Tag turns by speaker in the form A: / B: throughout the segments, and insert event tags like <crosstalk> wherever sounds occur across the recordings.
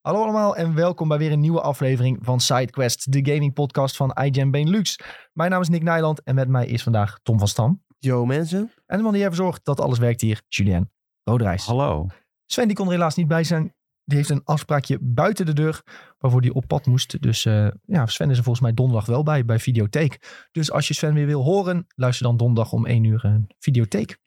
A: Hallo allemaal en welkom bij weer een nieuwe aflevering van SideQuest, de gaming podcast van iGen Benelux. Mijn naam is Nick Nijland en met mij is vandaag Tom van Stam.
B: Yo mensen.
A: En de man die ervoor zorgt dat alles werkt hier, Julien Roderijs.
C: Hallo.
A: Sven die kon er helaas niet bij zijn. Die heeft een afspraakje buiten de deur waarvoor hij op pad moest. Dus eh, ja, Sven is er volgens mij donderdag wel bij, bij Videotheek. Dus als je Sven weer wil horen, luister dan donderdag om 1 uur een Videotheek.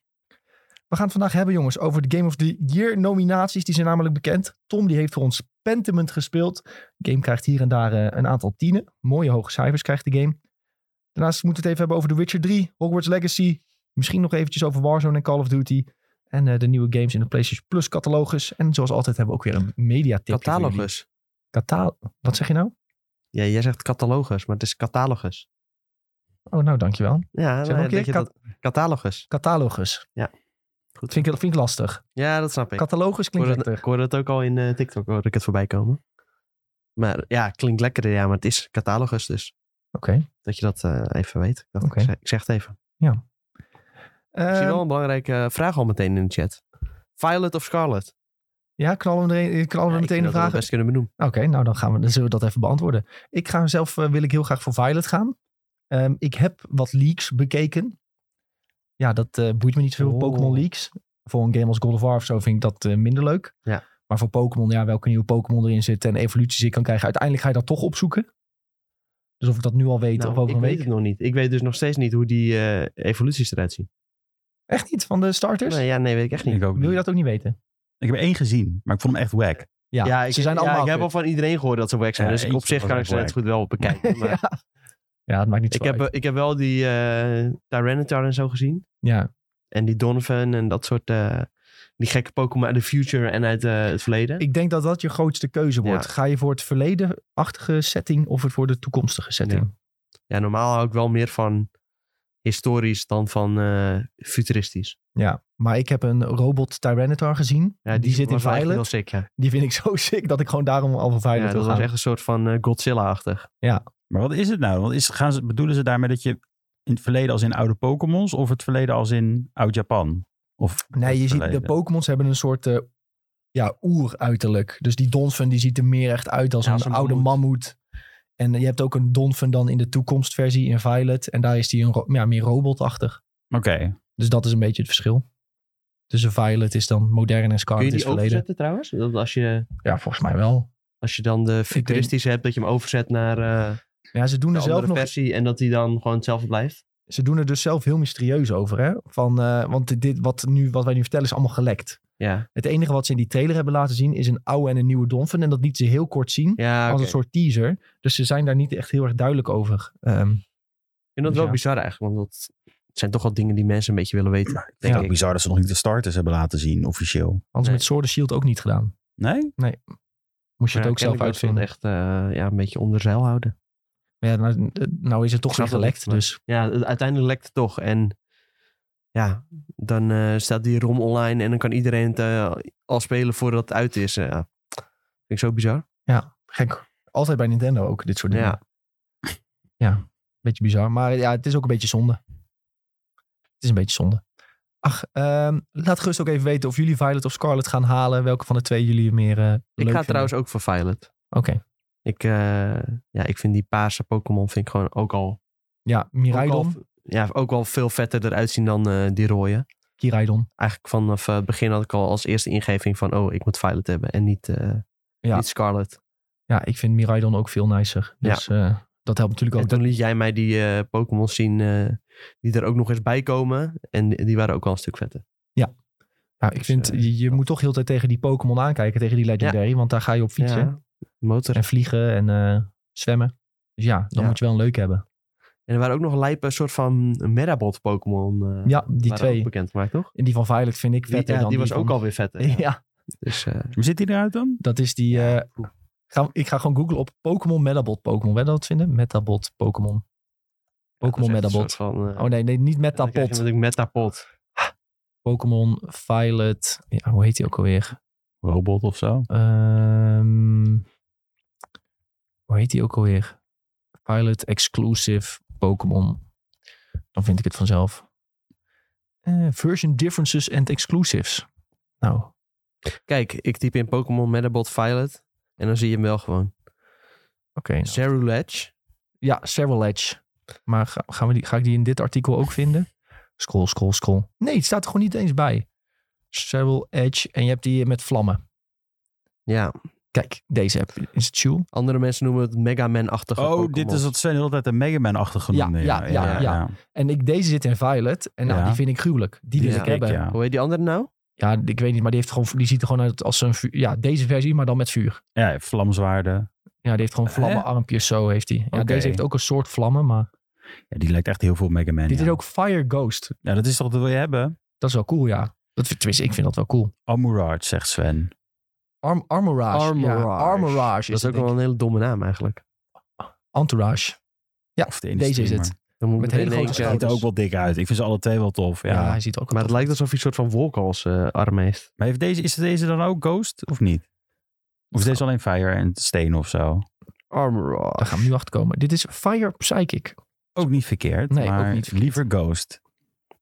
A: We gaan het vandaag hebben, jongens, over de Game of the Year nominaties. Die zijn namelijk bekend. Tom die heeft voor ons Pentiment gespeeld. De game krijgt hier en daar eh, een aantal tienen. Mooie hoge cijfers krijgt de game. Daarnaast moeten we het even hebben over The Witcher 3, Hogwarts Legacy. Misschien nog eventjes over Warzone en Call of Duty. En eh, de nieuwe games in de PlayStation Plus catalogus. En zoals altijd hebben we ook weer een mediatip.
B: Catalogus.
A: Catal Wat zeg je nou?
B: Ja, jij zegt catalogus, maar het is catalogus.
A: Oh, nou dankjewel.
B: Ja,
A: Zeg nog
B: nee,
A: een
B: dat
A: keer
B: je
A: cat-
B: dat, catalogus.
A: Catalogus.
B: Goed.
A: Vind ik, vind ik lastig.
B: Ja, dat snap ik.
A: Catalogus
B: ik,
A: klinkt
B: hoorde het,
A: lekker.
B: ik hoorde het ook al in eh, TikTok, hoorde ik het voorbij komen. Maar ja, klinkt lekkerder, ja, maar het is catalogus dus.
A: Oké.
B: Dat je dat eh, even weet. Ik dacht,
A: Oké.
B: ik, zeg, ik zeg het even. ik zie
A: Ehm,
B: wel een belangrijke vraag al meteen in de chat. Violet of Scarlet?
A: ja, knallen we, er een- knallen we
B: Ja, ik
A: meteen
B: vind
A: de
B: dat we dat
A: vragen.
B: best kunnen benoemen.
A: Oké, nou dan, gaan we, dan zullen we dat even beantwoorden. Ik ga zelf, eh, wil ik heel graag voor Violet gaan. Ehm, ik heb wat leaks bekeken. Ja, dat eh, boeit me niet veel.
B: Oh.
A: Pokémon leaks. Voor een game als God of War of zo vind ik dat eh, minder leuk.
B: Ja.
A: Maar voor Pokémon, ja, welke nieuwe Pokémon erin zit en evoluties ik kan krijgen. Uiteindelijk ga je dat toch opzoeken. Dus of ik dat nu al weet
B: Nou,
A: of over
B: ik
A: een
B: weet
A: week.
B: het nog niet. Ik weet dus nog steeds niet hoe die eh, evoluties eruit zien.
A: Echt niet van de starters?
B: Nee, ja, nee, weet ik echt niet.
C: Ik ook
A: Wil je
C: niet.
A: dat ook niet weten?
C: Ik heb er één gezien, maar ik vond hem echt wack.
A: Ja,
B: Ja, ik,
A: ze zijn
B: ja,
A: allemaal.
B: ik heb
A: kut.
B: al van iedereen gehoord dat ze wack zijn.
C: Ja,
B: dus ik op
C: eentje
B: zich
C: was
B: kan
C: ook
B: ik ze net
C: wack.
B: goed
A: <laughs>
B: wel <laughs> bekijken. Maar
A: ja. ja, dat maakt niet
B: ik,
A: zo
B: heb,
A: uit.
B: ik heb wel die eh Tyranitar en zo gezien.
A: Ja,
B: En die Donovan en dat soort... eh, die gekke Pokémon uit de future en uit eh, het verleden.
A: ik denk dat dat je grootste keuze wordt.
B: Ja.
A: Ga je voor het verledenachtige setting of het voor de toekomstige setting?
B: Ja, normaal hou ik wel meer van historisch dan van eh, futuristisch.
A: Ja, maar ik heb een robot Tyranitar gezien.
B: Ja,
A: die, zit in
B: was wel echt
A: Violet.
B: heel sick, ja.
A: Die vind ik zo sick dat ik gewoon daarom al voor Violet
B: Ja,
A: wil
B: dat was
A: gaan. Oh,
B: echt een soort van eh, Godzilla-achtig.
C: Maar wat is het nou? Want is, gaan ze, bedoelen ze daarmee dat je in het verleden als in oude Pokémons of het verleden als in oud Japan? Of
A: Nee, je ziet,
C: het
A: de
C: verleden?
A: Pokémons hebben een soort eh ja, oeruiterlijk. Dus die Donphan die ziet er meer echt uit als,
B: Ja,
A: een,
B: als een
A: oude
B: mammoet.
A: mammoet. En eh, je hebt ook een Donphan dan in de toekomstversie in Violet. En daar is die een ro- ja, meer robotachtig.
C: Oké.
A: Dus dat is een beetje het verschil. Tussen Violet is dan modern en
B: Kun je
A: Scarlet is
B: die
A: verleden.
B: overzetten trouwens? Dat als, je,
A: Ja, volgens mij wel.
B: als je dan de futuristische hebt, dat je hem overzet naar eh
A: Ja, ze doen
B: de
A: er zelf
B: andere
A: nog
B: versie. En dat die dan gewoon hetzelfde blijft.
A: ze doen er dus zelf heel mysterieus over. Hè? Van, eh, want dit, wat, nu, wat wij nu vertellen is allemaal gelekt.
B: Ja,
A: Het enige wat ze in die trailer hebben laten zien is een oude en een nieuwe Donphan. En dat liet ze heel kort zien
B: ja
A: als
B: oké.
A: een soort teaser. Dus ze zijn daar niet echt heel erg duidelijk over. Ehm,
B: Ik vind dat
A: Dus
B: wel
A: ja.
B: bizar eigenlijk, want dat zijn toch wel dingen die mensen een beetje willen weten.
C: Ik vind
B: Denk
C: het ook
B: ik.
C: bizar dat ze nog niet de starters hebben laten zien, officieel.
A: anders
B: Nee.
A: met Sword and Shield ook niet gedaan.
C: Nee?
A: Moest je
B: Ja,
A: het ook zelf
B: kennelijk wil ze
A: uitvinden.
B: dat echt eh, ja, een beetje onder zeil houden.
A: Maar ja, nou, nou is het toch
B: Ik
A: weer
B: snap het
A: gelekt.
B: niet, maar-
A: Dus
B: Ja, u- uiteindelijk lekt het toch. En ja, dan eh, staat die ROM online en dan kan iedereen het eh, al spelen voordat het uit is. eh, ja. Vind ik zo bizar.
A: gek. Altijd bij Nintendo ook dit soort dingen.
B: Ja.
A: ja, beetje bizar. Maar ja, het is ook een beetje zonde. Het is een beetje zonde. Ach, ehm, laat gerust ook even weten of jullie Violet of Scarlet gaan halen. Welke van de twee jullie meer eh leuk
B: Ik ga
A: vinden.
B: trouwens ook voor Violet.
A: Oké.
B: Ik, eh, ja, ik vind die paarse Pokémon vind ik gewoon ook al...
A: Ja,
B: Ook
A: Miraidon.
B: al, ja, ook wel veel vetter eruit zien dan eh, die rode.
A: Kiraidon.
B: Eigenlijk vanaf eh, het begin had ik al als eerste ingeving van... oh, ik moet Violet hebben en niet, eh,
A: Ja.
B: niet Scarlet.
A: Ja, ik vind Miraidon ook veel nicer. Dus eh, dat helpt natuurlijk
B: En
A: ook.
B: toen liet jij mij die eh Pokémon zien eh, die er ook nog eens bij komen. En die die waren ook wel een stuk vetter.
A: Nou, ik
B: dus,
A: vind,
B: eh,
A: je, je moet toch heel de tijd tegen die Pokémon aankijken, tegen die Legendary. Want daar ga je op fietsen
B: Motor.
A: en vliegen en eh, zwemmen. Dus ja, dan
B: Ja.
A: moet je wel een leuk hebben.
B: En er waren ook nog lijpen, een soort van Medabot Pokémon. eh,
A: Ja, die
B: waren
A: twee.
B: ook bekend gemaakt, toch?
A: En die van Violet vind ik
B: Die,
A: vetter
B: ja,
A: dan
B: die
A: die
B: was ook
A: van-
B: alweer vetter. ja.
A: <laughs> Ja,
B: Dus eh,
C: Hoe ziet die eruit dan?
A: dat is die... eh, Ga- ik ga gewoon googlen op Pokémon Metabot Pokémon. Wil je dat vinden? Metabot Pokémon. Pokémon
B: dat is echt een
A: Metabot.
B: soort van, eh,
A: Oh nee, nee, niet
B: dan krijg je
A: Metapod.
B: natuurlijk Metapod.
A: Pokémon Violet. Ja, hoe heet die ook alweer?
C: Robot of zo?
A: Ehm, hoe heet die ook alweer? Violet Exclusive Pokémon. Dan vind ik het vanzelf. Eh, version Differences and Exclusives. Nou,
B: Kijk, ik typ in Pokémon Medabot Violet. En dan zie je hem wel gewoon.
A: Oké. nou.
B: Zero Ledge.
A: Ja, Several Edge. Maar ga, gaan we die, ga ik die in dit artikel ook vinden? Scroll, scroll, scroll. Nee, het staat er gewoon niet eens bij. Several Edge. En je hebt die met vlammen.
B: Ja,
A: Kijk, deze heb je. Is het Shul?
B: andere mensen noemen het Mega Man-achtige
C: Oh,
B: Pokémon.
C: dit is wat Sven heel tijd een Mega Man-achtig genoemd.
A: Ja, ja, ja, ja. En ik, deze zit in Violet. En nou,
C: Ja.
A: die vind ik gruwelijk. Die wil
B: Ja.
A: ik hebben. Ja.
C: ja.
B: Hoe heet die andere nou?
A: ik weet niet, maar die, heeft gewoon, die ziet er gewoon uit als een vuur. Ja, deze versie, maar dan met vuur.
C: ja, vlamzwaarden.
A: Ja, die heeft gewoon
C: Hè?
A: vlammenarmpjes, zo heeft hij. Ja,
C: Oké.
A: deze heeft ook een soort vlammen, maar...
C: Ja, die lijkt echt heel veel op Mega Man.
A: Dit
C: ja.
A: is ook Fire Ghost.
C: Ja, dat is toch wat wil je hebben?
A: Dat is wel cool, ja. Dat, vind- tenminste, ik vind dat wel cool.
C: Amurard, zegt Sven.
A: Arm, armorage.
B: Armorage.
A: Ja, armorage is
B: Dat is
A: het,
B: ook wel
A: denk
B: een hele domme naam eigenlijk.
A: ik. Entourage. Ja,
C: Of de ene
A: Deze is
C: streamer.
A: het.
B: Dan moet
A: Met
B: ik
A: hele
B: meteen
A: grote
C: Ze
B: denken-
C: ziet er ook wel dik uit. Ik vind ze alle twee wel tof.
A: Ja,
C: Ja.
A: hij ziet er ook
B: Maar
A: wel
B: het lijkt alsof hij een soort van wolkals eh arm heeft.
C: Maar heeft deze, is deze dan ook Ghost of niet? Of is deze alleen Fire en Steen of zo?
A: Daar
B: Armorage.
A: gaan we nu achter komen. Dit is Fire Psychic.
C: Ook niet verkeerd.
A: Nee, ook
C: maar
A: niet verkeerd.
C: liever Ghost.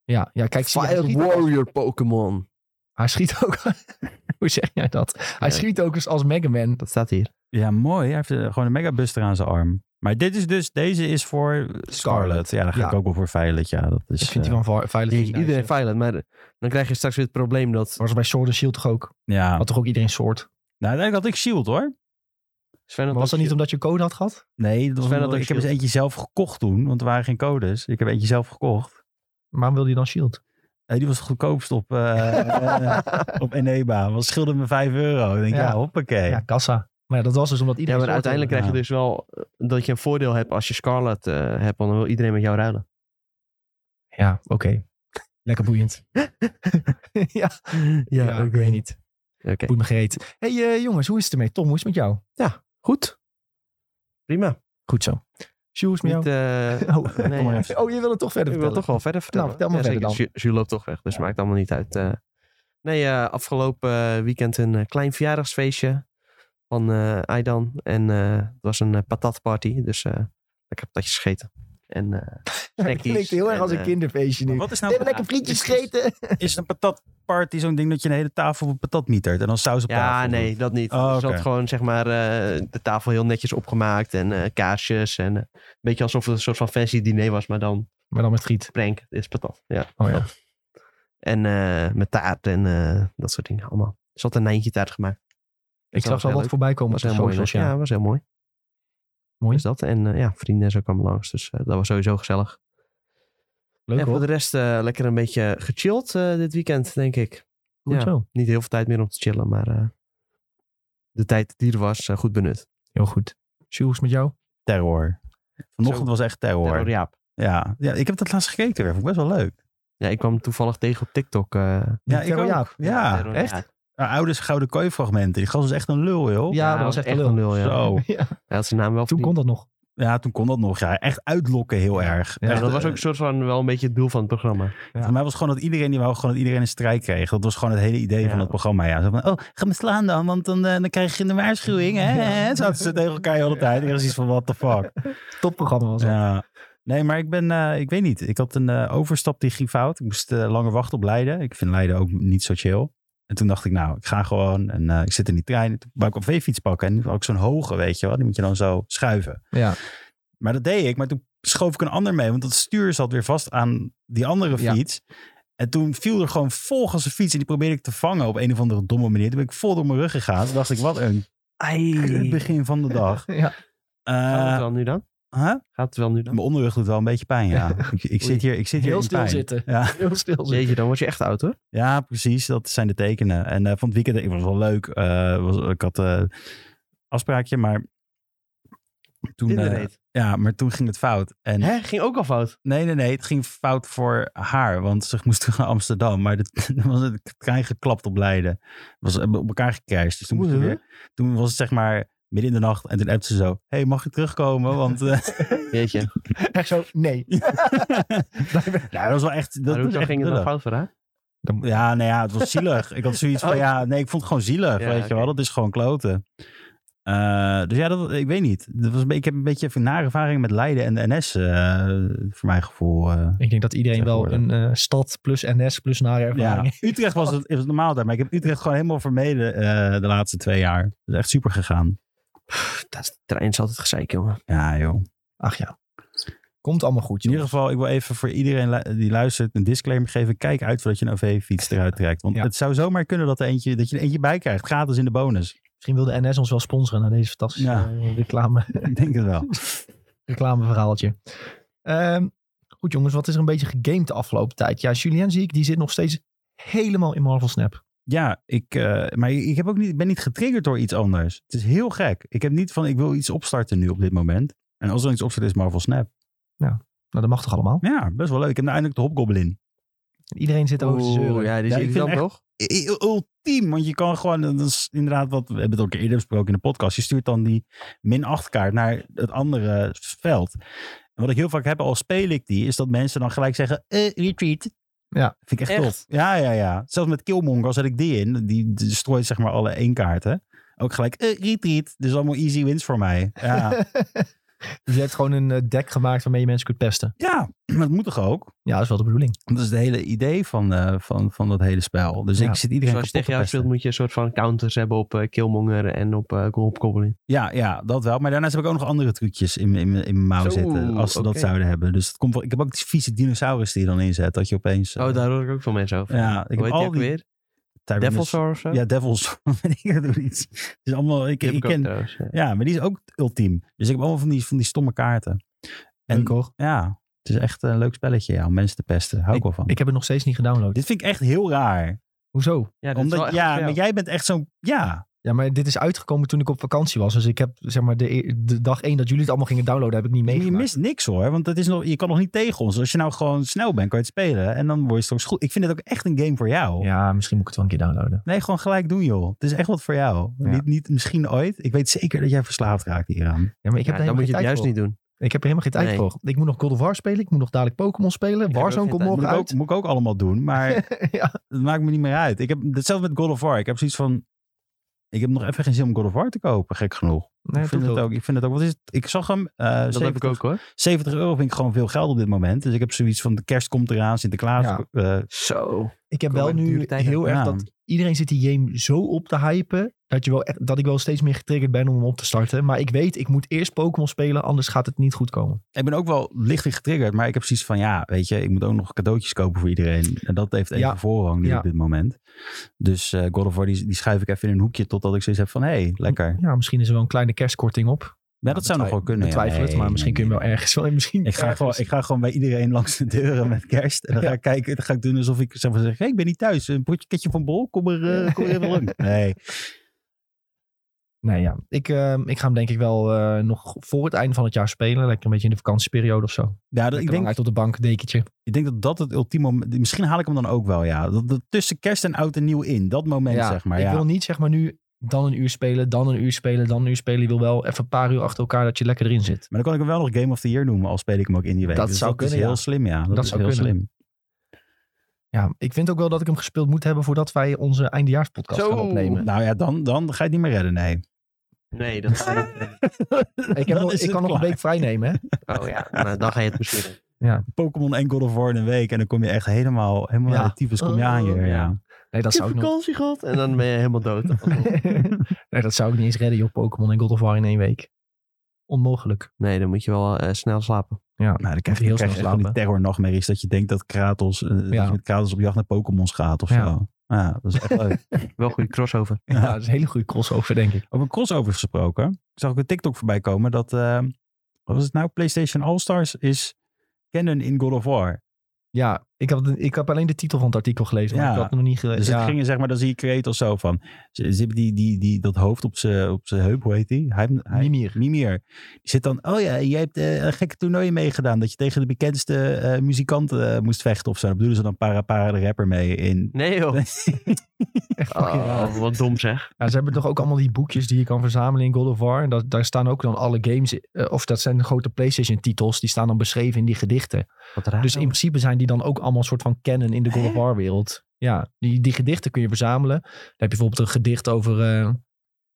A: Ja, ja kijk, zie je, hij
B: Fire
A: schiet, ook,
B: Warrior Pokémon.
A: hij schiet ook. <laughs> hoe zeg jij dat? Hij
B: Ja.
A: schiet ook eens als Mega Man.
B: Dat staat hier.
C: Ja, mooi. Hij heeft eh, gewoon een megabuster aan zijn arm. Maar dit is dus, deze is voor Scarlet. Ja, dan ga ik
A: Ja.
C: ook wel voor Violet. Ja, dat is.
A: Dat vind
C: eh,
A: hij wel veilig.
B: Jeetje, iedereen Violet. Maar dan krijg je straks weer het probleem dat
A: was bij Sword and Shield toch ook?
C: ja.
A: Had toch ook iedereen Soort?
C: Nou, uiteindelijk had ik Shield hoor.
B: Sven
A: Maar
B: had
A: was dat niet
B: shield.
A: omdat je code had gehad?
C: Nee, dat was
B: Sven had
C: omdat-
B: ook
C: ik heb eens
B: Shield.
C: eentje zelf gekocht toen, want er waren geen codes. Ik heb eentje zelf gekocht.
A: Maar wilde je dan Shield?
C: Eh, die was het goedkoopst op, eh, eh, op Eneba. Was scheelde me 5 euro. Ik denk, ja,
A: Ja.
C: hoppakee.
A: Ja, kassa. Maar ja, dat was dus omdat
B: Ja,
A: iedereen
B: maar
A: Sword
B: uiteindelijk krijg je
C: Ja.
B: dus wel eh, dat je een voordeel hebt als je Scarlet eh, hebt. want Dan wil iedereen met jou ruilen.
A: had. Ja, oké. Lekker
B: <laughs>
A: boeiend. ja, ja, ik weet niet.
B: Oké.
A: Boeit me gereed. hey, eh, jongens, hoe is het ermee? Tom, hoe is het met jou?
B: Goed. Prima.
A: Goed <laughs> zo. Sjoe, is het met
B: Niet,
A: jou? <laughs>
B: eh
A: oh,
B: nee,
A: kom maar
B: ja.
A: even. oh, je wil het toch verder
B: ik wil
A: vertellen?
B: toch wel verder vertellen.
A: vertel maar verder dan.
B: zeker. Ju- Jules loopt toch weg, dus maakt allemaal niet uit. eh. nee, eh, afgelopen eh, weekend een eh, klein verjaardagsfeestje van eh Aidan. En eh, het was een eh, patatparty, dus eh lekker patatjes gegeten. En eh
A: Het <laughs> klinkt heel erg als een kinderfeestje nu.
C: Maar
A: We
C: Wat is nou
A: hebben lekker frietjes gegeten.
C: Is een patatparty zo'n ding dat je een hele tafel op patat mietert en dan saus op tafel
B: Ja,
C: doet?
B: nee, dat niet.
C: Oh,
B: Er zat
C: oké.
B: gewoon zeg maar eh, de tafel heel netjes opgemaakt en eh, kaarsjes. En eh, een beetje alsof het een soort van fancy diner was, maar dan
A: Maar dan met friet.
B: prank. Dit is patat. Ja.
A: Oh ja.
B: En eh, met taart en eh, dat soort dingen allemaal. Er zat een nijntje taart gemaakt.
A: Ik zag
B: was
A: ze al
B: heel
A: wat
B: leuk.
A: voorbij komen.
B: was
A: op de
B: heel mooi.
A: socials,
B: ja.
A: ja.
B: was heel mooi.
A: Mooi.
B: Is dat. En eh, ja, vrienden en zo kwamen langs. Dus eh, dat was sowieso gezellig.
A: Leuk
B: en voor
A: hoor.
B: de rest eh, lekker een beetje gechilled eh, dit weekend, denk ik.
A: Goed
B: ja.
A: zo.
B: Niet heel veel tijd meer om te chillen, maar eh, de tijd die er was, eh, goed benut.
A: Heel goed. Sjoe, hoe is het met jou?
C: Terror. Vanochtend
B: Zo.
C: was echt terror.
B: Terror Jaap.
C: Ja. ja, ik heb dat laatst gekeken weer. Vond ik best wel leuk.
B: Ja, ik kwam toevallig tegen op TikTok. eh,
C: Ja, ik
A: Terror
C: ook.
A: Jaap.
C: Ja,
B: Terror
A: echt?
B: Jaap.
C: Nou, oude gouden kooi fragmenten. Die gast was echt een lul, joh.
A: Ja, dat was echt een lul.
B: ja.
C: Zo.
A: <laughs> Ja,
B: Hij had zijn naam wel
A: toen
B: verdiend.
A: kon dat nog.
C: Ja, toen kon dat nog. Ja, echt uitlokken heel erg.
A: Ja,
B: Ja,
C: Echt,
B: dat was
C: eh,
B: ook een soort van wel een beetje het doel van het programma.
A: Ja.
C: Voor mij was gewoon dat iedereen die wou, gewoon dat iedereen een strijk kreeg. Dat was gewoon het hele idee
B: Ja.
C: van dat programma. Ja. Zo van, oh, ga me slaan dan, want dan, eh, dan krijg je een waarschuwing. Hè? hè? Zaten ze tegen elkaar de hele tijd. Ik was iets van, what the fuck.
A: Topprogramma was dat.
C: Ja. Nee, maar ik ben, eh, ik weet niet. Ik had een eh, overstap die ging fout. Ik moest eh, langer wachten op Leiden. Ik vind Leiden ook niet zo chill. En toen dacht ik, nou, ik ga gewoon en eh, ik zit in die trein. Toen wou ik een veefiets pakken en ook zo'n hoge, weet je wel. Die moet je dan zo schuiven.
A: Ja.
C: Maar dat deed ik. Maar toen schoof ik een ander mee. Want dat stuur zat weer vast aan die andere
A: Ja.
C: fiets. En toen viel er gewoon vol gas een fiets. En die probeerde ik te vangen op een of andere domme manier. Toen ben ik vol door mijn rug gegaan. Toen dacht ik, wat een kut begin van de dag.
A: Ja.
C: Eh,
B: Gaat het wel nu dan?
C: huh?
B: Gaat het wel nu dan?
C: Mijn onderrug doet wel een beetje pijn, <laughs> ja. Ik, ik zit hier, ik zit hier
A: Heel
C: in
A: stil
C: pijn.
A: zitten.
C: Ja,
A: Heel stil zitten.
B: Jeetje, dan word je echt oud hoor.
C: ja, precies. Dat zijn de tekenen. En eh, van het weekend, ik was wel leuk. eh, was, ik had eh afspraakje, maar toen, eh,
B: Tinder
C: ja, maar toen ging het fout. En
B: Hè? Ging ook al fout.
C: Nee, nee, nee. Het ging fout voor haar. Want ze moest <laughs> terug naar Amsterdam. Maar de, dan was het trein geklapt op Leiden. Het Was eh, op elkaar gecrashed. Dus toen, moest ze
B: Oeh.
C: weer, toen was het zeg maar midden in de nacht. En toen appte ze zo. hey, mag je terugkomen? Want eh, <laughs>
B: Jeetje.
A: Echt zo, nee.
C: ja, dat was wel echt... Dat
B: Maar
C: was
B: hoezo
C: echt
B: ging het dan
C: lullig.
B: fout voor haar?
C: Ja, nou ja, het was zielig. ik had zoiets van,
B: Oh.
C: ja, nee, ik vond het gewoon zielig,
B: Ja,
C: weet je
B: oké.
C: wel. Dat is gewoon kloten. Eh, dus ja, dat, ik weet niet. Dat was, een be- ik heb een beetje een nare ervaring met Leiden en de NS, eh, voor mijn gevoel. eh.
A: Ik denk dat iedereen wel een
C: Tegenwoordig.
A: eh, stad plus NS plus nare
C: Ja,
A: ervaring
C: Utrecht was het, is het normaal daar, maar ik heb Utrecht gewoon helemaal vermeden eh, de laatste twee jaar. Dat is echt super gegaan.
B: Pff, Dat is- trein is altijd gezeik, jongen.
C: Ja, joh.
A: Ach ja. Komt allemaal goed,
C: In ieder
A: joh.
C: geval, ik wil even voor iedereen lu- die luistert een disclaimer geven. Kijk uit voordat je een OV-fiets eruit trekt. Want
A: Ja.
C: het zou zomaar kunnen dat, er eentje, dat je er eentje bij krijgt. Gratis in de bonus. <laughs>
A: Misschien wil de NS ons wel sponsoren naar deze fantastische
C: Ja.
A: eh, reclame,
C: ik denk het wel.
A: reclameverhaaltje. Ehm, goed jongens, wat is er een beetje gegamed de afgelopen tijd? Ja, Julien zie ik, die zit nog steeds helemaal in Marvel Snap. Nou,
C: Ja, ik, eh, maar ik heb ook niet, ik ben niet getriggerd door iets anders. Het is heel gek. Ik heb niet van, ik wil iets opstarten nu op dit moment. En als er iets opstart is Marvel Snap.
A: Nou, dat mag toch allemaal?
C: Ja, best wel leuk. Ik heb nou eindelijk de Hobgoblin.
A: Iedereen zit over te zeuren.
B: Oeh, ja, die
C: Ja,
B: zie
C: ik
B: ik
C: vind
B: dan
C: echt-
B: toch?
C: I- i- Ultiem, want je kan gewoon, dat is inderdaad wat, we hebben het ook eerder besproken in de podcast. Je stuurt dan die min 8 kaart naar het andere veld. En wat ik heel vaak heb, al speel ik die, is dat mensen dan gelijk zeggen, eh, retreat.
A: Ja.
C: Vind ik echt,
B: Echt?
C: tof. Ja, ja, ja. Zelfs met Killmonger zet ik die in. Die die strooit zeg maar alle één kaarten. Ook gelijk, eh, retreat. Dus allemaal easy wins voor mij.
B: <laughs>
C: Ja.
A: <laughs> dus je hebt gewoon een eh, deck gemaakt waarmee je mensen kunt pesten.
C: Ja, maar dat moet toch ook?
A: Ja, dat is wel de bedoeling.
C: Dat is het hele idee van, eh, van, van dat hele spel. Dus
A: Ja.
C: ik zit iedereen
B: Zoals je
C: kapot te
B: tegen jou
C: pesten.
B: speelt, moet je een soort van counters hebben op eh, Killmonger en op eh Hobgoblin.
C: Ja, ja, dat wel. Maar daarnaast heb ik ook nog andere trucjes in, in, in mijn mouw
B: Zo,
C: zitten. Als ze
B: oké.
C: dat zouden hebben. Dus dat komt wel, ik heb ook die vieze dinosaurus die je dan inzet. Dat je opeens... eh,
B: Oh, daar hoor ik ook veel mensen over.
C: Ja, ik
B: Hoe heet
C: heb
B: die
C: al
B: ook
C: die...
B: weer?
C: Tyrannus-
B: Devilstar of zo?
C: Ja, Devils. <laughs> ik doe iets. Het is allemaal... Ik,
B: Die heb
C: ik
B: ik ook
C: ken,
B: trouwens, ja.
C: ja, maar die is ook ultiem. Dus ik heb allemaal van die, van die stomme kaarten. En-
A: Leuk hoor.
C: Ja, het is echt een leuk spelletje ja, om mensen te pesten. Hou ik wel van.
A: Ik heb het nog steeds niet gedownload.
C: Dit vind ik echt heel raar.
A: Hoezo?
B: Ja, dat is wel
C: Omdat,
B: echt
C: ja,
B: voor jou.
C: maar jij bent echt zo'n... Ja,
A: Ja, maar dit is uitgekomen toen ik op vakantie was. Dus ik heb, zeg maar, de, e- de dag één dat jullie het allemaal gingen downloaden, heb ik niet
C: je
A: meegemaakt.
C: mist niks hoor. Want dat is nog, je kan nog niet tegen ons. Als je nou gewoon snel bent, kan je het spelen. En dan word je straks goed. Ik vind het ook echt een game voor jou.
A: Ja, misschien moet ik het wel een keer downloaden.
C: Nee, gewoon gelijk doen, joh. Het is echt wat voor jou.
A: Ja.
C: Niet, niet misschien ooit. Ik weet zeker dat jij verslaafd raakt hieraan.
A: Ja, maar ik
B: Ja,
A: heb er
B: dan
A: helemaal
B: moet je
A: geen
B: het
A: tijd
B: juist
A: voor.
B: niet doen.
A: Ik heb er helemaal geen tijd
B: Nee.
A: voor. Ik moet nog God of War spelen. Ik moet nog dadelijk Pokémon spelen.
B: heb er ook
A: Warzone
B: geen
A: komt
B: tijd
A: morgen
C: Moet ik, ook,
A: uit.
C: moet ik ook allemaal doen, maar
A: <laughs> ja.
C: dat maakt me niet meer uit. Ik heb hetzelfde met God of War. Ik heb zoiets van... Ik heb nog even geen zin om God of War te kopen, gek genoeg.
A: Nee,
C: ik, vind het ook, ik vind het ook... Wat is het? Ik zag hem... eh,
B: Dat heb ik
C: 70,
B: ook hoor.
C: 70 euro vind ik gewoon veel geld op dit moment. Dus ik heb zoiets van... De kerst komt eraan, Sinterklaas...
A: Ja.
C: eh,
B: Zo.
A: Ik heb
B: Kom
A: wel
B: maar,
A: nu
B: dure tijd
A: heel erg
C: ja.
A: dat iedereen zit die game zo op te hypen. Dat, je wel echt, dat ik wel steeds meer getriggerd ben om hem op te starten. Maar ik weet, ik moet eerst Pokémon spelen. Anders gaat het niet goed komen.
C: ik ben ook wel licht getriggerd, maar ik heb zoiets van... Ja, weet je, ik moet ook nog cadeautjes kopen voor iedereen. En dat heeft even
A: Ja.
C: voorrang nu
A: Ja.
C: op dit moment. Dus eh God of War, die, die schuif ik even in een hoekje... totdat ik zoiets heb van... hey, lekker.
A: Ja, misschien is er wel een kleine kerstkorting op.
C: Ja, dat zou nog wel kunnen.
A: Ik
C: ja.
A: twijfel Nou, het,
C: Nee,
A: maar
C: nee,
A: misschien
C: nee.
A: kun je hem wel ergens. <laughs> wel- Misschien
C: Ik ga, gewoon, ik ga gewoon bij iedereen <laughs> langs de deuren met kerst. En dan ga ik kijken, dan ga ik doen alsof ik zeg maar zeg, hey, ik ben niet thuis. Een potje van bol, kom er, eh, kom er even langs. Nee,
A: Nee, ja. Ik, ehm, ik ga hem denk ik wel eh, nog voor het einde van het jaar spelen. Lekker een beetje in de vakantieperiode of zo.
C: ja, dat,
A: Lekker
C: ik,
A: lang
C: denk,
A: uit op de bank, dekentje.
C: ik denk dat dat het ultieme moment, misschien haal ik hem dan ook wel, ja. Dat, dat tussen kerst en oud en nieuw in, dat moment zeg maar,
A: ik
C: ja.
A: wil niet zeg maar nu dan een uur spelen, dan een uur spelen, dan een uur spelen. Je wil wel even een paar uur achter elkaar dat je lekker erin zit.
C: Maar dan kan ik hem wel nog Game of the Year noemen, al speel ik hem ook in die week.
A: Dat
C: Dus
A: zou
C: dat is
A: kunnen,
C: heel
A: ja.
C: slim, ja. Dat,
A: Dat
C: is
A: zou
C: heel
A: kunnen.
C: slim.
A: Ja, ik vind ook wel dat ik hem gespeeld moet hebben voordat wij onze eindejaarspodcast
B: Zo.
A: gaan opnemen.
C: Nou ja, dan, dan ga je het niet meer redden, nee.
B: Nee, dat
A: Ik, heb
C: Dan
A: nog,
C: is
A: ik
C: het
A: kan nog een
C: klaar.
A: week vrij nemen, hè?
B: <laughs> Oh ja, nou, dan ga je het misschien. doen.
C: Pokémon en God of War in een week en dan kom je echt helemaal, helemaal
A: Ja.
C: uit het tyfus, kom je aan hier,
B: Oh,
C: ja.
B: ja.
A: Nee,
C: <laughs>
A: dat
B: Ik heb
A: zou ik nog...
B: vakantie gehad. En dan ben je helemaal dood.
A: nee, dat zou ik niet eens redden, joh. Pokémon en God of War in één week. Onmogelijk.
B: <laughs> Nee, dan moet je wel eh, snel slapen.
C: Nou, dan krijg je,
A: Heel
C: heel krijg je
A: snel
C: echt van die
A: slapen.
C: terror nachtmerries dat je denkt dat Kratos, eh, dat
A: Ja.
C: je met Kratos op jacht naar Pokémon's gaat of
A: Ja.
C: zo. Ja, dat is echt
A: <laughs>
C: leuk.
B: Wel goede crossover.
A: Ja, dat is een hele goede crossover, denk ik.
C: Over crossovers gesproken. Ik zag ook een TikTok voorbij komen dat, eh, wat was het nou, PlayStation All-Stars is canon in God of War.
A: Eh, Ja, ik heb, ik heb alleen de titel van het artikel gelezen, maar
C: Ja.
A: ik had het nog niet gelezen.
C: Dus
A: ja.
C: het ging er, zeg maar, dan zie je Kratos zo van, ze, ze hebben die, die, die, dat hoofd op zijn op z'n heup, hoe heet die? Hij, hij,
A: Mimir.
C: Mimir. Die zit dan, oh ja, jij hebt eh, een gekke toernooi meegedaan. Dat je tegen de bekendste eh, muzikant eh, moest vechten of zo. Daar bedoelen ze dan Para Para de rapper mee in.
B: Nee joh.
A: <laughs> Echt fucking raar.
B: Oh, wat dom zeg.
A: Ja, ze hebben toch ook allemaal die boekjes die je kan verzamelen in God of War. En dat, daar staan ook dan alle games, eh, of dat zijn de grote PlayStation-titels, die staan dan beschreven in die gedichten.
B: Wat raar.
A: Dus in principe zijn die dan ook allemaal een soort van canon in de God of
C: Hè?
A: War-wereld. Ja, die, die gedichten kun je verzamelen. Dan heb je bijvoorbeeld een gedicht over eh,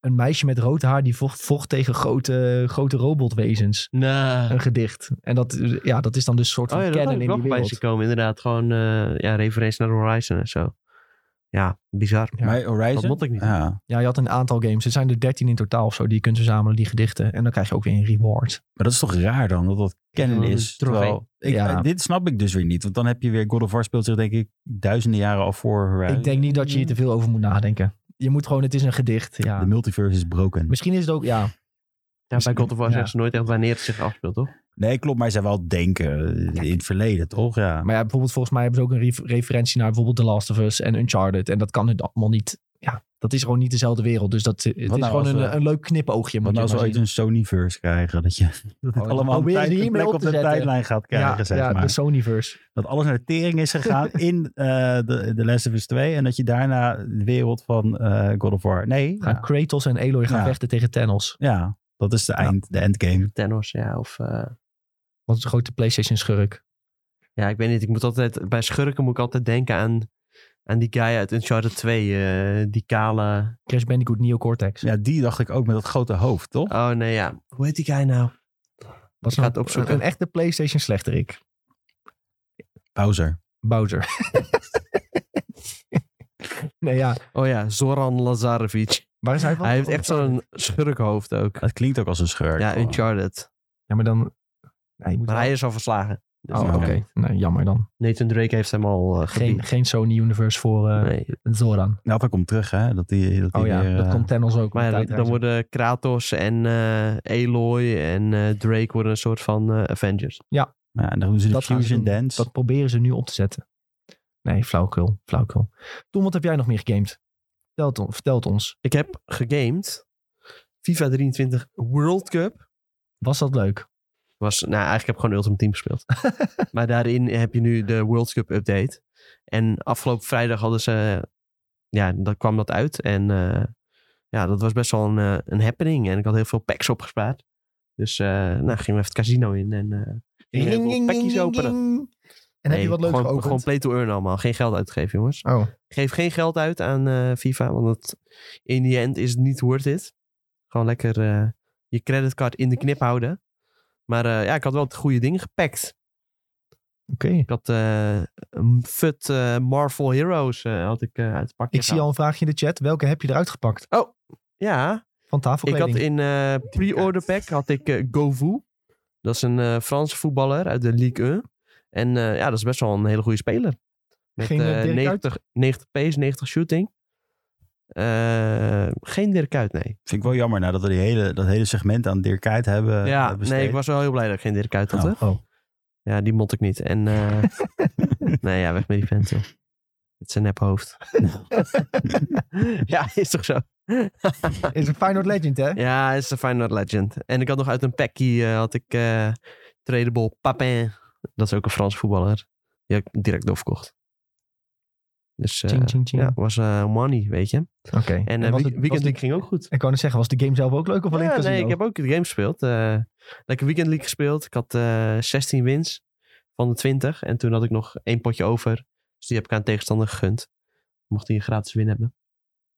A: een meisje met rood haar die vocht, vocht tegen grote, grote robotwezens.
B: Nee.
A: Een gedicht. En dat, eh, ja, dat is dan dus een soort
B: Oh
A: van
B: ja, dat had
A: canon in
B: ik wel
A: die
B: voorbij
A: wereld.
B: zien komen. Inderdaad, gewoon eh, ja, referentie naar Horizon en zo. Ja, bizar.
A: Ja.
C: Maar Horizon?
B: Dat moet ik niet.
C: Ja.
A: Ja, je had een aantal games. Er zijn er 13 in totaal of zo die je kunt verzamelen, die gedichten. En dan krijg je ook weer een reward.
C: Maar dat is toch raar dan, dat dat kennen
B: Een
C: is.
B: trofee.
C: Terwijl, ik,
A: Ja.
C: Dit snap ik dus weer niet. Want dan heb je weer God of War speelt zich denk ik duizenden jaren al voor Horizon.
A: Ik denk niet dat je hier te veel over moet nadenken. Je moet gewoon, het is een gedicht.
C: De
A: Ja.
C: multiverse is broken.
A: Misschien is het ook, ja.
B: Ja, bij God of War
A: Ja.
B: zeggen ze nooit echt wanneer het zich afspeelt, toch?
C: Nee, klopt. Maar zij wel denken eh, in het verleden, toch? Ja.
A: Maar ja, bijvoorbeeld volgens mij hebben ze ook een ref- referentie naar bijvoorbeeld The Last of Us en Uncharted. En dat kan het allemaal niet. Ja, dat is gewoon niet dezelfde wereld. Dus dat, het is
C: nou
A: gewoon
C: als
A: een,
C: we-
A: een leuk knipoogje.
C: Want
A: moet
C: als
A: je
C: we
A: maar
C: ooit
A: zien.
C: een Sonyverse krijgen, dat je dat het
A: Oh,
C: allemaal een
A: probeer
C: tijd,
A: die
C: een
A: hiermee op
C: plek op
A: te
C: de
A: zetten.
C: tijdlijn gaat krijgen,
A: ja,
C: zeg
A: ja, dus-
C: maar.
A: de Sonyverse.
C: Dat alles naar de tering is
A: <laughs>
C: gegaan in eh de, de Last of Us 2. En dat je daarna de wereld van eh, God of War... Nee,
A: Gaan
C: ja,
A: Kratos en Aloy gaan
C: Ja.
A: vechten tegen Thanos.
C: Ja, dat is de, eind, de endgame.
B: Thanos, ja. Of, eh,
A: Want het is een grote PlayStation schurk.
B: ja, ik weet niet. Ik moet altijd, bij schurken moet ik altijd denken aan, aan die guy uit Uncharted 2. eh, die kale...
A: Crash Bandicoot Neo Cortex.
C: Ja, die dacht ik ook met dat grote hoofd, toch?
B: Oh nee, ja. Hoe heet die guy nou?
A: Wat
B: Ik ga het opzoeken.
A: Een, een echte PlayStation slechterik.
C: Bowser.
A: Bowser. <laughs> nee ja,
B: Oh ja, Zoran Lazarevic.
A: waar is hij van?
B: Hij heeft echt zo'n schurkhoofd ook.
C: Dat klinkt ook als een schurk.
B: Ja, Uncharted.
A: Ja, maar dan... Nee, je moet
B: Maar
A: wel-
B: hij is al verslagen. Dus
A: Oh,
C: Ja,
A: oké.
B: oké.
A: Nee, jammer dan.
B: Nathan Drake heeft hem al eh
A: Geen,
B: gebied.
A: geen Sony Universe voor eh,
B: Nee.
A: Zoran.
C: Nou, dat komt terug, hè? Dat die, dat die
A: Oh ja,
C: weer,
A: dat
C: eh,
A: komt Thanos ook.
B: Maar ja,
A: met
B: dan, dan
A: tijdreizen.
B: worden Kratos en eh Aloy en eh, Drake worden een soort van eh, Avengers.
C: ja, en dan doen ze de
A: Dat gaan ze
C: Fusion
A: doen.
C: Dance.
A: Dat proberen ze nu op te zetten. Nee, flauwkul, flauwkul. Toen, wat heb jij nog meer gegamed? Vertel het, on- vertel het ons.
B: Ik heb gegamed. FIFA 23 World Cup.
A: Was dat leuk?
B: Was, nou, eigenlijk heb ik gewoon Ultimate Team gespeeld. maar daarin heb je nu de World Cup update. En afgelopen vrijdag hadden ze... Ja, dan kwam dat uit. En eh, ja, dat was best wel een, eh, een happening. En ik had heel veel packs opgespaard. Dus eh nou, gingen we even het casino in. En eh, gingen we heel veel packjes openen.
A: En heb
B: Nee,
A: je wat leuks
B: gewoon,
A: geopend?
B: Gewoon play to earn allemaal. Geen geld uitgeven, jongens.
A: Oh,
B: Geef geen geld uit aan eh, FIFA, want dat, in the end is het niet worth it. Gewoon lekker eh, je creditcard in de knip houden. Maar eh, ja, ik had wel de goede dingen gepakt.
A: oké.
B: Ik had eh, een fut eh, Marvel Heroes eh, had ik, eh, uit het pakje
A: Ik zie
B: gehaald.
A: al een vraagje in de chat. Welke heb je eruit gepakt?
B: Ja,
A: Van
B: ik had
A: tafelkleding.
B: in eh, pre-order pack had ik eh, Govou. Dat is een eh, Franse voetballer uit de Ligue 1. En eh, ja, dat is best wel een hele goede speler. Met
A: Ging, eh,
B: eh,
A: Dirk
B: 90, 90 pace, 90 shooting. Eh, geen Dirk uit, nee.
C: Vind ik wel jammer, nadat we die hele, dat hele segment aan Dirk Kuyt hebben
B: ja,
C: hebben besteed.
B: Eh, nee, ik was wel heel blij dat ik geen Dirk uit had.
C: Oh.
B: hè? Ja, die mond ik niet. En <laughs> eh, nee, ja, weg met die vent, joh. Het is een nephoofd. <laughs> ja, is toch zo?
A: Is een Feyenoord Legend, hè?
B: Ja, hij is een Feyenoord legend. En ik had nog uit een packie, eh, had ik eh tradable Papin. Dat is ook een Frans voetballer. Die heb ik direct doorverkocht. Dus eh,
A: Ching, ching, ching.
B: ja, was eh, money, weet je.
A: Oké.
B: En
A: was het-
B: eh week-
A: was
B: Weekend
A: de-
B: League ging ook goed.
A: Ik wou net zeggen, was de game zelf ook leuk of alleen
B: Ja,
A: het casino?
B: nee, ik heb ook de game gespeeld. Eh, lekker Weekend League gespeeld. Ik had eh, 16 wins van de 20. En toen had ik nog één potje over. Dus die heb ik aan de tegenstander gegund. Mocht hij een gratis win hebben.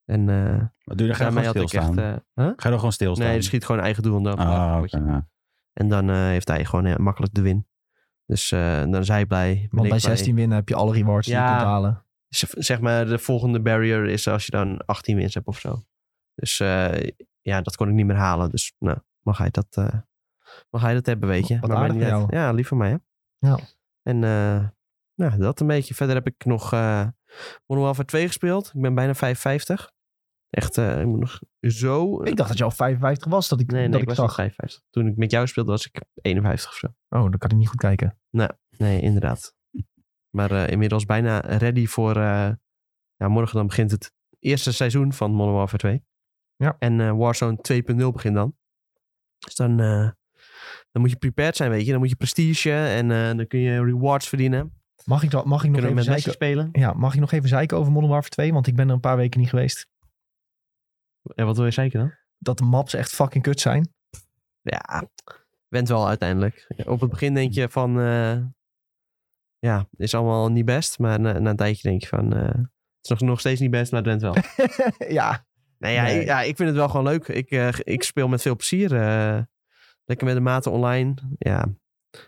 B: En eh
C: Wat doe je, dan ga je
B: daarmee
C: gewoon
B: had ik echt...
C: stilstaan.
B: eh, huh?
C: Ga je dan gewoon stilstaan?
B: Nee, hij schiet gewoon eigen doel. En dan,
C: Ah, oké, ja.
B: en dan eh, heeft hij gewoon eh, makkelijk de win. Dus eh, dan is hij blij. ben
A: Want
B: ik
A: bij
B: blij.
A: 16 winnen heb je alle rewards die
B: Ja.
A: je kunt halen.
B: Z- Zeg maar, de volgende barrier is als je dan 18 wins hebt of zo. Dus eh, ja, dat kon ik niet meer halen. Dus nou, mag hij dat, eh, mag hij dat hebben, weet je.
A: Wat
B: mij
A: aardig
B: niet
A: van
B: uit. Ja, lief van mij, hè.
A: Ja.
B: En eh, nou, dat een beetje. Verder heb ik nog eh Modern Warfare 2 gespeeld. Ik ben bijna 55. Echt, eh, ik moet nog zo...
A: Ik dacht dat je al 55 was, dat ik,
B: nee, nee,
A: dat
B: ik
A: ik
B: was nog
A: zag.
B: 55. Toen ik met jou speelde was ik 51 of zo.
A: Oh, dan kan ik niet goed kijken.
B: Nee, inderdaad. Maar eh, inmiddels bijna ready voor... eh, ja, morgen dan begint het eerste seizoen van Modern Warfare 2.
A: Ja.
B: En eh, Warzone 2.0 begint dan. Dus dan, eh, dan moet je prepared zijn, weet je. Dan moet je prestige en eh, dan kun je rewards verdienen.
A: Mag ik, dan- mag ik nog
B: Kunnen we
A: even
B: met Messi
A: zeiken?
B: spelen?
A: Ja, mag ik nog even zeiken over Modern Warfare 2? Want ik ben er een paar weken niet geweest.
B: Ja, wat wil je zeker dan?
A: Dat de maps echt fucking kut zijn. <laughs>
B: Ja, went wel uiteindelijk. Op het begin denk je van... eh, ja, is allemaal niet best. Maar na, na een tijdje denk je van... eh, het is nog, nog steeds niet best, maar het went wel.
A: ja.
B: Nou ja,
A: Nee.
B: ik, ja, ik vind het wel gewoon leuk. Ik, eh, ik speel met veel plezier. eh, lekker met de maten online. Ja.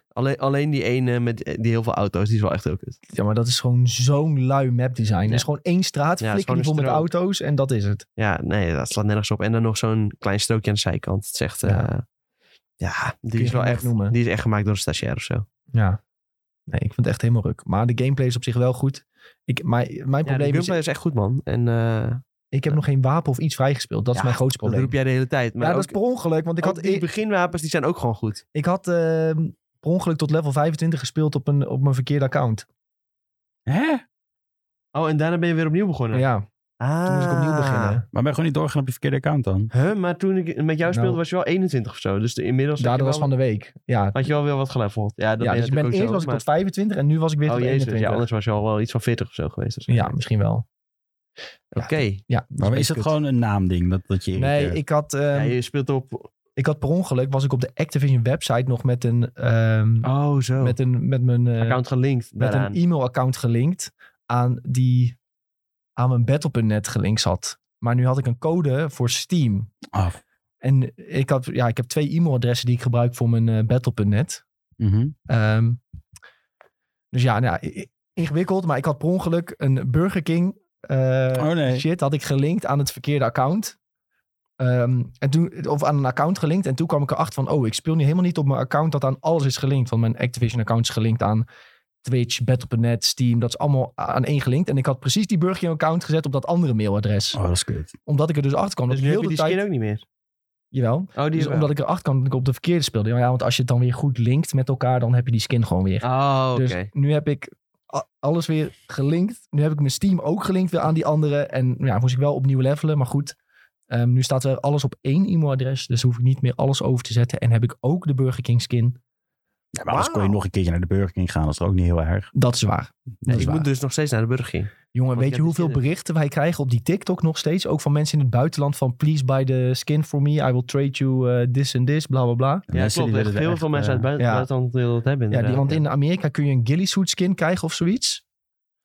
B: Alleen, alleen die ene met eh, die heel veel auto's, die is wel echt ook kut.
A: Ja, maar dat is gewoon zo'n lui mapdesign. Er is gewoon één straat,
B: Ja, het is
A: flikker die vol
B: gewoon
A: met
B: een
A: auto's en dat is het.
B: Ja, nee, dat slaat nergens op. En dan nog zo'n klein strookje aan de zijkant. Het is echt, eh,
A: Ja.
B: ja, die
A: je
B: is wel
A: geen
B: echt,
A: merk noemen.
B: die is echt gemaakt door een stagiair of zo.
A: Ja. Nee, ik vind het echt helemaal ruk. Maar de gameplay is op zich wel goed. Ik, mijn mijn
B: Ja, de
A: probleem is,
B: gameplay is echt goed, man. En eh,
A: ik heb nog geen wapen of iets vrijgespeeld. Dat is
B: Ja,
A: mijn grootste
B: dat
A: probleem.
B: roep jij de hele tijd. Maar
A: ja,
B: ook,
A: dat is per ongeluk. Want ik
B: ook
A: had,
B: die
A: e-
B: beginwapens, die zijn ook gewoon goed.
A: ik had ehm, per ongeluk tot level 25 gespeeld op, een, op mijn verkeerde account.
C: Hè?
B: Oh, en daarna ben je weer opnieuw begonnen.
A: Ja,
B: Ah.
A: toen moest ik opnieuw beginnen.
C: Maar ben je gewoon niet doorgegaan op je verkeerde account dan?
B: Huh, maar toen ik met jou speelde
A: Nou.
B: was je wel 21 of zo. Dus de- inmiddels had je,
A: Daardoor was
B: wel,
A: van de week. Ja,
B: had je wel weer wat geleveld. Ja, dat
A: ja
B: ben
A: dus
B: je
A: ik ben eerst
B: natuurlijk
A: was ik
B: ook
A: tot
B: zo.
A: 25 en nu was ik weer
B: maar-
A: tot
B: Oh jezus, ja,
A: 21.
B: anders was je al wel iets van 40 of zo geweest. dus-
A: Ja, misschien wel.
B: Oké.
A: Ja, dat
C: Maar
A: een
C: is dat
A: kut.
C: gewoon een naamding? Dat, dat je
A: Nee,
C: irriteert?
A: ik had, ehm,
B: Ja, je speelt op...
A: ik had per ongeluk, was ik op de Activision website nog met een, ehm,
B: Oh, zo.
A: met een, met mijn, eh,
B: Account gelinkt
A: met
B: daaraan.
A: een e-mailaccount gelinkt aan die aan mijn Battle.net gelinkt zat. Maar nu had ik een code voor Steam.
C: Ah,
A: En ik, had, ja, ik heb twee e-mailadressen die ik gebruik voor mijn eh, Battle.net.
C: mhm.
A: Ehm, dus ja, nou, ja, i- i- ingewikkeld. Maar ik had per ongeluk een Burger King eh,
C: Oh nee.
A: shit had ik gelinkt aan het verkeerde account. Ehm, en toen, of aan een account gelinkt. En toen kwam ik erachter van, oh, ik speel nu helemaal niet op mijn account dat aan alles is gelinkt. Want mijn Activision account is gelinkt aan Twitch, Battle.net, Steam. Dat is allemaal aan één gelinkt. En ik had precies die Burger King account gezet op dat andere mailadres.
C: Oh, dat is kut.
A: Omdat ik er dus achter kwam.
B: Dus
A: dat
B: nu
A: ik
B: heb
A: heel
B: je
A: de
B: die
A: tijd,
B: skin ook niet meer.
A: Jawel.
B: Oh, die
A: Dus omdat ik erachter kwam dat ik op de verkeerde speelde. Ja, want als je het dan weer goed linkt met elkaar, dan heb je die skin gewoon weer.
B: Oh, oké.
A: Dus nu heb ik a- alles weer gelinkt. Nu heb ik mijn Steam ook gelinkt weer aan die andere. En ja, moest ik wel opnieuw levelen. Maar goed, ehm, nu staat er alles op één e-mailadres. Dus hoef ik niet meer alles over te zetten. En heb ik ook de Burger King skin.
C: Ja, maar anders kon je
B: Wauw.
C: nog een keertje naar de Burger King gaan. Dat is ook niet heel erg.
A: Dat is waar.
C: Dat is
B: ik
A: waar.
B: moet dus nog steeds naar de Burger King.
A: Jongen,
B: Want
A: weet
B: je
A: je
B: hebt die
A: hoeveel
B: skin.
A: berichten wij krijgen op die TikTok nog steeds? Ook van mensen in het buitenland van please buy the skin for me. I will trade you eh, this and this, bla bla bla.
B: Ja,
C: Mensen die
B: klopt. Echt
C: willen er
B: heel
C: echt,
B: veel mensen
C: eh,
B: uit het
A: ja.
B: buiten- buitenland willen dat hebben.
A: Ja, die,
B: inderdaad.
A: want in Amerika kun je een ghillie-suit skin krijgen of zoiets.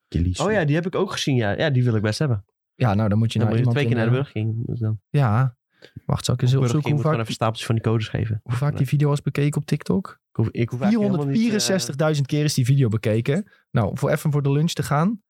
C: Achilles.
B: Oh ja, die heb ik ook gezien. Ja, ja die wil ik best hebben.
A: Ja, nou dan moet je
B: Dan
A: naar
B: moet je
A: iemand
B: twee keer
A: in,
B: naar de
A: eh,
B: Burger King. Dus dan.
A: Ja, wacht, zal ik eens
B: Burger King
A: opzoeken hoe
B: moet gewoon
A: vaak,
B: even stapeltjes van die codes geven.
A: hoe vaak die video was bekeken op TikTok?
B: Ik hoef, ik hoef eigenlijk helemaal niet, eh,
A: 464.000 keer is die video bekeken. Nou, voor even voor de lunch te gaan.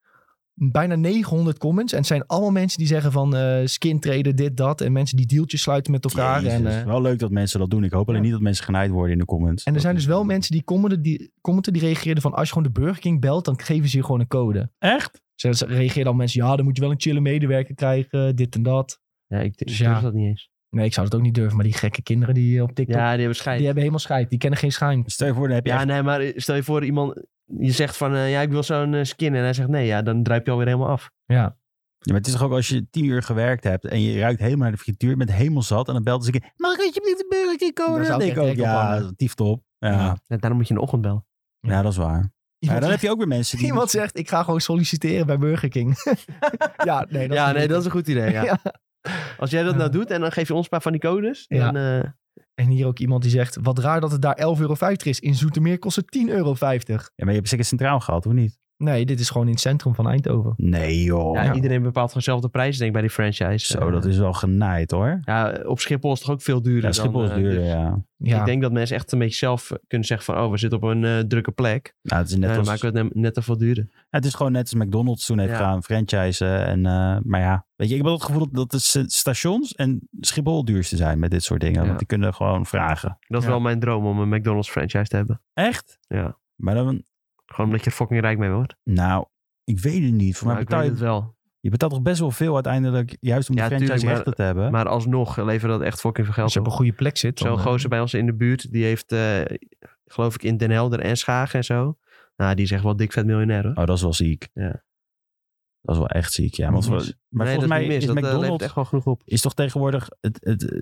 A: Bijna 900 comments. En het zijn allemaal mensen die zeggen van eh, skin traden, dit, dat. En mensen die deeltjes sluiten met elkaar.
C: Jezus.
A: En, eh,
C: wel leuk dat mensen dat doen. Ik hoop alleen
A: Ja.
C: niet dat mensen genaaid worden in de comments.
A: en er
C: Dat
A: zijn
C: is-
A: dus wel mensen die commenten, die commenten die reageerden van... als je gewoon de Burger King belt, dan geven ze je gewoon een code.
C: Echt?
A: Ze ze reageerden al mensen... ja, dan moet je wel een chille medewerker krijgen, dit en dat.
B: Ja, ik ik
A: Dus
B: durf
A: ja.
B: dat niet eens.
A: Nee, ik zou dat ook niet durven. Maar die gekke kinderen die eh, op TikTok...
B: Ja, die hebben schijt.
A: die hebben helemaal scheid. Die kennen geen schijn.
C: Stel je voor, dan heb je
B: Ja,
C: echt-
B: nee, maar stel je voor iemand... Je zegt van, eh, ja, ik wil zo'n eh, skin. En hij zegt nee, ja, dan druip je alweer helemaal af.
A: Ja.
C: Ja, maar het is toch ook als je tien uur gewerkt hebt en je ruikt helemaal naar de frituur, je bent helemaal zat en dan belt ze een keer, mag ik alsjeblieft de Burger King komen?
A: Daar zou ik
C: denk
A: echt
C: ook,
A: gek op
C: ja,
A: hangen.
C: tief top. Ja.
A: Ja.
C: Ja.
B: Ja, daarom moet je een ochtend bellen.
C: dat is waar. Ja, dan heb je ook weer
B: <laughs>
C: mensen
A: <laughs>
C: die...
A: Iemand zegt, ik ga gewoon solliciteren bij Burger King. <laughs> ja, nee, dat
B: ja,
A: is
B: nee, dat is een goed idee, <laughs> ja.
A: Ja.
B: Als jij dat
A: Ja.
B: nou doet en dan geef je ons een paar van die codes.
A: Ja.
B: Dan, eh,
A: En hier ook iemand die zegt, wat raar dat het daar 11,50 euro is. In Zoetermeer kost het 10,50 euro.
C: Ja, maar je hebt zeker centraal gehad, of niet?
A: Nee, dit is gewoon in het centrum van Eindhoven.
C: Nee joh.
B: ja, Iedereen bepaalt gewoon zelf de prijs, denk ik, bij die franchise.
C: Zo,
B: Eh,
C: dat is wel genaaid hoor.
B: Ja, op Schiphol is het toch ook veel duurder
C: Ja,
B: dan,
C: Schiphol is
B: eh,
C: duurder,
B: dus
C: ja. Nou,
A: Ja,
B: Ik denk dat mensen echt een beetje zelf kunnen zeggen van... oh, we zitten op een eh, drukke plek.
C: Nou, het, is net
B: Nou,
C: als,
B: dan maken we het ne- net te veel duurder.
C: het is gewoon net als McDonald's toen heeft
B: Ja.
C: gaan franchisen. En, eh, maar ja, weet je, ik heb wel het gevoel dat, dat de s- stations en Schiphol duurste zijn met dit soort dingen.
B: Ja.
C: Want die kunnen gewoon vragen.
B: Dat is
A: Ja.
B: wel mijn droom om een McDonald's franchise te hebben.
C: Echt?
B: Ja.
C: Maar dan,
B: Gewoon omdat je er fucking rijk mee wordt.
C: nou, ik weet het niet. Voor
B: Maar
C: mij
B: ik
C: betaal
B: weet
C: je
B: het wel.
C: Je betaalt toch best wel veel uiteindelijk, juist om de
B: Ja,
C: franchise
B: tuurlijk, maar-
C: rechten te hebben.
B: Maar alsnog levert dat echt fucking veel
A: als
B: geld
A: je op een
B: op.
A: goede plek zit. dan,
B: Zo'n
A: eh,
B: gozer bij ons in de buurt, die heeft... eh, geloof ik in Den Helder en Schagen en zo. Nou, die is echt wel dik vet miljonair hoor.
C: oh, dat is wel ziek.
B: Ja.
C: Dat is wel echt ziek, ja.
A: Niet
C: Want, voor-
A: mis.
C: maar
B: nee,
C: volgens
B: dat
C: mij
B: niet mis.
C: is
B: dat eh, levert
C: McDonald's
B: echt wel genoeg op.
C: is toch tegenwoordig het, het, eh,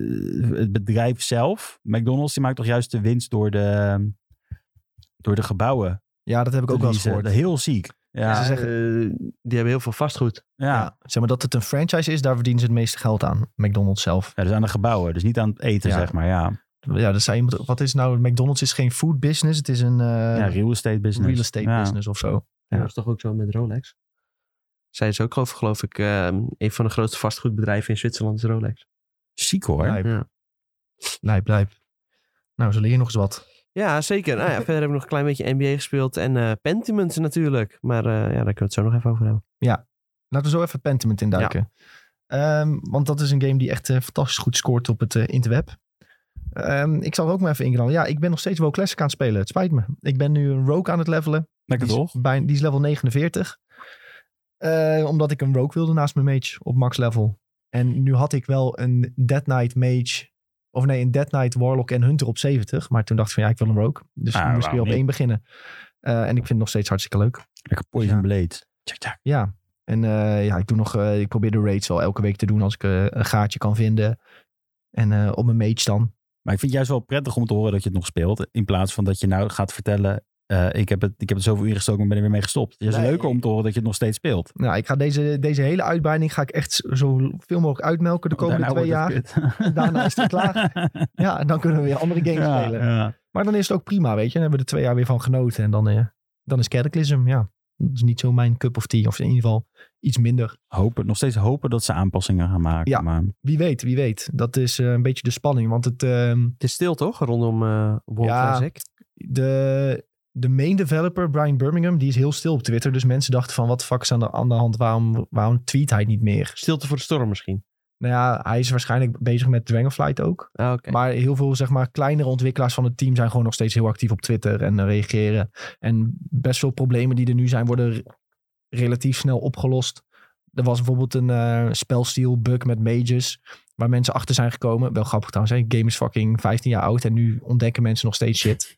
C: het bedrijf zelf. McDonald's die maakt toch juist de winst door de, door de gebouwen.
A: Ja, dat heb ik ook wel eens
C: Die is, eh,
A: gehoord.
C: Heel ziek. Ja,
A: Ja,
C: ja.
A: ze zeggen-
B: eh, die hebben heel veel vastgoed.
A: Ja.
C: ja.
A: Zeg maar dat het een franchise is, daar verdienen ze het meeste geld aan. McDonald's zelf.
C: dus aan de gebouwen. Dus niet aan het eten,
A: Ja.
C: zeg maar. Ja,
A: Ja, dat zei iemand, ook, wat is nou, McDonald's is geen food business. Het is een eh,
C: ja real estate business.
A: real estate
C: Ja.
A: business of zo. Ja.
B: Dat is toch ook zo met Rolex? Zij is ook over, geloof ik, eh, een van de grootste vastgoedbedrijven in Zwitserland is Rolex.
C: Ziek hoor.
A: Lijp,
B: Ja.
A: lijp, lijp. Nou, ze leren nog eens wat.
B: Ja, zeker. Nou ja, verder heb ik nog een klein beetje NBA gespeeld. En eh Pentiment natuurlijk. Maar eh, ja, daar kunnen we het zo nog even over hebben.
A: Laten we zo even Pentiment induiken. Ehm, want dat is een game die echt eh, fantastisch goed scoort op het eh, interweb. Ehm, ik zal er ook maar even ingranden. Ja, ik ben nog steeds WoW Classic aan het spelen. Het spijt me. Ik ben nu een rogue aan het levelen.
C: Lekker
A: die,
C: toch?
A: is bijna- die is level 49. Eh, omdat ik een rogue wilde naast mijn mage op max level. En nu had ik wel een Dead Knight mage... Of nee, een Dead Knight warlock en hunter op 70. Maar toen dacht ik van ja, ik wil een rogue. Dus
C: Ah,
A: moest ik
C: waarom
A: weer op
C: niet?
A: één beginnen. Eh, en ik vind het nog steeds hartstikke leuk.
C: Lekker Poison
A: Ja.
C: Blade. Tjak, tjak.
A: Ja. En eh, ja, ik, doe nog, eh, ik probeer de raids wel elke week te doen als ik eh, een gaatje kan vinden. En eh, op mijn mage dan.
C: Maar ik vind het juist wel prettig om te horen dat je het nog speelt. In plaats van dat je nou gaat vertellen... eh, ik, heb het, ik heb het zoveel uur gestoken, maar ben er weer mee gestopt. Het is
A: Nee.
C: leuker om te horen dat je het nog steeds speelt.
A: Nou, ik ga deze, deze hele uitbreiding ga ik echt zoveel mogelijk uitmelken
C: Oh,
A: de komende twee jaar.
C: <laughs>
A: Daarna is het klaar. Ja, en dan kunnen we weer andere games
C: Ja,
A: spelen.
C: ja.
A: Maar dan is het ook prima, weet je. Dan hebben we er twee jaar weer van genoten. En dan, eh, dan is Cataclysm, ja. Dat is niet zo mijn cup of tea. Of in ieder geval iets minder.
C: Hopen, nog steeds hopen dat ze aanpassingen gaan maken.
A: Ja.
C: Maar
A: Wie weet, wie weet. Dat is eh, een beetje de spanning. Want het, ehm,
B: Het is stil toch, rondom eh World
A: Ja.
B: Classic?
A: de, de main developer, Brian Birmingham, die is heel stil op Twitter. Dus mensen dachten van, wat de fuck is aan de, aan de hand? Waarom, waarom tweet hij niet meer?
B: Stilte voor de storm misschien.
A: Nou ja, hij is waarschijnlijk bezig met Dragonflight ook.
B: Ah, Oké.
A: Maar heel veel, zeg maar, kleinere ontwikkelaars van het team zijn gewoon nog steeds heel actief op Twitter en eh, reageren. En best veel problemen die er nu zijn, worden re- relatief snel opgelost. Er was bijvoorbeeld een eh spelstijl bug met mages, waar mensen achter zijn gekomen. Wel grappig trouwens, hè? game is fucking 15 jaar oud en nu ontdekken mensen nog steeds
B: <laughs>
A: shit.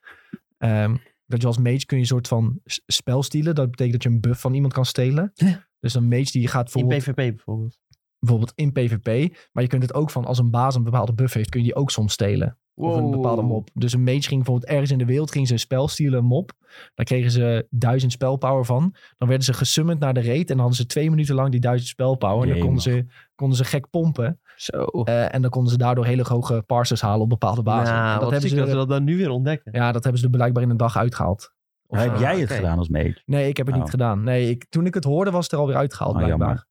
A: Ehm, dat je als mage kun je een soort van s- spel stelen. Dat betekent dat je een buff van iemand kan stelen.
B: Ja.
A: Dus een mage die gaat
B: In
A: bijvoorbeeld
B: PvP bijvoorbeeld.
A: bijvoorbeeld in PvP. Maar je kunt het ook van als een baas een bepaalde buff heeft, kun je die ook soms stelen. Of een bepaalde mop. Dus een mage ging bijvoorbeeld ergens in de wereld, ging ze een spel stelen, een mop. Daar kregen ze duizend spelpower van. Dan werden ze gesummand naar de raid en dan hadden ze twee minuten lang die duizend spelpower. En dan
C: Jemig.
A: konden ze, konden ze gek pompen.
B: Zo.
A: Eh, en dan konden ze daardoor hele hoge parsers halen op bepaalde bazen. En
B: Nou,
A: dat,
B: wat
A: hebben
B: ziek
A: ze,
B: dat we dat dan nu weer ontdekken.
A: ja, dat hebben ze er blijkbaar in een dag uitgehaald. Of eh,
C: heb
A: zo.
C: jij het
B: oké.
C: gedaan als mage?
A: Nee, ik heb het
C: Oh.
A: niet gedaan. Nee, ik, toen ik het hoorde was het er alweer uitgehaald
C: Ah, jammer.
A: blijkbaar.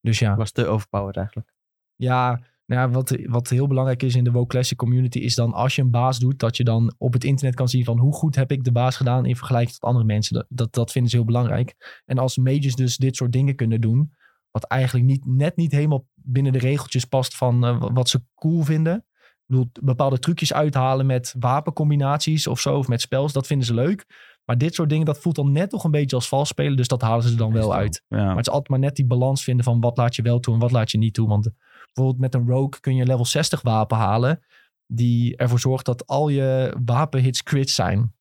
A: Dus ja.
B: Was te overpowered eigenlijk.
A: Ja, nou ja, wat, wat heel belangrijk is in de WoW Classic community is dan als je een baas doet, dat je dan op het internet kan zien van hoe goed heb ik de baas gedaan in vergelijking tot andere mensen. Dat, dat, dat vinden ze heel belangrijk. En als mages dus dit soort dingen kunnen doen, wat eigenlijk niet, net niet helemaal binnen de regeltjes past van eh, wa- wat ze cool vinden. Ik bedoel, bepaalde trucjes uithalen met wapencombinaties of zo, of met spels, dat vinden ze leuk. Maar dit soort dingen, dat voelt dan net toch een beetje als vals spelen, dus dat halen ze er dan wel uit.
C: Ja.
A: Maar het is altijd maar net die balans vinden van wat laat je wel toe en wat laat je niet toe. Want bijvoorbeeld met een rogue kun je een level 60 wapen halen. Die ervoor zorgt dat al je wapenhits crits zijn.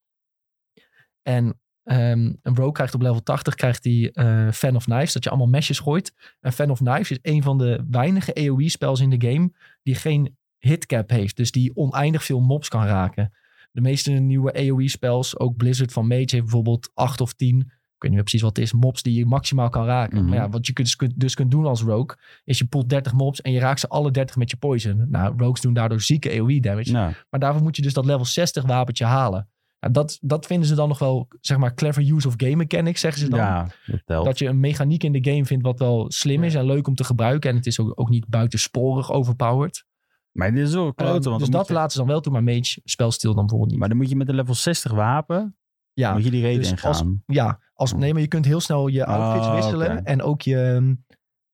A: En ehm, een rogue krijgt op level 80 krijgt die, eh, Fan of Knives. Dat je allemaal mesjes gooit. En Eh, Fan of Knives is een van de weinige AoE spels in de game. Die geen hitcap heeft. Dus die oneindig veel mobs kan raken. De meeste nieuwe AoE spels. Ook Blizzard van Mage heeft bijvoorbeeld 8 of 10. Ik weet niet meer precies wat het is. Mobs die je maximaal kan raken.
C: Mhm.
A: Maar ja, wat je kunt- kunt- dus kunt doen als rogue. Is je poelt 30 mobs en je raakt ze alle 30 met je poison. Nou, rogues doen daardoor zieke AoE damage.
C: Ja.
A: Maar daarvoor moet je dus dat level 60 wapentje halen. Nou, dat, dat vinden ze dan nog wel, zeg maar, clever use of game mechanics, zeggen ze dan.
C: ja, dat telt.
A: Dat je een mechaniek in de game vindt wat wel slim is en leuk om te gebruiken. En het is ook, ook niet buitensporig overpowered.
C: Maar dit is wel kloten.
A: Ehm, dus
C: want dan moet
A: dat
C: je-
A: laten ze dan wel toe, maar mage spelstil dan bijvoorbeeld niet.
C: Maar dan moet je met een level 60 wapen,
A: ja,
C: moet je die reden
A: dus
C: in
A: als-
C: gaan.
A: ja als, nee, maar je kunt heel snel je outfits
C: Ah,
A: wisselen.
C: oké.
A: En ook je, ehm,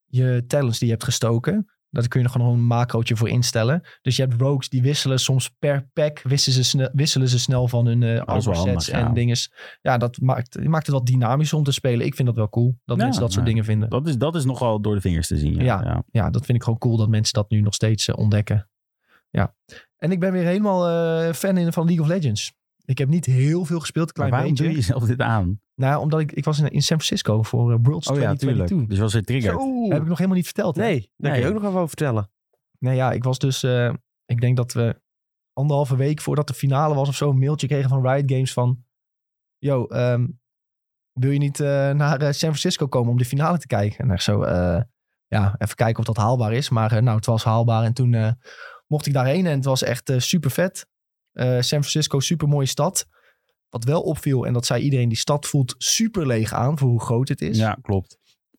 A: je talents die je hebt gestoken. Daar kun je nog gewoon een macrootje voor instellen. Dus je hebt rogues die wisselen soms per pack. Wisselen ze, sne- wisselen ze snel van hun eh
C: wel
A: armor sets
C: handig, ja.
A: en dinges. Ja, dat maakt, maakt het wat dynamisch om te spelen. Ik vind dat wel cool. Dat
C: Ja,
A: mensen dat soort
C: nee.
A: dingen vinden.
C: Dat is, dat is nogal door de vingers te zien. Ja,
A: Ja.
C: ja.
A: ja, dat vind ik gewoon cool dat mensen dat nu nog steeds eh, ontdekken. Ja. En ik ben weer helemaal eh, fan in, van League of Legends. Ik heb niet heel veel gespeeld, een
C: Maar
A: klein
C: waarom
A: beetje.
C: doe je jezelf dit aan?
A: Nou, omdat ik, ik was in, in San Francisco voor eh, Worlds
C: Oh ja, tuurlijk.
A: 2022.
C: Dus was het trigger.
B: Zo.
A: heb ik nog helemaal niet verteld. hè?
B: Nee, daar kun
C: Nee.
B: je ook nog even over vertellen.
A: Nou ja, ik was dus... eh, ik denk dat we anderhalve week voordat de finale was of zo... een mailtje kregen van Riot Games van... Yo, ehm, wil je niet eh, naar eh, San Francisco komen om de finale te kijken? En echt zo, eh, ja, even kijken of dat haalbaar is. Maar eh, nou, het was haalbaar. En toen eh, mocht ik daarheen en het was echt super vet. San Francisco, super mooie stad. Wat wel opviel, en dat zei iedereen, die stad voelt super leeg aan voor hoe groot het is.
C: Ja, klopt.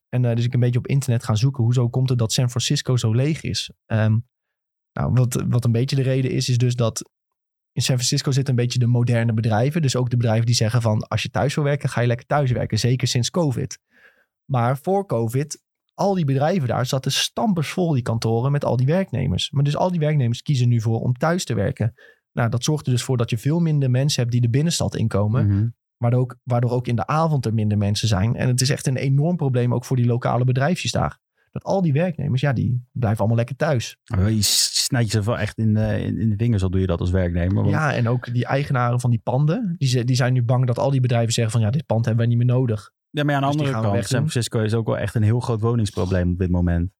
A: En eh, dus ik een beetje op internet gaan zoeken. Hoezo komt het dat San Francisco zo leeg is? Ehm, nou, wat, wat een beetje de reden is, is dus dat in San Francisco zitten een beetje de moderne bedrijven. Dus ook de bedrijven die zeggen van als je thuis wil werken, ga je lekker thuis werken. Zeker sinds COVID. Maar voor COVID, al die bedrijven daar zaten stampers vol die kantoren met al die werknemers. Maar dus al die werknemers kiezen nu voor om thuis te werken. Nou, dat zorgt er dus voor dat je veel minder mensen hebt die de binnenstad inkomen.
C: Mhm.
A: Waardoor ook, waardoor ook in de avond er minder mensen zijn. En het is echt een enorm probleem ook voor die lokale bedrijfjes daar. Dat al die werknemers, ja, die blijven allemaal lekker thuis.
C: Maar Je snijdt jezelf wel echt in, de- in, in de vingers, al doe je dat als werknemer. want-
A: Ja, en ook die eigenaren van die panden, die, ze- die zijn nu bang dat al die bedrijven zeggen van ja, dit pand hebben wij niet meer nodig.
C: Ja, maar ja, aan de
A: Dus die
C: andere
A: gaan we
C: kant,
A: wegdoen.
C: San Francisco is ook wel echt een heel groot woningsprobleem op dit moment.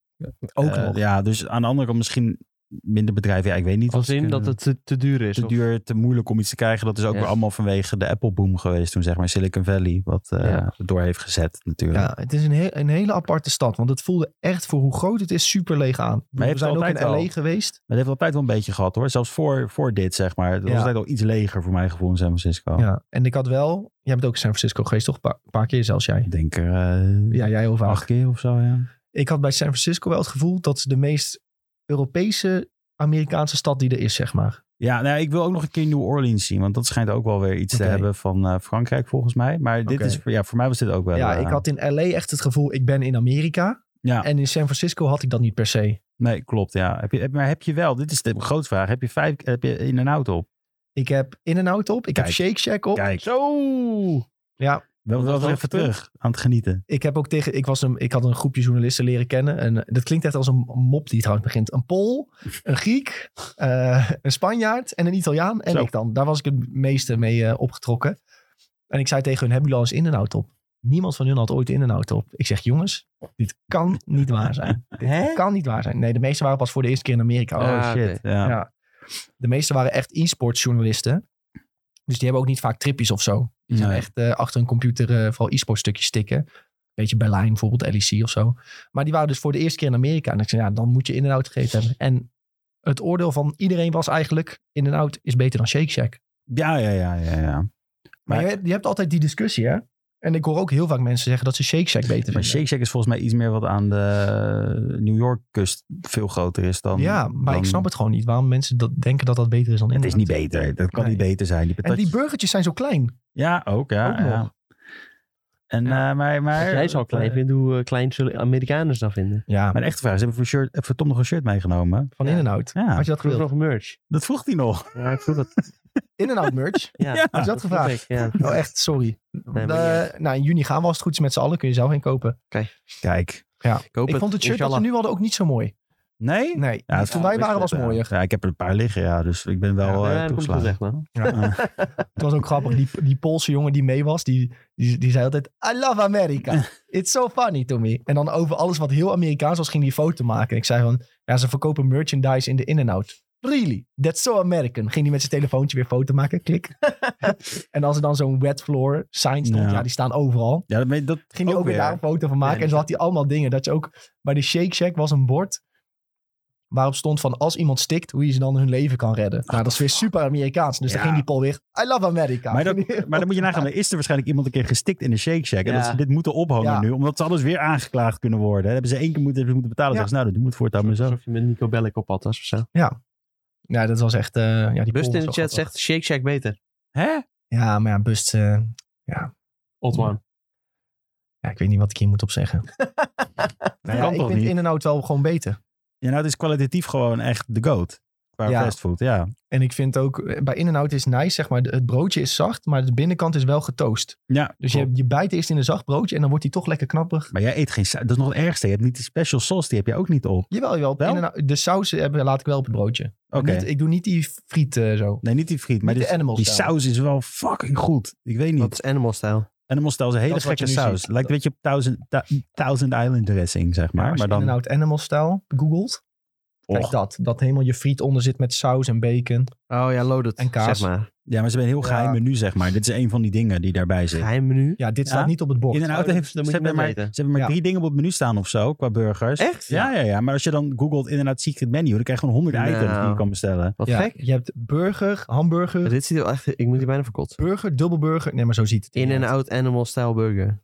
A: Ook
C: Eh,
A: nog.
C: Ja, dus aan de andere kant misschien minder bedrijven. Ja, ik weet niet. wat
B: Als
C: ze
B: in
C: kunnen.
B: dat het te, te duur is.
C: te
B: of-
C: duur, te moeilijk om iets te krijgen. Dat is ook
B: Ja.
C: weer allemaal vanwege de Apple boom geweest toen, zeg maar. Silicon Valley, wat eh,
B: Ja.
C: het door heeft gezet natuurlijk.
A: Ja, het is een, heel, een hele aparte stad, want het voelde echt voor hoe groot het is super leeg aan.
C: je hebt
A: We
C: het
A: zijn ook in
C: altijd al.
A: LA geweest.
C: Maar het heeft altijd wel een beetje gehad hoor. Zelfs voor, voor dit, zeg maar. Het was
A: Ja.
C: altijd al iets leger voor mijn gevoel in San Francisco.
A: Ja. En ik had wel, jij bent ook in San Francisco geweest, toch? Een paar, paar keer zelfs jij.
C: Ik denk er eh,
A: Ja, jij heel vaak.
C: acht keer of zo, ja.
A: ik had bij San Francisco wel het gevoel dat ze de meest Europese Amerikaanse stad die er is, zeg maar.
C: Ja, nou, ja, ik wil ook nog een keer New Orleans zien. Want dat schijnt ook wel weer iets
A: Oké.
C: te hebben van eh, Frankrijk, volgens mij. Maar dit
A: Oké.
C: is, ja, voor mij was dit ook wel...
A: ja,
C: eh,
A: ik had in LA echt het gevoel, ik ben in Amerika.
C: Ja.
A: En in San Francisco had ik dat niet per se.
C: Nee, klopt, ja. Heb je, heb- maar heb je wel, dit is de grote vraag, heb je vijf heb je in en out op?
A: Ik heb In-N-Out op, ik heb
C: Kijk.
A: Shake Shack op.
C: Kijk,
B: Zo!
A: Ja,
C: wel,
B: was
C: wel
B: het
C: even
B: hoogtepunt?
C: terug aan het genieten.
A: ik heb ook tegen, ik, was een, ik had een groepje journalisten leren kennen. En eh, dat klinkt echt als een mop die trouwens begint. Een Pool, een Griek, eh, een Spanjaard en een Italiaan. En
C: Zo.
A: ik dan. Daar was ik het meeste mee eh, opgetrokken. En ik zei tegen hun, hebben jullie al eens In-N-Out op? Niemand van hun had ooit In-N-Out op. Ik zeg, jongens, dit kan niet waar zijn.
B: Hè? Ah,
A: Kan niet waar zijn. Nee, de meeste waren pas voor de eerste keer in Amerika.
B: Ja,
C: Oh shit, ja.
A: Ja. De meeste waren echt e-sportjournalisten. Dus die hebben ook niet vaak tripjes of zo. Die zijn
C: Nee.
A: echt eh, achter een computer eh, vooral e-sport stukjes stikken. Beetje Berlijn bijvoorbeeld, LEC of zo. Maar die waren dus voor de eerste keer in Amerika. En ik zei, ja, dan moet je in en out gegeten hebben. En het oordeel van iedereen was eigenlijk... in en out is beter dan Shake Shack.
C: Ja, ja, ja, ja, ja.
A: Maar,
C: Maar-
A: je, hebt- je hebt altijd die discussie, hè? En ik hoor ook heel vaak mensen zeggen dat ze Shake Shack beter
C: <laughs>
B: Dus
C: Maar
A: vinden.
C: Shake Shack is volgens mij iets meer wat aan de New York kust veel groter is dan...
A: ja, maar
C: dan-
A: ik snap het gewoon niet. Waarom mensen dat denken dat dat beter is dan in
C: Het is niet beter, dat kan
A: Nee.
C: niet beter zijn. Die
A: En die
C: patatjes-
A: burgertjes zijn zo klein.
C: Ja, ook, ja.
A: Ook
C: ja.
A: nog.
C: En,
A: Ja.
C: eh, maar, maar,
B: Als Dus jij zal klein vinden, hoe eh, klein zullen Amerikanen dat vinden?
A: Ja,
C: Maar de echte vraag is, hebben we voor, shirt, hebben we voor Tom nog een shirt meegenomen?
A: van in en out.
C: Ja.
A: Had je dat
B: Vroeg
A: gewild?
C: <laughs>
B: nog merch.
C: Dat vroeg hij nog.
B: Ja, ik vroeg dat.
A: In en out merch.
B: <laughs> Ja,
C: Ja.
A: Had je dat
B: vroeg
A: gevraagd?
B: ik, Ja.
A: Oh, echt, sorry.
B: maar niet
A: Eh, nou, in juni gaan we als het goed is met z'n allen. Kun je zelf heen kopen.
C: Kijk.
B: Ik, hoop
A: Ik vond het shirt dat
B: inshallah.
A: ze nu hadden ook niet zo mooi.
C: Nee?
A: Nee,
C: Ja, het
A: toen
C: vond
A: wij
C: ik
A: waren was
C: best- ja.
A: mooier.
C: Ja, ik heb er een paar liggen, ja. Dus ik ben wel
B: Ja,
C: eh
B: dat komt wel
C: toegeslagen.
B: echt, man.
A: Het was ook grappig. Die, die Poolse jongen die mee was, die, die, die zei altijd... I love America.
B: <laughs>
A: It's so funny to me. En dan over alles wat heel Amerikaans was, ging die foto maken. En ik zei van, ja, ze verkopen merchandise in de in-and-out. Really? That's so American. Ging die met zijn telefoontje weer foto maken. Klik. <laughs> en als er dan zo'n wet floor sign stond,
C: Ja.
A: ja, die staan overal.
C: Ja, dat, meen- dat
A: ging hij ook, weer daar een foto van maken.
B: Ja,
A: en zo
B: die-
A: had hij allemaal dingen. Dat je ook bij de Shake Shack was een bord. Waarop stond van als iemand stikt, hoe je ze dan hun leven kan redden. Nou, dat is weer super Amerikaans. Dus
C: Ja.
A: dan ging die Paul weer. I love America. <laughs>
C: Maar, dat, maar dan moet je nagaan, er is er waarschijnlijk iemand een keer gestikt in de Shake Shack. En
B: Ja.
C: dat ze dit moeten ophangen
A: Ja.
C: nu, omdat ze alles weer aangeklaagd kunnen worden. Dat hebben ze één keer moeten, hebben ze moeten betalen.
A: Ja.
C: Dan zeggen ze, nou, dat moet voortaan maar zo.
B: Alsof je met Nico Bellic op had was of zo.
A: Ja, dat was echt. eh, ja, die
B: Bust
A: Paul
B: in de
A: was
B: chat
A: wel grappig.
B: zegt Shake Shack beter.
C: Hè?
A: Ja, maar ja, Bust. eh,
B: Old one.
A: ja, ik weet niet wat ik hier moet op zeggen.
C: <laughs>
A: nou ja,
C: Kan
A: ik
C: toch
A: vind
C: niet?
A: in en out wel gewoon beter.
C: Ja, nou, het is kwalitatief gewoon echt de goat. Qua
A: Ja.
C: fastfood, ja.
A: En ik vind ook eh, bij in en out is nice, zeg maar. de- Het broodje is zacht, maar de binnenkant is wel getoast.
C: ja
A: Dus
C: klopt.
A: je, je bijt eerst in een zacht broodje en dan wordt die toch lekker knapperig.
C: Maar jij eet geen saus. Dat is nog het ergste. Je hebt niet die special sauce, die heb je ook niet op.
A: Jawel, jawel.
C: Wel?
A: In-N-Out- de saus hebben, laat ik wel op het broodje.
C: Oké.
A: Niet- ik doe niet die friet eh, zo.
C: Nee, niet die friet. Maar
A: Niet
C: die,
A: de animal
C: die
A: style.
C: saus is wel fucking goed. Ik weet niet.
B: Dat is animal style.
C: Animal style is een hele
A: Dat is wat
C: gekke
A: je nu
C: saus.
A: ziet.
C: Lijkt een beetje op Thousand, Ta- Thousand Island dressing, zeg maar.
A: als
C: maar
A: je
C: dan...
A: In-N-Out Animal Style googelt. Kijk
C: Och.
A: dat. Dat helemaal je friet onder zit met saus en bacon.
B: Oh ja, loaded.
A: En kaas.
B: Zeg maar.
C: Ja, maar ze hebben een heel
A: Ja.
C: geheim menu, zeg maar. Dit is een van die dingen die daarbij zit.
B: Geheim menu.
A: Ja, dit
C: Ja?
A: staat niet op het bord.
C: In en out
B: Oh, dat-
C: heeft, ze
B: dat moet je net
C: hebben maar, ze
B: weten.
C: hebben maar
A: Ja.
C: drie dingen op het menu staan of zo, qua burgers.
B: Echt?
C: Ja, ja, ja. Maar als je dan googelt in en out secret menu, dan krijg je gewoon honderd
B: Nou.
C: items die je kan
A: <laughs>
C: bestellen.
B: Wat
A: Ja,
B: gek.
A: Je hebt burger, hamburger,
B: Dit ziet er wel echt... Ik moet hier bijna verkot.
A: burger, dubbelburger. Nee, maar zo ziet het.
B: In en
A: eruit.
B: out animal style burger.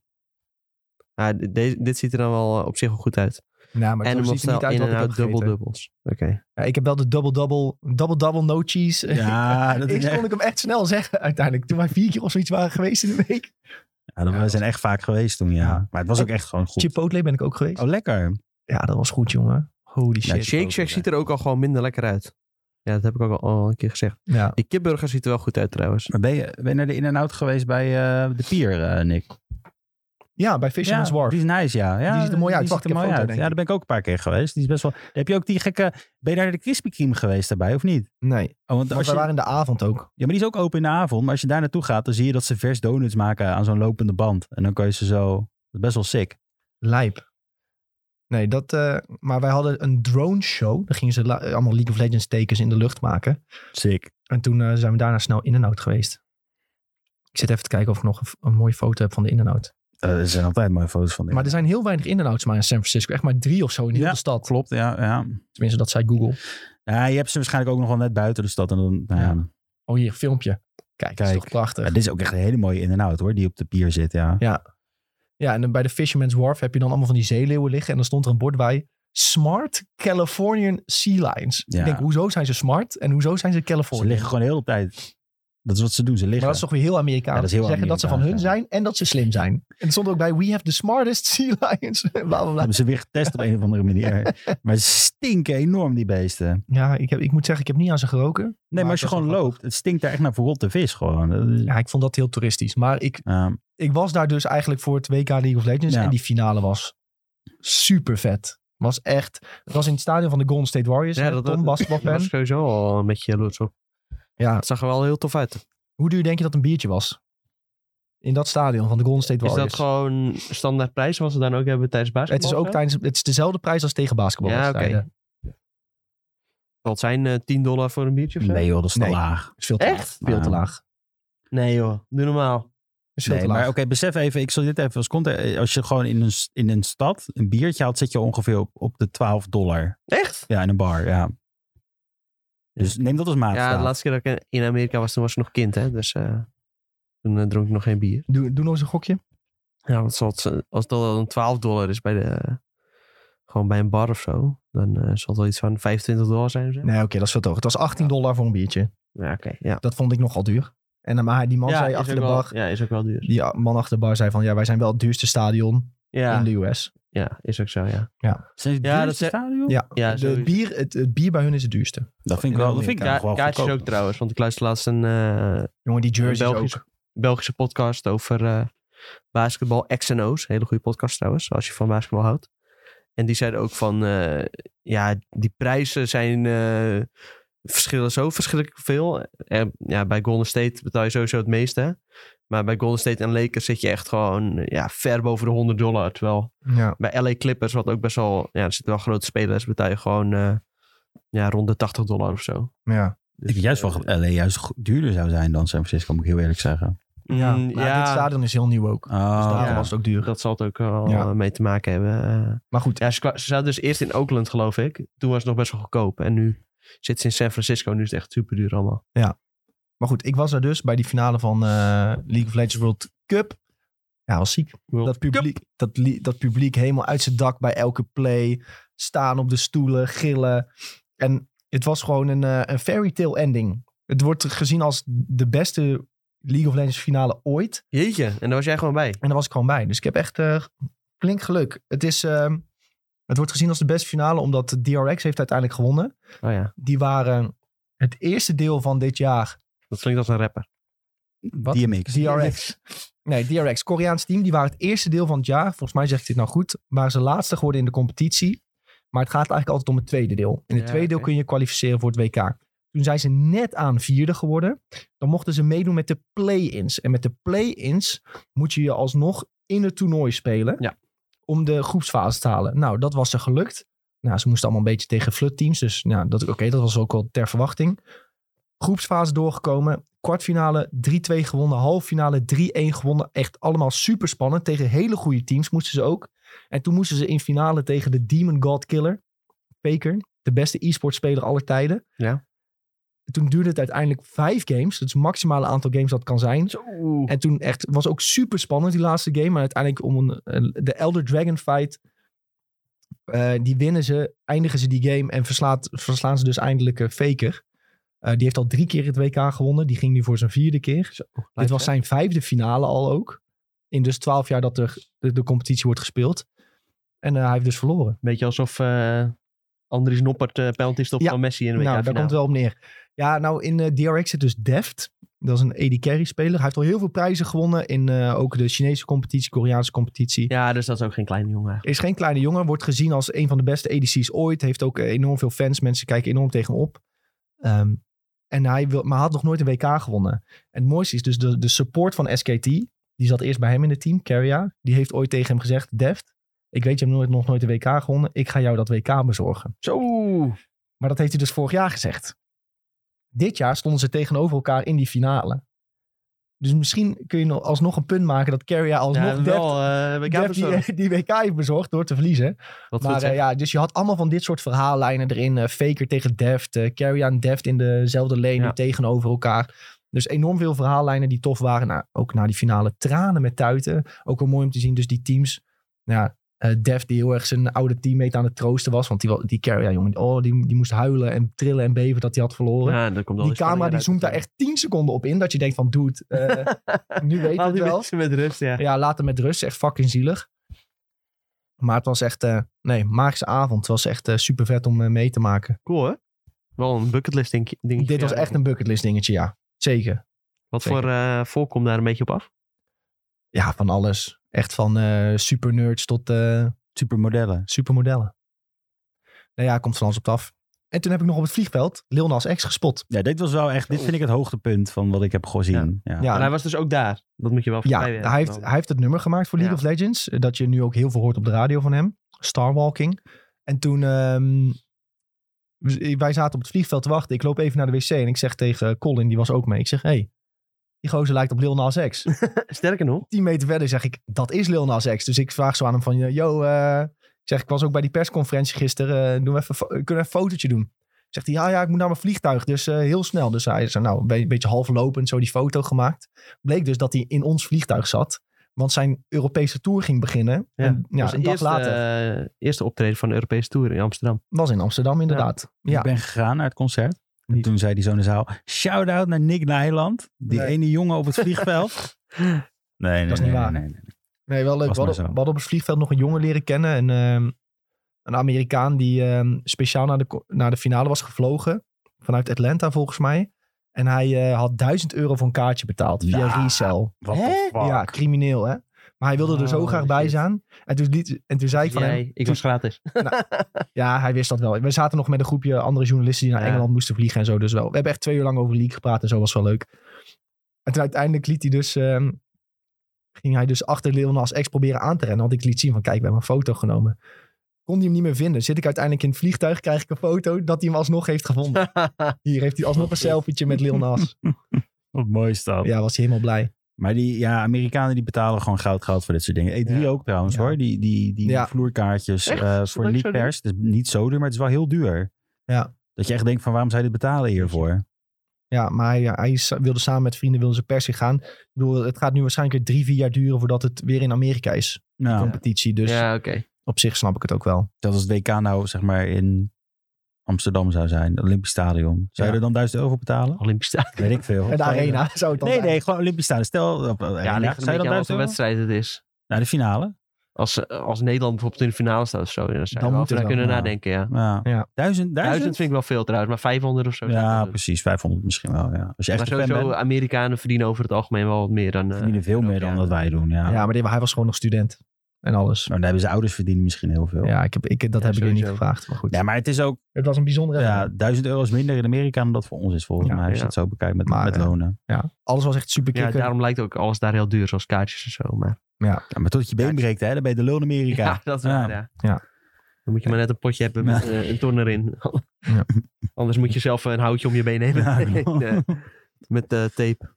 B: Ja, de- deze- dit ziet er dan wel eh, op zich wel goed uit.
A: Nou, maar
B: En
A: zo
B: hem
A: ziet het er niet
B: opstel
A: uit
B: in
A: wat
B: en
A: ik heb
B: out dubbel
A: gegeten.
B: dubbels. Oké.
A: Ja, ik heb wel de double-double, double-double no cheese.
C: Ja, dat is
A: Eerst kon
C: echt,
A: <laughs> ik hem echt snel zeggen uiteindelijk. Toen wij vier keer of zoiets waren geweest in de week.
C: ja, dat- we zijn echt vaak geweest toen, ja.
A: Ja.
C: Maar het was ook echt gewoon goed.
A: Chipotle ben ik ook geweest.
C: Oh, lekker.
A: Ja, dat was goed, jongen. Holy
C: Ja,
A: shit.
B: Shake
C: ook wel,
B: Shack ziet er ook al gewoon minder lekker uit. Ja, dat heb ik ook al, al een keer gezegd.
A: Ja.
B: Die kipburger ziet er wel goed uit trouwens.
C: Maar ben je, ben je naar de in-en-out geweest bij eh, de pier, eh, Nick?
A: ja, bij Fisherman's
C: ja,
A: Wharf.
C: Die is nice, ja. ja
A: Die ziet er mooi uit.
C: Die
A: Wacht,
C: ziet
A: ik heb
C: er mooi
A: foto, denk
C: uit. Ja,
A: ik.
C: daar ben ik ook een paar keer geweest. Die is best wel... Heb je ook die gekke... Ben je naar de Krispy Kreme geweest daarbij, of niet?
A: Nee,
C: Oh, want
A: want
C: als
A: we
C: je...
A: waren in de avond ook.
C: Ja, maar die is ook open in de avond. Maar als je daar naartoe gaat, dan zie je dat ze vers donuts maken aan zo'n lopende band. En dan kan je ze zo... Dat is best wel sick.
A: Lijp. Nee, dat... eh, maar wij hadden een drone show. Daar gingen ze la- allemaal League of Legends tekens in de lucht maken.
C: Sick.
A: En toen eh, zijn we daarna snel in en out geweest. Ik zit even te kijken of ik nog een, f- een mooie foto heb van de in en out.
C: Eh, er zijn altijd mooie foto's van. dit.
A: Maar er zijn heel weinig in en outs maar in San Francisco. Echt maar drie of zo in heel
C: Ja.
A: de stad.
C: Klopt, ja, ja.
A: Tenminste, dat zei Google.
C: Ja, je hebt ze waarschijnlijk ook nog wel net buiten de stad. En dan, nou ja.
A: Ja. Oh, hier, filmpje. Kijk, dat is
C: Kijk.
A: toch prachtig.
C: Ja, dit is ook echt een hele mooie in-en-out hoor, die op de pier zit, ja.
A: Ja, en dan bij de Fisherman's Wharf heb je dan allemaal van die zeeleeuwen liggen. En dan stond er een bord bij Smart Californian Sea Lions.
C: Ja.
A: Ik denk, hoezo zijn ze smart en hoezo zijn ze
C: Ze
A: Californië?
C: liggen gewoon de hele tijd. Dat is wat ze doen, ze
A: maar
C: liggen.
A: dat is toch weer heel Amerikaans.
C: Ja, dat is heel
A: Ze zeggen dat ze van hun
C: Amerikaans,
A: zijn en dat ze slim zijn. En er stond ook bij, we have the smartest <laughs> sea lions. bla, bla, bla.
C: Hebben ze weer getest op een of andere <laughs> manier. Maar ze stinken enorm, die beesten.
A: Ja, ik, heb, ik moet zeggen, ik heb niet aan ze geroken.
C: Nee, maar, als je
A: het was
C: gewoon
A: wel
C: loopt, het stinkt daar echt naar verrotte vis gewoon. Dat is-
A: Ja, ik vond dat heel toeristisch. Maar ik,
C: Ja.
A: ik was daar dus eigenlijk voor het WK League of Legends.
C: Ja.
A: En die finale was super vet. Was echt, het was in het stadion van de Golden State Warriors.
B: Ja,
A: hè,
B: dat-
A: Tom Bas,
B: Ik was sowieso al een beetje jaloers op.
A: Ja,
B: Het zag er wel heel tof uit.
A: Hoe duur denk je dat een biertje was? In dat stadion van de Golden State
B: Is
A: Warriors.
B: dat gewoon standaard prijs wat ze dan ook hebben tijdens
A: het
B: basketbal?
A: is ook tijdens, het is dezelfde prijs als tegen
B: Ja,
A: basketbalwedstrijden.
B: oké. Wat zijn eh, 10 dollar voor een biertje of zo?
C: Nee joh, dat is te
A: Nee.
C: laag.
A: Is veel te
B: Echt?
A: laag. Veel te
C: Ja.
A: laag.
B: Nee joh, doe normaal.
A: Is veel
C: Nee,
A: te
C: maar
A: laag.
C: oké, besef even, ik zal dit even als context. eh, Als je gewoon in een, s- in een stad een biertje haalt, zit je ongeveer op, op de 12 dollar.
B: Echt?
C: Ja, in een bar, ja. Dus neem dat als maatstaf.
B: Ja, de laatste keer dat ik in Amerika was, toen was ik nog kind hè. Dus eh, toen eh, dronk ik nog geen bier.
A: Doe, doe nog eens een gokje.
B: Ja, want zoals, eh, als dat dan 12 dollar is bij de... Gewoon bij een bar of zo. Dan eh, zal het wel iets van 25 dollar zijn of zo.
A: Nee, oké, dat is veel te hoog. Het was 18 dollar voor een biertje.
B: Ja, oké. ja.
A: Dat vond ik nogal duur. En dan, maar die man
B: ja,
A: zei
B: is
A: achter
B: ook
A: de
B: wel-
A: bar...
B: ja, is ook wel duur.
A: Die ah, man achter de bar zei van... Ja, wij zijn wel het duurste stadion in
B: Ja,
A: de US.
B: ja is ook zo, ja.
C: Zijn ze
B: Ja,
C: ja,
B: dat
C: dat
B: ze-
C: stadion?
A: Ja,
B: Ja,
A: de
B: sowieso.
A: bier, het, het bier bij hun is het duurste.
C: Dat vind ik
A: In
C: wel, dat vind ik
A: Amerika.
C: eigenlijk wel
B: kaartjes
C: goedkoop.
B: ook trouwens, want ik luister laatst een eh,
A: Jongen, die jerseys
B: Belgisch.
A: ook.
B: Belgische podcast over eh, basketbal X en O's. Hele goede podcast trouwens, als je van basketbal houdt. En die zeiden ook van, eh, ja, die prijzen zijn, eh, verschillen zo verschrikkelijk veel. En, ja, bij Golden State betaal je sowieso het meeste. Maar bij Golden State en Lakers zit je echt gewoon eh, ja, ver boven de 100 dollar. Terwijl
A: Ja.
B: bij LA Clippers, wat ook best wel, ja, er zitten wel grote spelers, betaal je gewoon eh, ja, rond de 80 dollar of zo.
A: ja.
C: Ik heb juist wel dat LA juist go- duurder zou zijn dan San Francisco, moet ik heel eerlijk zeggen.
A: ja.
B: Mm,
A: Maar dit stadion is heel nieuw ook.
C: Oh,
A: Dus daarom
B: ja.
A: was het ook duur.
B: dat zal het ook wel
A: Ja.
B: eh, mee te maken hebben. Eh,
A: Maar goed,
B: ja, ze, kwa- ze zaten dus eerst in Oakland, geloof ik. Toen was het nog best wel goedkoop. En nu zit ze in San Francisco. Nu is het echt super duur allemaal.
A: Maar goed, ik was er dus bij die finale van eh, League of Legends World Cup. Ja, was ziek. Dat publiek, dat, li- dat publiek helemaal uit zijn dak bij elke play. Staan op de stoelen, gillen. En het was gewoon een, eh, een fairy tale ending. Het wordt gezien als de beste League of Legends finale ooit.
B: Jeetje, en daar was jij gewoon bij.
A: En daar was ik gewoon bij. Dus ik heb echt eh, flink geluk. Het, is, ehm, het wordt gezien als de beste finale omdat DRX heeft uiteindelijk gewonnen.
B: Oh ja,
A: Die waren het eerste deel van dit jaar
B: dat klinkt als een rapper.
A: Wat?
C: DMX.
A: DRX. <laughs> Nee, DRX. Koreaans team. Die waren het eerste deel van het jaar. Volgens mij zeg ik dit nou goed. Waren ze laatste geworden in de competitie. Maar het gaat eigenlijk altijd om het tweede deel. In het
B: Ja,
A: tweede deel
B: oké.
A: kun je kwalificeren voor het WK. Toen zijn ze net aan vierde geworden. Dan mochten ze meedoen met de play-ins. En met de play-ins moet je je alsnog in het toernooi spelen.
B: Ja.
A: Om de groepsfase te halen. Nou, dat was ze gelukt. Nou, ze moesten allemaal een beetje tegen flutteams. Dus nou, dat, oké, dat was ook wel ter verwachting. Groepsfase doorgekomen. Kwartfinale 3-2 gewonnen. Halffinale 3-1 gewonnen. Echt allemaal super spannend. Tegen hele goede teams moesten ze ook. En toen moesten ze in finale tegen de Demon God Killer. Faker. De beste e-sport speler aller tijden.
B: Ja.
A: Toen duurde het uiteindelijk vijf games. Dat is het maximale aantal games dat het kan zijn.
B: Zo.
A: En toen echt, was eh, ook super spannend die laatste game. Maar uiteindelijk om een, een- de Elder Dragon fight Eh, die winnen ze, eindigen ze die game en verslaat, verslaan ze dus eindelijk eh, Faker. Eh, die heeft al drie keer het WK gewonnen. Die ging nu voor zijn vierde keer.
B: Oh,
A: Dit was zijn vijfde finale al ook. In dus twaalf jaar dat er de, de competitie wordt gespeeld. En eh, hij heeft dus verloren.
B: Beetje alsof eh, Andries Noppert eh penalty stopt
A: Ja.
B: van Messi in de
A: Nou, daar
B: WK-finale.
A: komt wel op neer. Ja, nou in eh, DRX zit dus Deft. Dat is een AD carry speler. Hij heeft al heel veel prijzen gewonnen in eh, ook de Chinese competitie, Koreaanse competitie.
B: Ja, dus dat is ook geen kleine jongen eigenlijk.
A: Is geen kleine jongen, wordt gezien als een van de beste ADC's ooit. Heeft ook eh, enorm veel fans, mensen kijken enorm tegen hem op. Ehm, en hij wil, maar hij had nog nooit een WK gewonnen. En het mooiste is dus de, de support van SKT, die zat eerst bij hem in het team, Carrier. Die heeft ooit tegen hem gezegd, Deft, ik weet je hebt nooit, nog nooit een WK gewonnen. Ik ga jou dat WK bezorgen.
B: Zo!
A: Maar dat heeft hij dus vorig jaar gezegd. Dit jaar stonden ze tegenover elkaar in die finale. Dus misschien kun je nog- alsnog een punt maken dat Carrier alsnog
B: Ja,
A: Deft-
B: wel, eh, WK
A: Deft
B: persoon.
A: <laughs> die, die WK heeft bezorgd door te verliezen.
B: Wat goed
A: maar
B: zeg.
A: eh, ja, dus je had allemaal van dit soort verhaallijnen erin. Eh, Faker tegen Deft, eh Carrier en Deft in dezelfde lane
B: Ja.
A: tegenover elkaar. Dus enorm veel verhaallijnen die tof waren. Nou, ook na die finale tranen met tuiten. Ook wel mooi om te zien. Dus die teams. Nou, ja, eh, Deft die heel erg zijn oude teammate aan het troosten was. Want die, wa- die Carrier, jongen, oh, die, die moest huilen en trillen en beven dat hij had verloren.
B: Ja, daar komt wel
A: die
B: eens spanning
A: camera die
B: uit.
A: zoomt daar echt 10 seconden op in. Dat je denkt van, dude, eh,
B: <laughs>
A: nu weet
B: Haal
A: het
B: die
A: wel.
B: mensen met rust, ja.
A: Ja, laat hem met rust. Echt fucking zielig. Maar het was echt, eh, nee, magische avond. Het was echt super vet om eh, mee te maken.
B: Cool, hè? Wel een bucketlist ding, dingetje.
A: Dit
B: voor
A: was
B: jou,
A: echt
B: denk ik.
A: een bucketlist dingetje, ja. Zeker.
B: Wat
A: zeker.
B: voor eh volk komt daar een beetje op af?
A: Ja, van alles. Echt van eh super nerds tot eh
C: Supermodellen.
A: supermodellen. Nou ja, komt van alles op het af. En toen heb ik nog op het vliegveld Lil Nas X gespot.
C: Ja, dit was wel echt,
B: Oh.
C: dit vind ik het hoogtepunt van wat ik heb gezien. Ja.
A: Ja,
B: En hij was dus ook daar. Dat moet je wel
A: Ja,
B: voorbij hebben
A: hij heeft,
B: genomen.
A: hij heeft het nummer gemaakt voor League
B: Ja.
A: of Legends. eh, Dat je nu ook heel veel hoort op de radio van hem. Starwalking. En toen... ehm, we- eh, wij zaten op het vliegveld te wachten. Ik loop even naar de wc en ik zeg tegen Colin, die was ook mee. Ik zeg, hey, die gozer lijkt op Lil Nas X.
B: Sterker nog,
A: Tien meter verder zeg ik, dat is Lil Nas X. Dus ik vraag zo aan hem van, yo, eh, ik zeg, ik was ook bij die persconferentie gisteren. eh, doen we even, fo- kunnen we even een fotootje doen? Zegt hij, ja, ja, ik moet naar mijn vliegtuig, dus eh, heel snel. Dus hij is er nou een be- beetje half lopend zo die foto gemaakt. Bleek dus dat hij in ons vliegtuig zat. Want zijn Europese tour ging beginnen.
B: Ja,
A: en, ja,
B: was
A: een
B: de
A: dag
B: eerste,
A: later.
B: eh, eerste optreden van de Europese Tour in Amsterdam.
A: Was in Amsterdam inderdaad. Ja,
C: Ik ben gegaan naar het concert. En
A: Niet.
C: toen zei die zo in de zaal, shout-out naar Nick Nijland. Die
A: Nee.
C: ene jongen op het
A: <laughs>
C: vliegveld. nee, nee,
A: Dat is niet
C: nee, nee,
A: waar.
C: nee, nee.
A: nee, wel leuk.
C: Was
A: We hadden,
C: maar zo.
A: we hadden op het vliegveld nog een jongen leren kennen. En, ehm, een Amerikaan die ehm, speciaal naar de, ko- naar de finale was gevlogen. Vanuit Atlanta volgens mij. En hij eh, had 1000 euro voor een kaartje betaald via
C: Ja.
A: resell.
C: What the fuck?
A: Ja, crimineel hè. Maar hij wilde er zo
B: Oh,
A: graag bij
B: shit.
A: zijn. En toen, liet, en toen zei ik van hem...
B: Jij, ik was gratis.
A: Ja, hij wist dat wel. We zaten nog met een groepje andere journalisten die naar
B: Ja.
A: Engeland moesten vliegen en zo. Dus wel. We hebben echt twee uur lang over League gepraat en zo was wel leuk. En toen uiteindelijk liet hij dus, ehm, ging hij dus achter Leon als ex proberen aan te rennen. Want ik liet zien van kijk, we hebben een foto genomen. Kon hij hem niet meer vinden. Zit ik uiteindelijk in het vliegtuig, krijg ik een foto dat hij hem alsnog heeft gevonden.
B: <laughs>
A: Hier heeft hij alsnog een selfietje met Lil Nas.
C: Wat mooi is dat.
A: Ja, was hij helemaal blij.
C: Maar die ja, Amerikanen die betalen gewoon goud geld voor dit soort dingen. E3
B: Ja.
C: ook trouwens
A: Ja.
C: hoor. Die, die, die
A: Ja.
C: vloerkaartjes
B: Echt?
C: eh,
B: Is dat
C: voor
B: ook zo
C: League Pers. Het is niet zo duur, maar het is wel heel duur.
A: Ja.
C: Dat je echt denkt van waarom zou je dit betalen hiervoor?
A: Ja, maar hij, ja, hij is- wilde samen met vrienden wilde zijn persie gaan. Ik bedoel, het gaat nu waarschijnlijk weer drie, vier jaar duren voordat het weer in Amerika is.
C: Nou,
A: Competitie, dus
B: ja, oké.
A: op zich snap ik het ook wel.
C: dat als het WK nou zeg maar in Amsterdam zou zijn. het Olympisch Stadion. Zou
A: Ja.
C: je er dan 1000 euro voor
A: <laughs>
C: betalen?
B: Olympisch Stadion.
C: Weet ik veel.
A: En de
C: Zou je-
A: arena zou het dan
C: Nee,
A: zijn.
C: nee, gewoon Olympisch Stadion. Stel, op,
B: Ja, ligt er
C: arena. eh, zou
B: een
C: je dan
B: beetje aan wat
C: 1000
B: voor
C: euro?
B: wedstrijd het is.
C: Naar de finale?
B: Als, eh, als Nederland bijvoorbeeld in de finale staat of zo,
A: Dan
B: dan zou
A: eh,
B: je wel
A: moet
B: even
A: het
B: naar kunnen
C: wel, ja.
B: nadenken, ja.
C: Ja.
A: Ja.
C: Duizend,
B: Duizend
C: duizend?
B: vind ik wel veel trouwens, maar 500 of zo. zou ik
C: Ja,
B: doen.
C: precies. 500 misschien wel. Ja. Als je
B: Maar
C: echt een fan
B: sowieso,
C: bent,
B: Amerikanen verdienen over het algemeen wel wat meer dan... eh,
C: verdienen veel meer dan
B: Europeanen.
C: dat wij doen. Ja.
A: Ja, maar die- hij was gewoon nog student. En alles.
C: Maar dan hebben ze ouders verdienen misschien heel veel.
A: Ja, ik heb, ik, dat
B: Ja,
A: heb ik je niet
B: sowieso.
A: gevraagd. Maar goed.
C: Ja, maar het is ook
A: het was een bijzondere
C: ja,
A: ervaring.
C: 1000 euro is minder in Amerika dan dat voor ons is volgens
A: Ja,
C: mij. Als je
B: ja.
C: het zo bekijkt met,
A: Maar,
C: met
A: eh,
C: lonen.
A: Ja, alles was echt super
B: Ja,
A: kicken. Ja,
B: daarom lijkt ook alles daar heel duur, zoals kaartjes en zo. Maar
C: Ja, maar totdat je been breekt, hè, dan ben je de lul in Amerika.
B: ja, <laughs> dat is waar, ja.
A: Ah, Ja.
B: Dan moet je maar net een potje hebben met eh, een ton erin.
A: Ja.
B: <laughs> Anders moet je zelf eh, een houtje om je been nemen. <laughs>
C: Ja, klopt.
B: Eh, met eh, tape.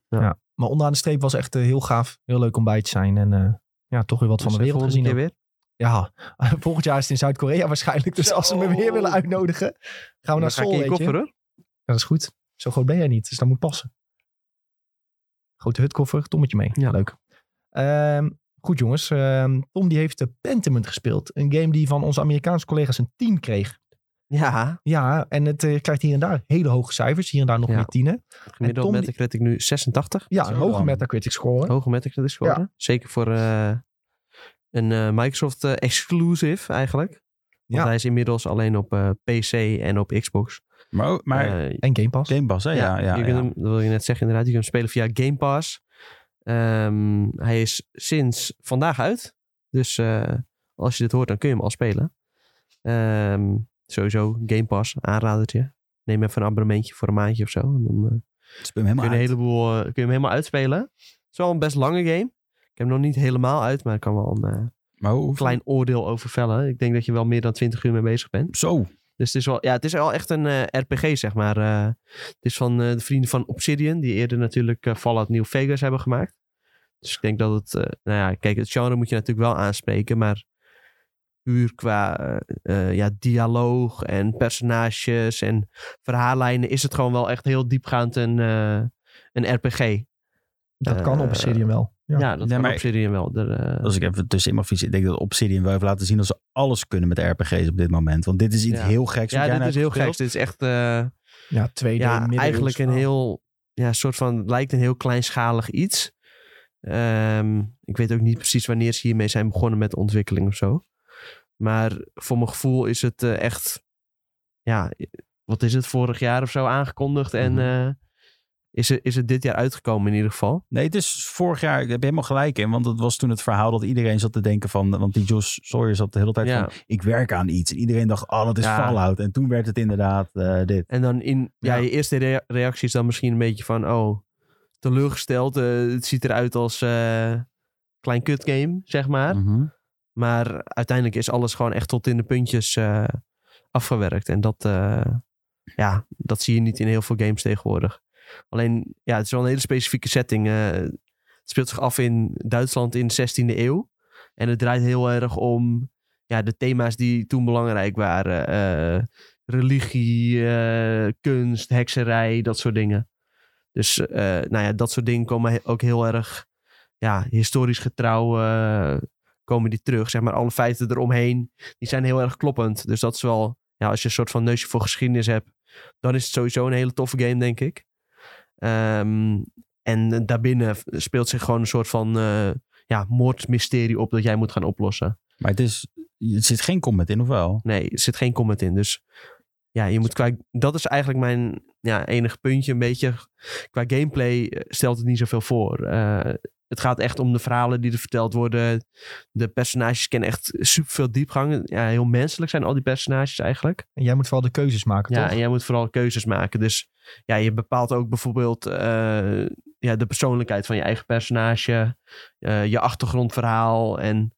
A: Maar onderaan de streep was echt eh, heel gaaf. Heel leuk om bij te zijn. En eh, ja, toch weer wat van de wereld
B: Dus Volgende
A: gezien.
B: keer
A: ook.
B: weer.
A: Ja, <laughs> volgend jaar is het in Zuid-Korea waarschijnlijk. Dus als ze me
B: Zo.
A: weer willen uitnodigen, gaan we naar
B: Dan ga ik
A: Seoul,
B: in je
A: weet je.
B: koffer hoor.
A: Ja, dat is goed. Zo groot ben jij niet, dus dat moet passen. Grote hutkoffer, Tommetje mee.
B: Ja.
A: Leuk. Ehm, Goed jongens, ehm, Tom die heeft de Pentiment gespeeld. Een game die van onze Amerikaanse collega's een 10 kreeg.
B: Ja,
A: Ja, en het eh, krijgt hier en daar hele hoge cijfers. Hier en daar nog
B: Ja.
A: meer tienen.
B: gemiddeld
A: Tom die- Oh.
B: Metacritic nu 86.
A: Ja,
C: Zo
A: een hoge
C: dan.
A: Metacritic score.
B: Hoge Metacritic score. Zeker voor eh, een eh, Microsoft eh, exclusive eigenlijk. Want
A: Ja.
B: hij is inmiddels alleen op eh, PC en op Xbox.
C: Maar, ook- maar
B: Eh,
A: En Game Pass.
C: Game Pass, hè? Oh Ja, ja,
B: je
C: ja.
B: kunt hem, dat wil je net zeggen inderdaad. Je kunt hem spelen via Game Pass. Ehm, hij is sinds vandaag uit. Dus eh, als je dit hoort, dan kun je hem al spelen. Ehm, sowieso Game Pass, aanradertje. Neem even een abonnementje voor een maandje of zo. En dan eh,
C: Het
B: kun, je
C: speelt hem helemaal
B: een
C: uit.
B: heleboel, eh, kun je hem helemaal uitspelen. Het is wel een best lange game. Ik heb hem nog niet helemaal uit, maar ik kan wel een eh,
C: Maar hoe, hoe-
B: klein oordeel over vellen. Ik denk dat je wel meer dan 20 uur mee bezig bent.
C: Zo.
B: Dus het is wel, ja, het is wel echt een eh, RPG, zeg maar. Eh, het is van eh, de vrienden van Obsidian, die eerder natuurlijk eh, Fallout New Vegas hebben gemaakt. Dus ik denk dat het, eh, nou ja, kijk, het genre moet je natuurlijk wel aanspreken, maar puur qua eh, eh, ja, dialoog en personages en verhaallijnen is het gewoon wel echt heel diepgaand een, eh, een RPG.
A: Dat
B: Eh,
A: kan op Obsidian wel. Ja.
B: Ja, dat
C: Nee,
B: kan
C: maar-
B: Obsidian wel. Er, eh,
C: Als ik even tussenin mag fietsen. Ik denk dat Obsidian wel heeft laten zien dat ze alles kunnen met RPG's op dit moment. Want dit is iets
B: Ja.
C: heel geks. wat
B: ja,
C: jij
B: dit
C: nou
B: is
C: hebt
B: heel gek.
C: gespeeld.
B: Dit is echt... eh,
A: Ja, 2D
B: ja,
A: middeleeuws
B: eigenlijk een
A: verhaal.
B: heel, ja, soort van, lijkt een heel kleinschalig iets. Ehm, ik weet ook niet precies wanneer ze hiermee zijn begonnen met de ontwikkeling of zo. Maar voor mijn gevoel is het eh, echt, ja, wat is het, vorig jaar of zo aangekondigd en
C: Mhm.
B: eh, is, het, is het dit jaar uitgekomen in ieder geval.
C: Nee, het is vorig jaar, ik heb helemaal gelijk in, want het was toen het verhaal dat iedereen zat te denken van, want die Josh Sawyer zat de hele tijd
B: Ja.
C: van, ik werk aan iets. En iedereen dacht, oh, dat is
B: Ja.
C: Fallout. En toen werd het inderdaad eh, dit.
B: En dan in, ja,
A: Ja.
B: je eerste rea- reactie is dan misschien een beetje van, oh, teleurgesteld, eh, het ziet eruit als eh klein kut game, zeg maar.
C: Mhm.
B: Maar uiteindelijk is alles gewoon echt tot in de puntjes eh, afgewerkt. En dat, eh, ja, dat zie je niet in heel veel games tegenwoordig. Alleen, ja, het is wel een hele specifieke setting. eh, het speelt zich af in Duitsland in de 16e eeuw. En het draait heel erg om ja, de thema's die toen belangrijk waren. Eh, religie, eh, kunst, hekserij, dat soort dingen. Dus eh, nou ja, dat soort dingen komen he- ook heel erg ja, historisch getrouw eh, komen die terug. Zeg maar, alle feiten eromheen, die zijn heel erg kloppend. Dus dat is wel, ja, als je een soort van neusje voor geschiedenis hebt, dan is het sowieso een hele toffe game, denk ik. Ehm, en daarbinnen speelt zich gewoon een soort van eh, ja, moordmysterie op dat jij moet gaan oplossen.
C: Maar het is, er zit geen comment in, of wel?
B: Nee, er zit geen comment in. Dus ja, je moet qua, dat is eigenlijk mijn ja, enige puntje een beetje. Qua gameplay eh, stelt het niet zoveel voor. Eh, het gaat echt om de verhalen die er verteld worden. De personages kennen echt superveel diepgang. Ja, heel menselijk zijn al die personages eigenlijk.
A: En jij moet vooral de keuzes maken,
B: Ja,
A: toch?
B: en jij moet vooral keuzes maken. Dus ja, je bepaalt ook bijvoorbeeld eh, ja, de persoonlijkheid van je eigen personage, eh, je achtergrondverhaal en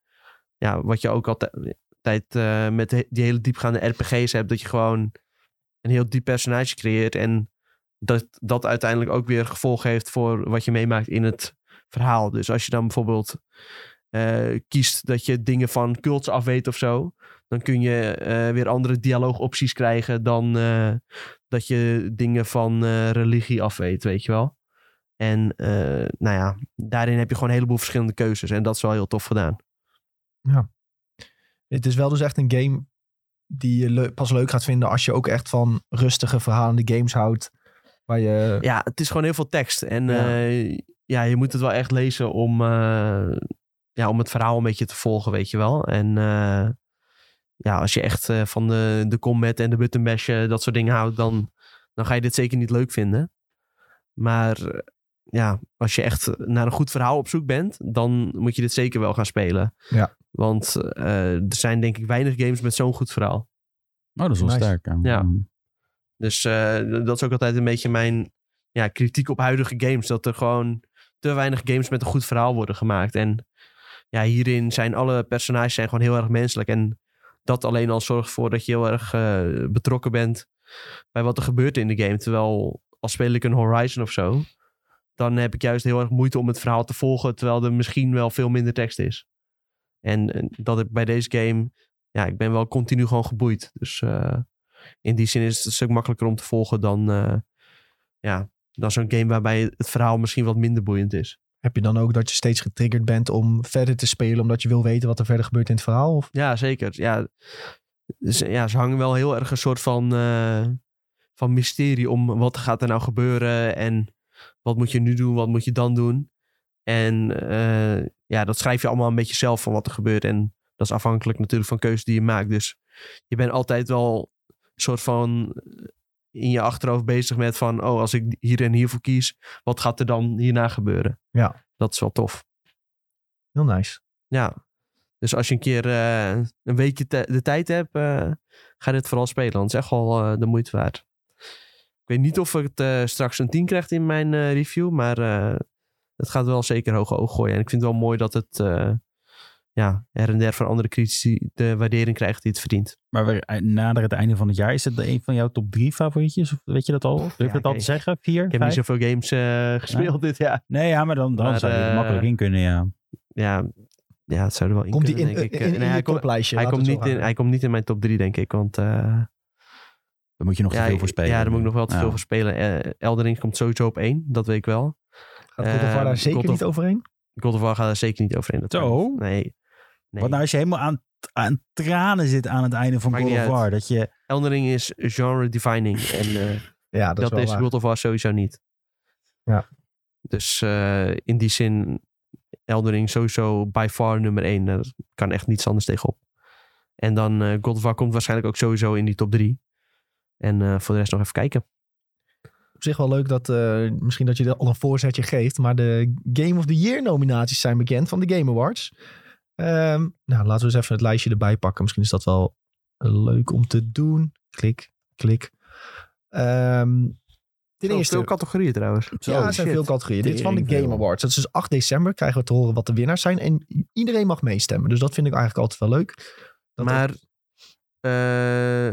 B: ja, wat je ook altijd tijd eh, met he- die hele diepgaande RPG's hebt, dat je gewoon een heel diep personage creëert en dat dat uiteindelijk ook weer gevolg heeft voor wat je meemaakt in het verhaal. Dus als je dan bijvoorbeeld eh, kiest dat je dingen van cults af weet of zo, dan kun je eh, weer andere dialoogopties krijgen dan eh, dat je dingen van eh, religie af weet, weet je wel. En eh, nou ja, daarin heb je gewoon een heleboel verschillende keuzes. En dat is wel heel tof gedaan.
A: Het is wel dus echt een game die je le- pas leuk gaat vinden als je ook echt van rustige verhalende games houdt. Waar je...
B: Ja, het is gewoon heel veel tekst. En
A: eh, Ja.
B: eh, ja, je moet het wel echt lezen om, eh, ja, om het verhaal een beetje te volgen, weet je wel. En eh, ja, als je echt eh, van de, de combat en de button bashen, eh, dat soort dingen houdt, dan, dan ga je dit zeker niet leuk vinden. Maar eh, ja, als je echt naar een goed verhaal op zoek bent, dan moet je dit zeker wel gaan spelen.
A: Ja.
B: Want eh, er zijn denk ik weinig games met zo'n goed verhaal.
C: Oh, dat is wel
A: Nice.
C: sterk.
B: Ja. Mhm.
C: Mm.
B: Dus eh, d- dat is ook altijd een beetje mijn ja, kritiek op huidige games. Dat er gewoon te weinig games met een goed verhaal worden gemaakt. En ja, hierin zijn alle personages zijn gewoon heel erg menselijk. En dat alleen al zorgt ervoor dat je heel erg eh, betrokken bent bij wat er gebeurt in de game. Terwijl als speel ik een Horizon of zo, dan heb ik juist heel erg moeite om het verhaal te volgen. Terwijl er misschien wel veel minder tekst is. En eh, dat heb ik bij deze game, ja, ik ben wel continu gewoon geboeid. Dus eh, in die zin is het een stuk makkelijker om te volgen dan, eh, ja, dan zo'n game waarbij het verhaal misschien wat minder boeiend is.
A: Heb je dan ook dat je steeds getriggerd bent om verder te spelen, omdat je wil weten wat er verder gebeurt in het verhaal? Of
B: Ja, zeker. Ja, ze, ja, ze hangen wel heel erg een soort van, eh, van mysterie om wat gaat er nou gebeuren en wat moet je nu doen, wat moet je dan doen. En eh, ja, dat schrijf je allemaal een beetje zelf van wat er gebeurt. En dat is afhankelijk natuurlijk van keuzes die je maakt. Dus je bent altijd wel een soort van eh, in je achterhoofd bezig met van, oh, als ik hier en hiervoor kies, wat gaat er dan hierna gebeuren?
A: Ja.
B: Dat is wel tof.
A: heel nice.
B: Ja. Dus als je een keer eh, een weekje te- de tijd hebt, eh, ga dit vooral spelen. Want het is echt wel eh, de moeite waard. Ik weet niet of het eh, straks een 10 krijgt in mijn eh, review, maar eh, het gaat wel zeker hoog oog gooien. En ik vind het wel mooi dat het eh, ja, her en der van andere critici de waardering krijgt die het verdient.
C: Maar we, eh, nader het einde van het jaar, is het een van jouw top drie favorietjes? Of weet je dat al? Durf je
B: Ja,
C: dat al
B: ik-
C: te zeggen? Vier,
B: Ik heb
C: vijf?
B: niet zoveel games eh, gespeeld dit jaar.
C: Nee, ja, maar dan, dan
B: Maar,
C: zou je er
B: eh,
C: makkelijk in kunnen, ja.
B: Ja, ja, het zou er wel in
A: Komt die
B: kunnen,
A: in,
B: denk
A: in,
B: ik. Eh,
A: in
B: nee,
A: je
B: hij, komt-
A: toplijstje?
B: hij,
A: Laten
B: komt
A: we het
B: niet
A: zo
B: in,
A: houden.
B: hij komt niet in mijn top 3, denk ik. Want eh,
C: Daar moet je nog te veel voor spelen.
B: Ja, daar moet ik nog wel te
C: Ja.
B: veel voor spelen. Eh, Elden Ring komt sowieso op één, dat weet ik wel.
A: Gaat God of War
B: eh,
A: daar zeker
B: God of-
A: niet overheen?
B: God of War gaat daar zeker niet over in. Dat kan
C: Zo?
B: niet. Nee. nee.
C: Wat nou als je helemaal aan, aan tranen zit aan het einde van
B: Maakt
C: God
B: niet
C: of
B: uit.
C: War? Dat je,
B: Elden Ring is genre defining en
A: <laughs>
B: eh,
A: Ja, dat,
B: dat,
A: is wel
B: is
A: waar.
B: God of War sowieso niet.
A: Ja.
B: Dus eh, in die zin, Elden Ring sowieso by far nummer één. Daar kan echt niets anders tegenop. En dan eh God of War komt waarschijnlijk ook sowieso in die top drie. En eh, voor de rest nog even kijken.
A: Op zich wel leuk dat, eh, misschien dat je er al een voorzetje geeft, maar de Game of the Year nominaties zijn bekend van de Game Awards. Ehm, nou, laten we eens even het lijstje erbij pakken. Misschien is dat wel leuk om te doen. Klik, klik. Ehm ten
B: Zo,
A: eerste,
B: veel categorieën trouwens.
A: ja, er zijn
B: shit.
A: veel categorieën. Dit is van de
C: Tering
A: Game
C: veel.
A: Awards. Dat is dus 8 december krijgen we te horen wat de winnaars zijn. En iedereen mag meestemmen. Dus dat vind ik eigenlijk altijd wel leuk. Dat
B: maar eh,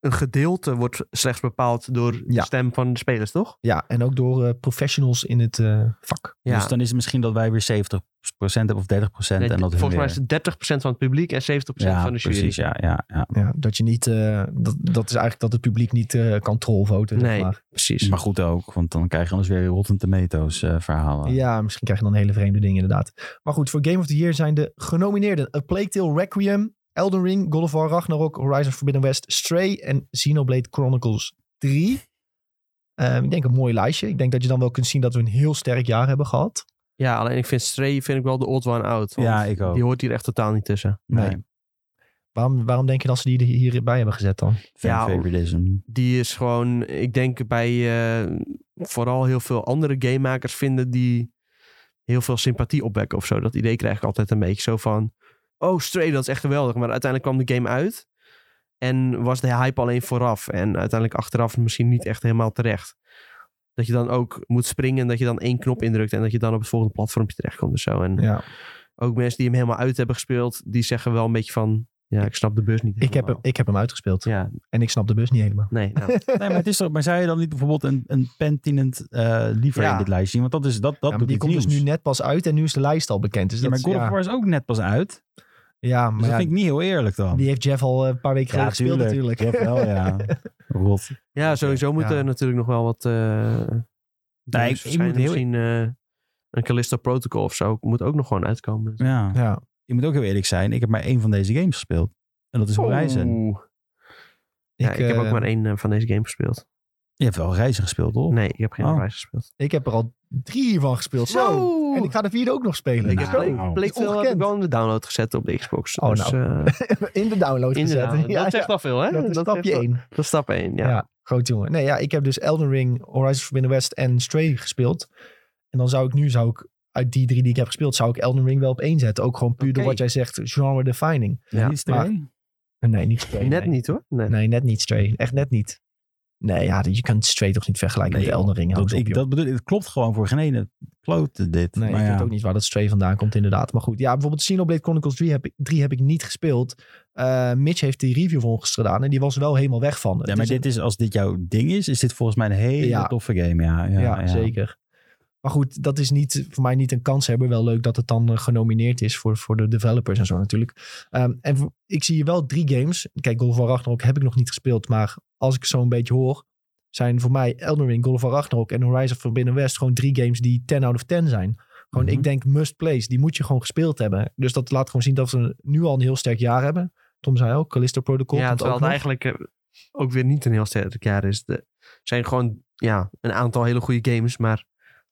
B: een gedeelte wordt slechts bepaald door de
A: Ja.
B: stem van de spelers, toch?
A: Ja, en ook door eh, professionals in het eh, vak.
B: Ja.
C: Dus dan is het misschien dat wij weer 70% hebben of 30%.
B: Nee,
C: en dat hun
B: volgens mij is
C: weer-
B: het 30% van het publiek en 70%
C: ja,
B: van de jury.
C: precies, ja, ja, ja.
A: Ja, dat je niet, eh, dat, dat is eigenlijk dat het publiek niet eh, kan trollvoten. zeg
B: Nee.
A: maar.
B: Precies.
C: Maar goed ook, want dan krijg je anders weer Rotten Tomatoes eh,
B: Ah.
C: verhalen.
A: Ja, misschien krijg je dan hele vreemde dingen inderdaad. Maar goed, voor Game of the Year zijn de genomineerden A Plague Tale Requiem, Elden Ring, God of War Ragnarok, Horizon Forbidden West, Stray en Xenoblade Chronicles 3. Ehm, ik denk een mooi lijstje. Ik denk dat je dan wel kunt zien dat we een heel sterk jaar hebben gehad.
B: Ja, alleen ik vind Stray vind ik wel de odd one out. want
C: Ja, ik ook.
B: Die hoort hier echt totaal niet tussen.
C: nee.
A: Nee. Waarom, waarom denk je dat ze die er hierbij hebben gezet dan?
B: Ja,
C: Favoritism.
B: Die is gewoon, ik denk bij eh, vooral heel veel andere gamemakers vinden die heel veel sympathie opwekken of zo. Dat idee krijg ik altijd een beetje zo van, oh Stray, dat is echt geweldig. Maar uiteindelijk kwam de game uit en was de hype alleen vooraf. En uiteindelijk achteraf misschien niet echt helemaal terecht. Dat je dan ook moet springen en dat je dan één knop indrukt en dat je dan op het volgende platformpje terechtkomt of zo. En
A: Ja.
B: ook mensen die hem helemaal uit hebben gespeeld, die zeggen wel een beetje van, ja, ik snap de bus niet
A: Ik heb, hem,
B: helemaal.
A: ik heb hem uitgespeeld.
B: Ja,
A: En ik snap de bus niet helemaal.
B: nee, nou.
C: Nee, maar, het is toch, maar zou je dan niet bijvoorbeeld een, een Pentinent eh liever
B: Ja.
C: in dit lijstje zien? Want dat is dat, dat
A: Ja, maar
C: doet
A: die
C: iets
A: komt dus
C: nieuws.
A: nu net pas uit en nu is de lijst al bekend. Dus
C: ja, maar
A: dat,
C: God of
A: ja,
C: War is ook net pas uit. Dus
A: ja, maar
C: dat
A: ja,
C: vind ik niet heel eerlijk dan.
A: die heeft Jeff al eh, een paar weken geleden gespeeld natuurlijk.
C: Ja, wel, ja.
B: <laughs>
C: Rot.
B: Ja, sowieso moet
A: ja.
B: er natuurlijk nog wel wat. eh
C: ik-
B: games
C: ik
B: verschijnen.
C: moet heel-
B: Misschien eh, een Callisto Protocol of zo. Moet ook nog gewoon uitkomen.
C: Ja.
A: <laughs> Ja,
C: Ik moet ook heel eerlijk zijn. Ik heb maar één van deze games gespeeld. En dat is
A: Oh.
C: Horizon.
B: Oeh. Ja, ik, heb
A: eh,
B: ook maar één eh, van deze game gespeeld.
C: Je hebt wel Horizon gespeeld, toch?
B: Nee, ik heb geen
C: Oh.
B: Horizon gespeeld.
A: Ik heb er al drie hiervan gespeeld. Zo. En ik ga de vierde ook nog spelen.
B: Ik heb
C: Nou.
A: Zo.
B: Play-
C: Dat
A: is
B: Playfield heb ik
A: ongekend.
B: wel in de download gezet op de Xbox.
A: Oh,
B: dus, eh,
A: <laughs> in de download
B: in de
A: gezet. <laughs>
B: download.
A: Ja,
B: dat zegt
A: ja.
B: al veel, hè?
A: Dat is stapje
B: zegt al-
A: 1.
B: Dat is stap 1, ja.
A: Ja. groot jongen. Nee, ja, ik heb dus Elden Ring, Horizon Forbidden West en Stray gespeeld. En dan zou ik nu, zou ik uit die drie die ik heb gespeeld, zou ik Elden Ring wel op één zetten. Ook gewoon puur door
B: Oké.
A: wat jij zegt, genre defining. Eh,
B: Ja.
C: Niet twee?
A: Nee, niet Stray.
B: Net
A: nee.
B: niet hoor.
A: <laughs>
B: Nee.
A: Nee, net niet Stray. Echt net niet. Nee, ja, je kan Stray toch niet vergelijken
C: Nee,
A: met Elden Ring. Hou
C: Dat,
A: eens op,
C: ik,
A: joh.
C: dat bedoel, het klopt gewoon voor geen ene klote dit.
A: Nee,
C: maar
A: ik
C: ja.
A: weet ook niet waar dat Stray vandaan komt inderdaad. Maar goed, ja, bijvoorbeeld Xenoblade Chronicles 3 heb ik, 3 heb ik niet gespeeld. Eh, Mitch heeft die review voor ons gedaan en die was wel helemaal weg van. Het
C: Ja, maar
A: is
C: dit is, als dit jouw ding is, is dit volgens mij een hele
A: Ja.
C: toffe game. Ja, ja,
A: een- ja, zeker. Maar goed, dat is niet, voor mij niet een kans hebben. Wel leuk dat het dan eh, genomineerd is voor, voor de developers en zo natuurlijk. Ehm, en voor- ik zie hier wel drie games. Kijk, Golf van Ragnarok heb ik nog niet gespeeld. Maar als ik zo een beetje hoor, zijn voor mij Elden Ring, God of War Ragnarok en Horizon Forbidden West gewoon drie games die 10 out of 10 zijn. Gewoon,
C: Mhm.
A: ik denk must plays. Die moet je gewoon gespeeld hebben. Dus dat laat gewoon zien dat we nu al een heel sterk jaar hebben. Tom zei ook, Callisto Protocol.
B: ja,
A: komt
B: terwijl
A: ook
B: het
A: nog.
B: eigenlijk eh, ook weer niet een heel sterk jaar is. Er zijn gewoon ja, een aantal hele goede games, maar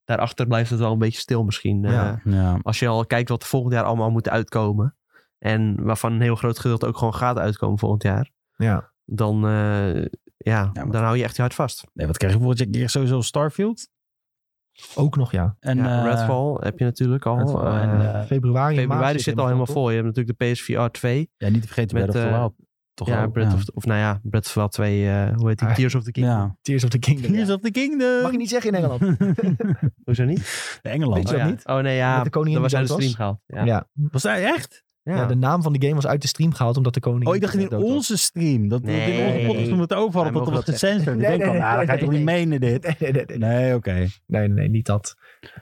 B: daarachter blijft het wel een beetje stil misschien.
A: Ja.
B: eh,
C: Ja.
B: als je al kijkt wat er volgend jaar allemaal moet uitkomen. En waarvan een heel groot gedeelte ook gewoon gaat uitkomen volgend jaar.
A: Ja.
B: Dan, eh, ja,
C: maar-
B: dan hou je echt je hart vast.
C: Nee, wat krijg je bijvoorbeeld? Je krijgt sowieso Starfield.
A: Ook nog, ja.
C: En,
B: ja,
C: eh,
B: Redfall heb je natuurlijk al.
C: Redfall en,
B: eh,
C: eh,
A: Februari, en maart
B: februari zit al helemaal vol. Je hebt natuurlijk de PSVR 2.
C: ja, niet te vergeten
B: met,
C: Breath of the
B: eh,
C: Wild. Toch
B: ja,
C: ook,
B: Breath Of, of nou ja, Breath of the Wild 2, eh, hoe heet die?
A: Ah.
B: Tears of the Kingdom.
C: ja. <laughs>
A: Tears of the
B: <laughs>
A: Kingdom.
C: Tears
A: ja.
C: of the Kingdom.
A: Mag je niet zeggen in Engeland.
B: Hoezo niet?
A: Weet
C: <laughs> Engeland.
A: je
B: oh,
A: dat
B: ja.
A: niet?
B: Oh nee, ja.
A: Met de koningin
B: dat
A: die
B: was uit de
A: dood
B: stream
A: was?
B: gehaald. Ja.
A: Ja. Ja.
C: Was dat echt?
B: Ja.
A: de naam van de game was uit de stream gehaald omdat de koning.
C: Oh, ik dacht in onze stream. Dat we het in onze
A: Nee.
C: podcast toen we het over
B: Wij
C: hadden, dat er
B: mogen
C: was
B: dat
C: censored.
A: Nee,
C: Ik denk van,
A: nee,
C: nou, dat ga je toch niet
A: nee,
C: menen
A: <laughs>
C: dit?
A: Nee, nee, nee, nee.
C: Nee, oké.
A: Nee, nee, nee, niet dat.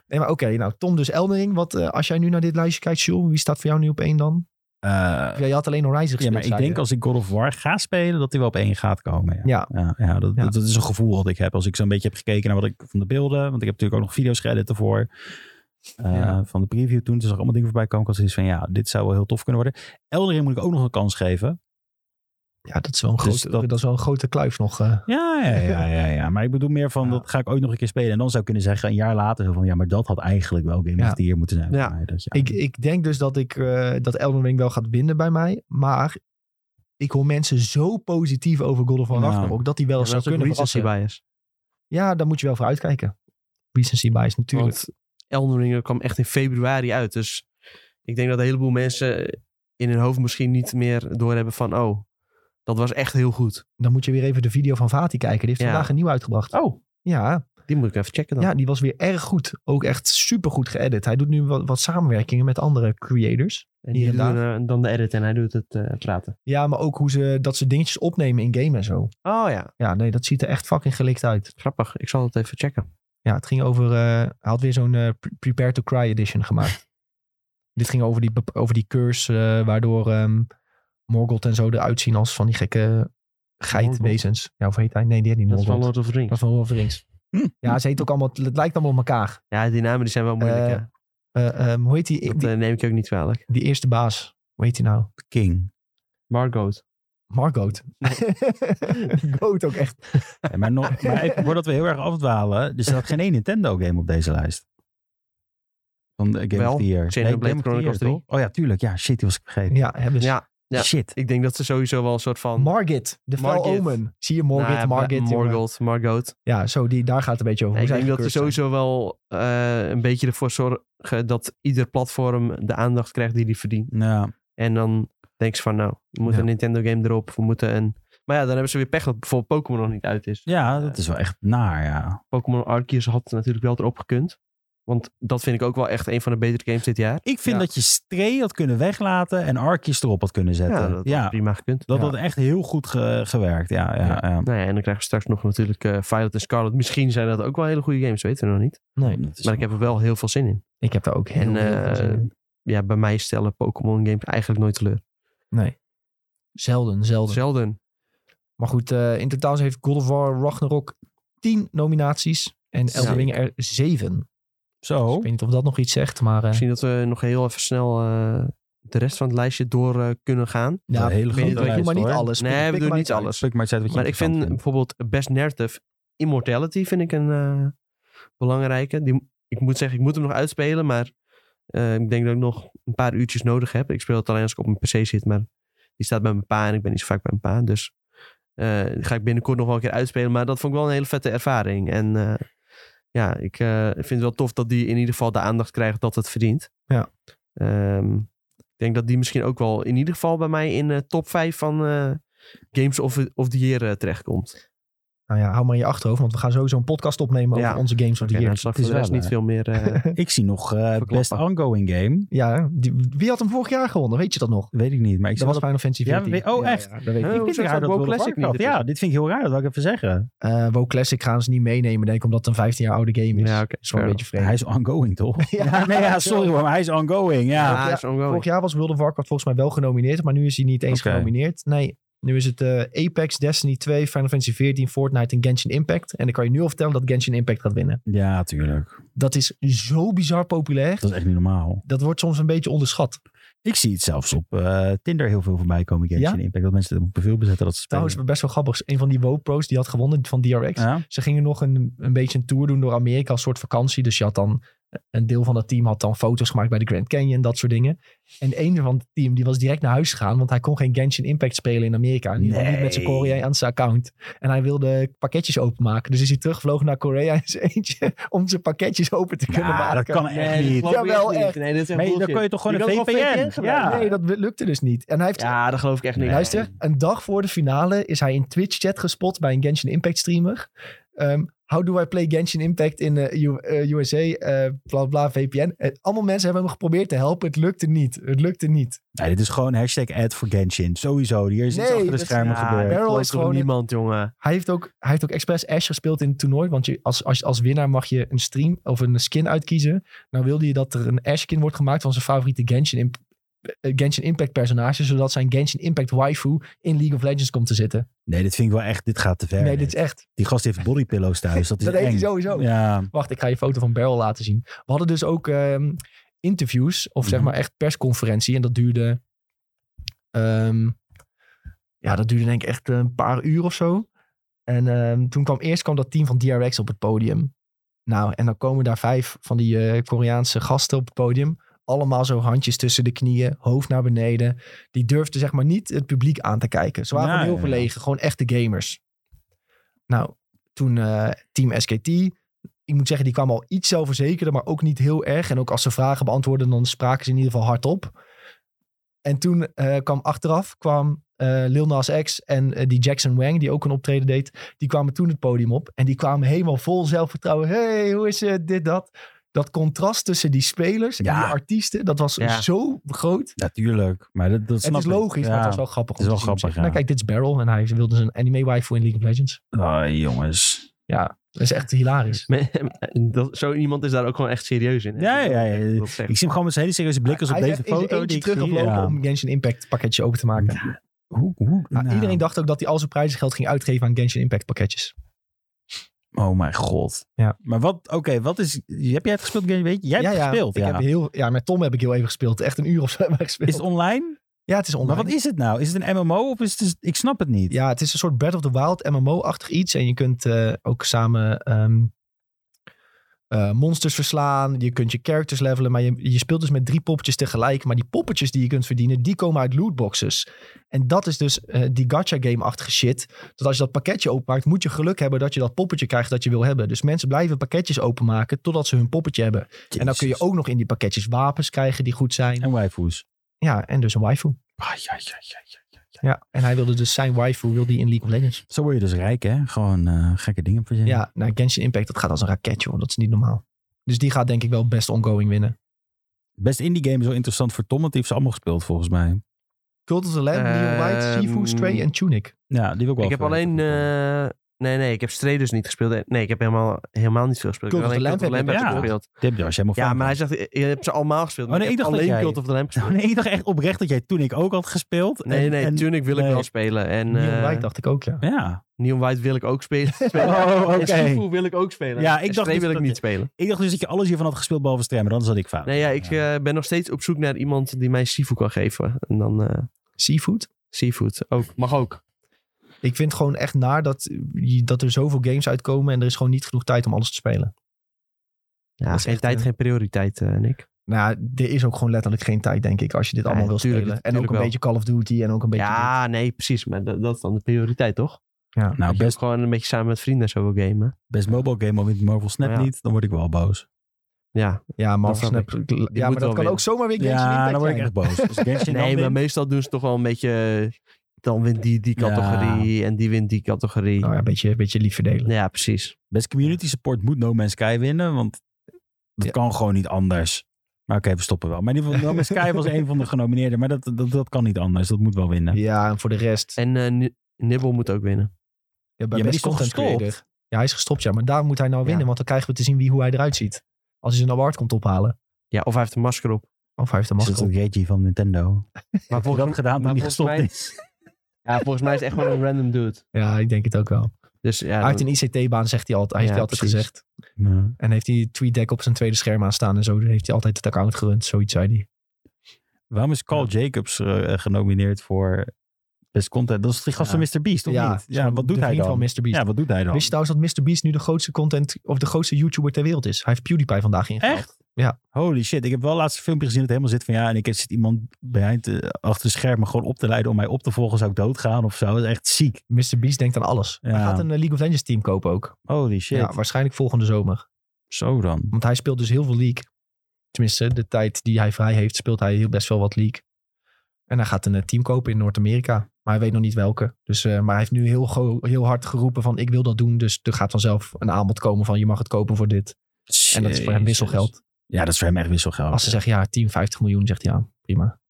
A: Nee, maar oké. nou, Tom dus Eldering. Wat, eh, als jij nu naar dit lijstje kijkt, Jules, wie staat voor jou nu op één dan?
C: Eh,
A: Ja, je had alleen Horizon
C: ja,
A: gespeeld.
C: maar ik
A: zei je.
C: denk als ik God of War ga spelen, dat hij wel op één gaat komen. Ja.
A: Ja.
C: Ja, ja, dat,
A: Ja.
C: Dat, dat is een gevoel dat ik heb. Als ik zo'n beetje heb gekeken naar wat ik van de beelden. Want ik heb natuurlijk ook nog video's geëdit ervoor. eh,
A: Ja.
C: Van de preview toen. Toen zag ik allemaal dingen voorbij komen. Ik had zoiets van, ja, dit zou wel heel tof kunnen worden. Eldering moet ik ook nog een kans geven.
A: Ja, dat is wel een,
C: Dus
A: grote,
C: dat-
A: dat... is wel een grote kluif nog. eh.
C: Ja, ja, ja, ja. ja. Maar ik bedoel meer van,
A: Ja.
C: dat ga ik ooit nog een keer spelen. En dan zou ik kunnen zeggen, een jaar later, zo van, ja, maar dat had eigenlijk wel Game
A: Ja.
C: of the Year moeten zijn. voor
B: Ja.
C: mij. Dat, ja.
A: Ik, ik denk dus dat, ik, eh, dat Elden Ring wel gaat winnen bij mij. Maar ik hoor mensen zo positief over God of War
C: Ja.
A: Ragnarok dat die wel
B: Ja,
A: eens
B: maar dat
A: zou
B: is ook
A: kunnen
B: recency
A: verrassen.
B: bias.
A: Ja, daar moet je wel voor uitkijken. Recency bias natuurlijk.
B: Want Elden Ring kwam echt in februari uit. Dus ik denk dat een heleboel mensen in hun hoofd misschien niet meer doorhebben van... oh, dat was echt heel goed.
A: Dan moet je weer even de video van Vati kijken. Die heeft
B: Ja.
A: vandaag een nieuw uitgebracht.
B: Oh.
A: Ja,
B: Die moet ik even checken dan.
A: ja, die was weer erg goed. Ook echt supergoed geëdit. Hij doet nu wat, wat samenwerkingen met andere creators.
B: en
A: hier
B: die
A: en daar.
B: doen eh, dan de edit en hij doet het eh, praten.
A: Ja, maar ook hoe ze, dat ze dingetjes opnemen in game en zo.
B: Oh ja,
A: Ja, nee, dat ziet er echt fucking gelikt uit.
B: grappig. Ik zal het even checken.
A: Ja, het ging over... eh, hij had weer zo'n eh, Pre- Prepare to Cry edition
B: <laughs>
A: gemaakt. Dit ging over die, bep- over die curse eh, waardoor ehm Morgoth en zo eruit zien als van die gekke geitwezens. Ja, of heet hij? Nee, die heet niet
B: Dat is
A: Morgoth.
B: van Lord of the
A: Dat is
B: Rings.
A: van Lord of the Rings.
B: Hm.
A: Ja, ze heet ook allemaal... Het lijkt allemaal op elkaar.
B: Ja, die namen die zijn wel moeilijk.
A: Eh,
B: hè.
A: Eh, ehm, hoe heet die,
B: Dat
A: die,
B: eh, neem ik je ook niet kwalijk.
A: die eerste baas? Hoe heet die nou?
C: King.
B: Margot.
A: Margot. Die <laughs> Goat ook echt.
C: Ja, maar, nog, maar even, <laughs> voordat we heel erg afdwalen, er staat geen één Nintendo-game op deze lijst. Van de Game
B: Wel,
C: of the Year.
B: Xenoblade
C: Game of the
B: Chronicles 3.
C: Year, toch? Oh ja, tuurlijk. Ja, shit, die was ik vergeten.
A: Ja, hebben ze.
B: Ja, Ja.
C: Shit.
B: ik denk dat ze sowieso wel een soort van...
A: Margit, de fel
B: Margit.
A: omen. Zie je Morgit,
B: Nou ja,
A: Margit. jongen.
B: Margot, Margot.
A: Ja, zo, die, daar gaat het een beetje over.
B: ik
A: Hoe
B: denk
A: zij
B: dat ze
A: gecursed
B: sowieso wel eh, een beetje ervoor zorgen dat ieder platform de aandacht krijgt die die verdient.
C: Ja,
B: En dan denk ze van nou, we moeten
A: Ja.
B: een Nintendo game erop. We moeten een... Maar ja, dan hebben ze weer pech dat bijvoorbeeld Pokémon nog niet uit is.
C: ja dat is wel echt naar, ja.
B: Pokémon Arceus had natuurlijk wel erop gekund. Want dat vind ik ook wel echt een van de betere games dit jaar.
C: Ik vind
B: Ja.
C: dat je Stray had kunnen weglaten en Arceus erop had kunnen zetten.
B: Ja,
C: Ja,
B: dat had
C: dat, ja,
B: prima gekund.
C: dat
A: ja.
C: had echt heel goed ge- gewerkt. Ja, ja, ja.
B: Nou ja, en dan krijgen we straks nog natuurlijk eh Violet en Scarlet. Misschien zijn dat ook wel hele goede games, weten we nog niet.
A: zijn. Nee,
C: Dat is-
B: Maar ik heb er wel heel veel zin in.
A: ik heb daar ook heel
B: En,
A: heel veel zin
B: eh,
A: in.
B: Ja, bij mij stellen Pokémon games eigenlijk nooit teleur.
A: Zelden, zelden.
B: Zelden.
A: Maar goed, eh, in totaal heeft God of War Ragnarok 10 nominaties. En Elden
B: Zeker. Oh.
A: Ring er 7. Dus
C: Zo.
A: ik weet niet of dat nog iets zegt, maar... eh,
B: Misschien dat we nog heel even snel eh, de rest van het lijstje door eh, kunnen gaan.
A: ja,
C: Een hele
A: ik
C: grote
A: weet het, ik doe
C: lijst,
A: maar niet
C: hoor.
A: alles.
B: Nee,
A: Pik-
B: we
A: pik
B: doen
A: maar
B: niet
A: uit.
B: alles.
C: Spreek maar eens uit wat je
B: Maar ik vind
C: interessant vindt.
B: bijvoorbeeld Best Narrative Immortality vind ik een eh, belangrijke. Die, ik moet zeggen, ik moet hem nog uitspelen, maar eh, ik denk dat ik nog een paar uurtjes nodig heb. Ik speel het alleen als ik op mijn pc zit, maar die staat bij mijn pa en ik ben niet zo vaak bij mijn pa. Dus eh, die ga ik binnenkort nog wel een keer uitspelen. Maar dat vond ik wel een hele vette ervaring. En eh, ja, ik eh, vind het wel tof dat die in ieder geval de aandacht krijgt dat het verdient.
A: Ja.
B: Ehm, ik denk dat die misschien ook wel in ieder geval bij mij in de top 5 van eh, Games of, of the Year eh, terechtkomt.
A: Nou ja, hou maar in je achterhoofd, want we gaan sowieso een podcast opnemen
B: Ja.
A: over onze Games of the
B: Oké, nou,
A: Year.
B: het zal
C: Het
B: voor
C: is
B: de rest
C: wel,
B: niet
C: eh,
B: veel meer.
A: <laughs>
B: eh,
C: Ik zie nog eh,
B: Verklappen.
C: Best Ongoing Game.
A: Ja, die- wie had hem vorig jaar gewonnen? Weet je dat nog?
C: Weet ik niet, maar
A: Dat
C: ik zie
A: was Final
C: wel
A: Fantasy
C: Ja,
A: 14.
C: we- oh, echt?
A: Ja, dat weet
B: Huh?
A: ik.
B: Oh,
C: Ik vind
B: zo
C: het raar
B: staat
C: dat
B: WoW
C: World of
B: Classic
C: Warcraft-
B: niet
C: Ja,
B: ertussen.
C: dit vind ik heel raar. Dat wil ik even zeggen.
A: Eh, WoW Classic gaan ze niet meenemen, denk ik, omdat het een 15 jaar oude game is.
B: Ja,
A: Ja,
B: oké,
A: oké. Is wel een
B: fair
A: beetje
C: Hij
A: vreemd.
C: is ongoing, toch?
A: <laughs> Ja.
C: Ja, nee, ja, sorry hoor, maar hij is ongoing. Ja.
B: ja, is ongoing.
A: Vorig jaar was World of Warcraft volgens mij wel genomineerd, maar nu is hij niet eens
C: Oké.
A: genomineerd. Nee, Nu is het eh, Apex, Destiny 2, Final Fantasy 14, Fortnite en Genshin Impact. En ik kan je nu al vertellen dat Genshin Impact gaat winnen.
C: Ja, tuurlijk.
A: Dat is zo bizar populair.
C: Dat is echt niet normaal.
A: Dat wordt soms een beetje onderschat.
C: Ik zie het zelfs op eh, Tinder heel veel voorbij komen. Genshin Impact. Dat mensen het profiel bezetten dat ze spelen.
A: Trouwens, best wel grappig. Een van die WoPro's die had gewonnen van DRX.
C: ja?
A: Ze gingen nog een, een beetje een tour doen door Amerika als soort vakantie. Dus je had dan een deel van dat team had dan foto's gemaakt bij de Grand Canyon, dat soort dingen. En een van het team die was direct naar huis gegaan, want hij kon geen Genshin Impact spelen in Amerika. En die kwam niet met zijn
C: Nee.
A: Korea aan zijn account. En hij wilde pakketjes openmaken. Dus is hij teruggevlogen naar Korea in zijn eentje <laughs> om zijn pakketjes open te kunnen
C: Ja,
A: maken.
C: dat kan echt
B: dat
C: niet.
B: geloof ik
A: Jawel, echt.
B: Nee, dit is echt
C: Maar dan
B: bullshit.
C: kun je toch gewoon
B: Je
C: een
B: kan toch gewoon
C: VPN?
B: VPN
C: ja.
A: Nee, dat lukte dus niet. En hij heeft
B: Ja, dat geloof ik echt niet.
C: Nee.
A: Luister, een dag voor de finale is hij in Twitch-chat gespot bij een Genshin Impact streamer. Ehm, how do I play Genshin Impact in eh, U- eh, USA? eh, bla bla, VPN. Eh, allemaal mensen hebben hem geprobeerd te helpen. Het lukte niet. Het lukte niet.
C: Nee, dit is gewoon hashtag ad voor Genshin. Sowieso. Hier is iets
A: Nee,
C: achter de
A: dat is-
C: schermen
B: Ja,
C: gebeurd.
B: dat
A: Barrel
B: gelooft
A: is
B: toch
A: gewoon een-
B: niemand, jongen. <laughs>
A: Hij heeft ook, hij heeft ook expres Ash gespeeld in het toernooi. Want je, als, als, als winnaar mag je een stream of een skin uitkiezen. Nou wilde je dat er een Ash-skin wordt gemaakt van zijn favoriete Genshin, Imp- eh, Genshin Impact personage. Zodat zijn Genshin Impact waifu in League of Legends komt te zitten.
C: Nee, dit vind ik wel echt... Dit gaat te ver.
A: nee, dit is echt.
C: Die gast heeft
A: <laughs>
C: bodypillows thuis. Dat is
A: Dat heeft hij
C: eng.
A: sowieso.
C: Ja.
A: Wacht, ik ga je foto van Beryl laten zien. We hadden dus ook ehm, interviews, of zeg
C: Mhm.
A: maar echt persconferentie. En dat duurde. ehm, ja, dat duurde denk ik echt een paar uur of zo. En ehm, toen kwam eerst kwam dat team van DRX op het podium. Nou, en dan komen daar vijf van die eh, Koreaanse gasten op het podium. Allemaal zo handjes tussen de knieën, hoofd naar beneden. Die durfden zeg maar niet het publiek aan te kijken. Ze waren
C: Nou,
A: heel
C: ja.
A: verlegen, gewoon echte gamers. Nou, toen eh, team SKT, ik moet zeggen, die kwamen al iets zelfverzekerder, maar ook niet heel erg. En ook als ze vragen beantwoorden, dan spraken ze in ieder geval hardop. En toen eh, kwam achteraf kwam, eh, Lil Nas X en eh, die Jackson Wang, die ook een optreden deed, die kwamen toen het podium op. En die kwamen helemaal vol zelfvertrouwen. hey, hoe is het? Dit, dat. Dat contrast tussen die spelers en
C: Ja.
A: die artiesten, dat was
B: Ja.
A: zo groot.
C: Natuurlijk. Maar dat, dat
A: het
C: snap
A: is
C: ik.
A: logisch, maar
C: Ja.
A: het was wel grappig.
C: Het is
A: om
C: wel
A: te zien op zich.
C: grappig, ja.
A: Nou, kijk, dit is Barrel en hij wilde zijn anime waifu in League of Legends.
C: Ah, jongens.
A: Ja, dat is echt hilarisch.
B: Dat, zo iemand is daar ook gewoon echt serieus in. hè?
C: Ja,
B: Dat-
C: ja, ja.
B: dat- dat zegt-
C: Ik zie hem gewoon met zijn hele serieuze blik als op
A: Hij is
C: deze
A: echt in zijn
C: foto.
A: eentje
C: Die ik zie.
A: teruggelopen
C: Ja.
A: om Genshin Impact pakketje open te maken.
C: Hoe, hoe,
A: Nou,
C: nou.
A: Iedereen dacht ook dat hij al zijn prijzengeld ging uitgeven aan Genshin Impact pakketjes.
C: Oh mijn god.
A: Ja.
C: Maar wat, oké, wat is, heb jij het gespeeld? Gary? Weet je? Jij hebt
A: ja,
C: het gespeeld,
A: Ik
C: ja.
A: heb heel, ja, met Tom heb ik heel even gespeeld. Echt een uur of zo hebben we gespeeld.
C: Is het online?
A: ja, het is online.
C: Maar wat is het nou? Is het een MMO of is het, dus- ik snap het niet.
A: Ja, het is een soort Breath of the Wild MMO-achtig iets. En je kunt eh, ook samen ehm, eh, monsters verslaan. Je kunt je characters levelen. Maar je, je speelt dus met drie poppetjes tegelijk. Maar die poppetjes die je kunt verdienen, die komen uit lootboxes. En dat is dus eh, die gacha game-achtige shit. Dat als je dat pakketje openmaakt, moet je geluk hebben dat je dat poppetje krijgt dat je wil hebben. Dus mensen blijven pakketjes openmaken totdat ze hun poppetje hebben. En dan kun je
C: Jezus.
A: ook nog in die pakketjes wapens krijgen die goed zijn.
C: En waifus.
A: Ja, en dus een waifu.
C: Ah, ja, ja, ja, ja, ja, ja.
A: Ja, en hij wilde dus zijn waifu wilde die in League of Legends.
C: Zo word je dus rijk, hè? Gewoon eh, gekke dingen verzinnen.
A: Ja, nou, Genshin Impact, dat gaat als een raket, joh. Dat is niet normaal. Dus die gaat denk ik wel best ongoing winnen.
C: Best indie game is wel interessant voor Tom, want die heeft ze allemaal gespeeld volgens mij.
A: Cult of the Lamb, Neon White,
B: Ehm,
A: Sifu, Stray en Tunic.
C: Ja, die wil ik wel.
B: Ik heb
C: veel
B: alleen...
C: weten.
B: eh, nee, nee, ik heb Stray dus niet gespeeld. Nee, ik heb helemaal, helemaal niet veel gespeeld. Ik
A: Cult
B: heb
A: of the
B: alleen
A: Lamb
B: Cult of the
C: heb
B: Lamb
C: je
B: gespeeld.
C: Tip, Josh, jij mag
B: Ja,
C: van-
B: maar hij zegt, eh, je je hebt ze allemaal gespeeld.
C: Oh, nee,
B: ik
C: ik
B: heb
C: dacht dat
B: alleen
C: jij-
B: Cult of the Lamb
C: Oh,
B: gespeeld.
C: <laughs> nee, ik dacht echt oprecht dat jij toen ik ook had gespeeld.
B: Nee,
C: En-
B: nee,
C: en-
B: Tunic wil ik
C: nee.
B: wel spelen. En
A: Neon
B: eh,
A: White dacht ik ook, ja.
C: Ja.
B: Neon White wil ik ook spelen.
C: <laughs> Oh, oké.
B: En Sifu wil ik ook spelen.
C: Ja, ik
B: En
C: dacht
B: Stray
C: dus
B: wil ik
C: dat-
B: niet spelen.
C: Ik dacht dus dat je alles hiervan had gespeeld behalve streamen. Dan zat ik fout.
B: Nee, ja, ik eh, ben nog steeds op zoek naar iemand die mij Sifu kan geven. En dan eh
A: Seafood.
B: Seafood ook. Mag ook.
A: Ik vind gewoon echt naar dat, je- dat er zoveel games uitkomen en er is gewoon niet genoeg tijd om alles te spelen.
B: Ja,
A: Dat is
B: geen
A: echt,
B: tijd,
A: eh,
B: geen prioriteit, eh, Nick.
A: Nou, ja, er is ook gewoon letterlijk geen tijd, denk ik, als je dit
B: Nee,
A: allemaal wil
B: tuurlijk,
A: spelen. En ook
B: tuurlijk
A: een
B: wel.
A: beetje Call of Duty en ook een beetje...
B: Ja, nee, precies. Maar dat, dat is dan de prioriteit, toch?
A: dit. Ja.
C: Nou,
B: Dat je ook
C: best,
B: gewoon een beetje samen met vrienden zo wil gamen.
C: best mobile game, maar met Marvel Snap
B: Ja.
C: niet, dan word ik wel boos.
B: Ja,
A: ja, Marvel
B: snap
A: Snap.
B: ik. Die moet
A: Ja, maar dat kan
B: wel winnen.
A: ook zomaar weer Genshin
C: Ja,
A: Impact
C: dan word ik
A: zijn.
C: echt boos. Als <laughs> Genshin dan
B: nee, maar
C: wint-
B: meestal doen ze toch wel een beetje... eh, Dan wint die die
C: Ja.
B: categorie en die wint die categorie.
A: Nou
B: ja.
A: ja, een beetje, een beetje lief verdelen.
B: precies.
C: Best community support moet No Man's Sky winnen, want dat
A: Ja.
C: kan gewoon niet anders. Maar oké, we stoppen wel. Maar in ieder geval, No Man's Sky <laughs> was een van de genomineerden, maar dat, dat, dat kan niet anders. Dat moet wel winnen.
A: Ja, en voor de rest...
B: En eh, Ni- Nibble moet ook winnen.
A: Ja, bij
C: maar die
A: Best
C: is toch
A: Content
C: gestopt?
A: Creator. Ja, hij is gestopt, ja. Maar daar moet hij nou
B: Ja.
A: winnen, want dan krijgen we te zien wie, hoe hij eruit ziet. Als hij zijn award komt ophalen.
B: Ja, of hij heeft een masker op.
A: Of hij heeft een
C: Is
A: masker
C: dat
A: op.
C: een Reggie van Nintendo?
B: Maar
C: Heb je
B: volgens,
C: dat gedaan toen
B: maar
C: hij
B: volgens
C: gestopt
B: mij-
C: is?
B: Ja, volgens mij is het echt gewoon een random dude.
A: Ja, ik denk het ook wel.
B: Dus ja,
A: Hij heeft
B: dan-
A: een ICT-baan, zegt hij altijd. Hij heeft
B: Ja,
A: hij altijd
B: precies.
A: gezegd. En heeft hij TweetDeck op zijn tweede scherm aanstaan en zo heeft hij altijd het account gerund. Zoiets zei hij.
C: Waarom is Carl Jacobs eh, genomineerd voor best content? Dat is die gast
A: Ja.
C: van Mr. Beast, toch niet? Ja,
A: zo'n-
C: wat
A: de
C: doet hij
A: vriend
C: dan?
A: van Mr. Beast.
C: Ja, wat doet hij dan?
A: Wist je trouwens dat Mr. Beast nu de grootste content of de grootste YouTuber ter wereld is? Hij heeft PewDiePie vandaag ingehaald.
C: Echt?
A: Ja.
C: Holy shit. Ik heb wel laatst een filmpje gezien dat helemaal zit van ja. En ik heb- zit iemand behind, eh, achter de schermen gewoon op te leiden om mij op te volgen. Zou ik doodgaan of zo? Dat is echt ziek.
A: Mr. Beast denkt aan alles.
C: Ja.
A: Hij gaat een eh, League of Legends team kopen ook.
C: Holy shit.
A: Ja, waarschijnlijk volgende zomer.
C: Zo dan.
A: Want hij speelt dus heel veel League. Tenminste, de tijd die hij vrij heeft, speelt hij heel best wel wat League. En hij gaat een eh, team kopen in Noord-Amerika. Maar hij weet nog niet welke. Dus, eh, maar hij heeft nu heel, go- heel hard geroepen van ik wil dat doen. Dus er gaat vanzelf een aanbod komen van je mag het kopen voor dit. En dat is voor hem
C: Jezus.
A: wisselgeld.
C: Ja, dat is voor hem echt wisselgeld.
A: Als ze zeggen, ja, 10, 50 miljoen, zegt hij, ja, prima.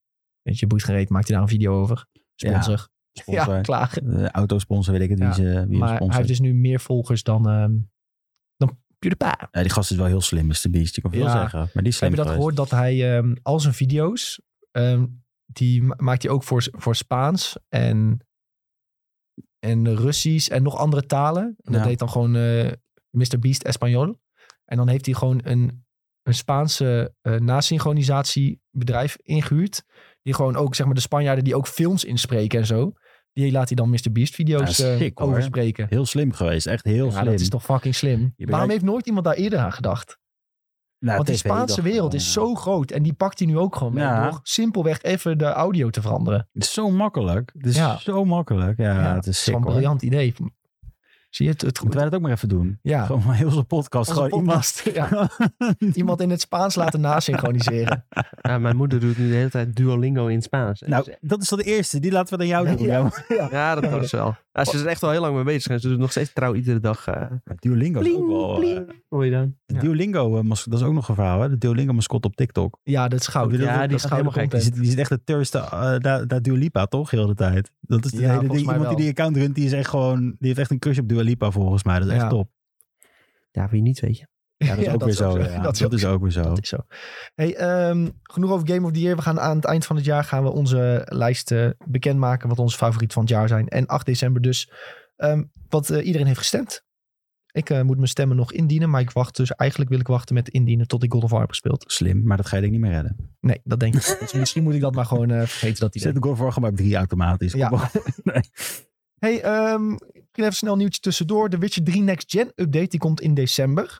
A: Weet je, boeit gereed, maakt hij daar een video over. Sponsor. Ja,
C: Sponsor.
A: klaar.
C: Eh, autosponsor, weet ik het, wie
A: Ja,
C: ze wie hem
A: Maar hij
C: sponsort.
A: heeft dus nu meer volgers dan, ehm dan PewDiePie.
C: Ja, die gast is wel heel slim, Mr. Beast. Ik kan veel
A: Ja.
C: zeggen. Maar die is
A: Heb
C: slim
A: je dat
C: geweest.
A: gehoord, dat hij ehm, al zijn video's, ehm, die ma- maakt hij ook voor, voor Spaans en, en Russisch en nog andere talen. En dat
C: Ja.
A: deed dan gewoon eh Mr. Beast Espanol. En dan heeft hij gewoon een, een Spaanse eh nasynchronisatiebedrijf ingehuurd. Die gewoon ook, zeg maar, de Spanjaarden die ook films inspreken en zo. Die laat hij dan Mr. Beast video's
C: Ja,
A: eh,
C: sick, hoor.
A: overspreken.
C: Heel slim geweest. Echt heel
A: Ja,
C: slim.
A: dat is toch fucking slim.
C: bent
A: Waarom
C: eigenlijk-
A: heeft nooit iemand daar eerder aan gedacht?
C: Nou,
A: Want die
C: TV
A: Spaanse
C: dacht-
A: wereld is zo groot. En die pakt hij nu ook gewoon mee.
C: Ja.
A: Door simpelweg even de audio te veranderen.
C: Het is zo makkelijk. Het is
A: Ja.
C: zo makkelijk. Ja, het is sick
A: gewoon een
C: hoor.
A: briljant idee. Zie je het? het
C: Moeten wij dat ook maar even doen?
A: ja.
C: Gewoon maar heel zo'n podcast.
A: Onze
C: gewoon
A: podcast. Ja.
C: iemand... <laughs>
A: Iemand in het Spaans laten nasynchroniseren.
B: ja, mijn moeder doet nu de hele tijd Duolingo in Spaans.
C: nou, dat is wel de eerste. Die laten we dan jou doen.
A: Ja.
C: Ja.
B: ja, dat kan ze wel. Ja, ze is er echt al heel lang mee bezig en ze doet nog steeds trouw iedere dag. eh
C: Maar Duolingo is ook wel... eh,
B: hoor je dan?
C: de
A: Ja.
C: Duolingo, eh, mas- dat is ook nog een verhaal. Hè? De Duolingo mascot op TikTok.
A: Ja, dat is goud.
C: Ja, die
A: dat is
B: gaat
A: gouden
B: helemaal gek.
C: Die
A: content.
C: zit, die zit echt de thirst eh, naar, naar Dua Lipa, toch? Heel de tijd. Dat is de
A: Ja,
C: hele
A: volgens
C: ding.
A: mij wel.
C: Iemand die die account runt, die is echt gewoon... Die heeft echt een crush op Dua Lipa, volgens mij. Dat is echt
A: Ja.
C: top.
B: Ja, wie niet, weet je.
C: Ja,
A: <laughs>
C: dat is ook weer zo. ja.
A: Dat is ook zo.
C: ook weer zo.
A: Dat is zo. Hey, ehm, genoeg over Game of the Year. We gaan aan het eind van het jaar gaan we onze lijst eh, bekendmaken. Wat onze favoriet van het jaar zijn. En 8 december dus. ehm, wat eh, iedereen heeft gestemd. Ik eh, moet mijn stemmen nog indienen. Maar ik wacht dus. Eigenlijk wil ik wachten met indienen tot ik God of War heb gespeeld.
C: Slim, maar dat ga je denk ik niet meer redden.
A: Nee, dat denk ik. Dus misschien moet ik dat maar gewoon eh, vergeten dat
C: Zet
A: idee.
C: de goal voor, maar op drie automatisch. <laughs>
A: Ja.
C: Kom op.
A: Hey, ehm, misschien even snel een nieuwtje tussendoor. De Witcher 3 Next Gen update die komt in december.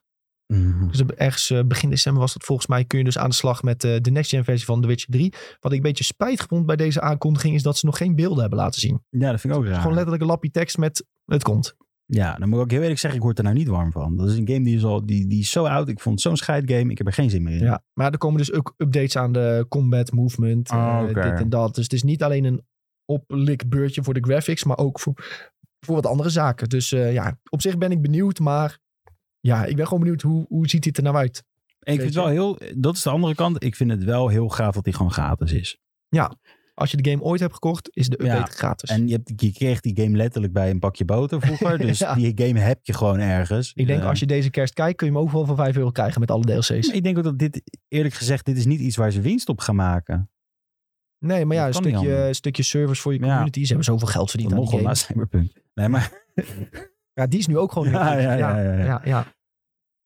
A: Dus dat- ergens eh, begin december was dat volgens mij. Kun je dus aan de slag met eh, de next-gen versie van The Witcher 3. Wat ik een beetje spijtig vond bij deze aankondiging is dat ze nog geen beelden hebben laten zien.
C: Ja, dat vind ik ook raar.
A: Gewoon letterlijk een lapje tekst met het komt.
C: Ja, dan moet ik ook heel eerlijk zeggen, ik word er nou niet warm van. Dat is een game die is, al, die, die is zo oud. Ik vond het zo'n scheidgame. Ik heb er geen zin meer in.
A: Ja. Maar er komen dus ook updates aan de combat movement. eh,
C: Ah, oké.
A: Dit en dat. Dus het is niet alleen een oplikbeurtje voor de graphics. Maar ook voor, voor wat andere zaken. Dus eh, ja, op zich ben ik benieuwd. Maar ja, ik ben gewoon benieuwd hoe, hoe ziet dit er nou uit.
C: En ik vind het wel heel... Dat is de andere kant. Ik vind het wel heel gaaf dat die gewoon gratis is.
A: Als je de game ooit hebt gekocht, is de update
C: Ja.
A: gratis.
C: En je, hebt, je kreeg die game letterlijk bij een bakje boter <laughs> vroeger. Dus
A: Ja.
C: die game heb je gewoon ergens.
A: ik denk
C: Eh,
A: als je deze kerst kijkt, kun je hem ook wel voor 5 euro krijgen met alle DLC's.
C: Ik denk ook dat dit, eerlijk gezegd, dit is niet iets waar ze winst op gaan maken.
A: Nee, maar ja, een
C: Dat kan niet
A: stukje,
C: anders.
A: een stukje service voor je
C: Ja.
A: community. Ze hebben zoveel geld verdiend aan die
C: Nog wel
A: game.
C: na Cyberpunk. Nee, maar, <laughs>
A: Ja, die is nu ook gewoon... in
C: Ja,
A: de
C: ja,
A: lucht.
C: ja, ja, ja.
A: ja, ja.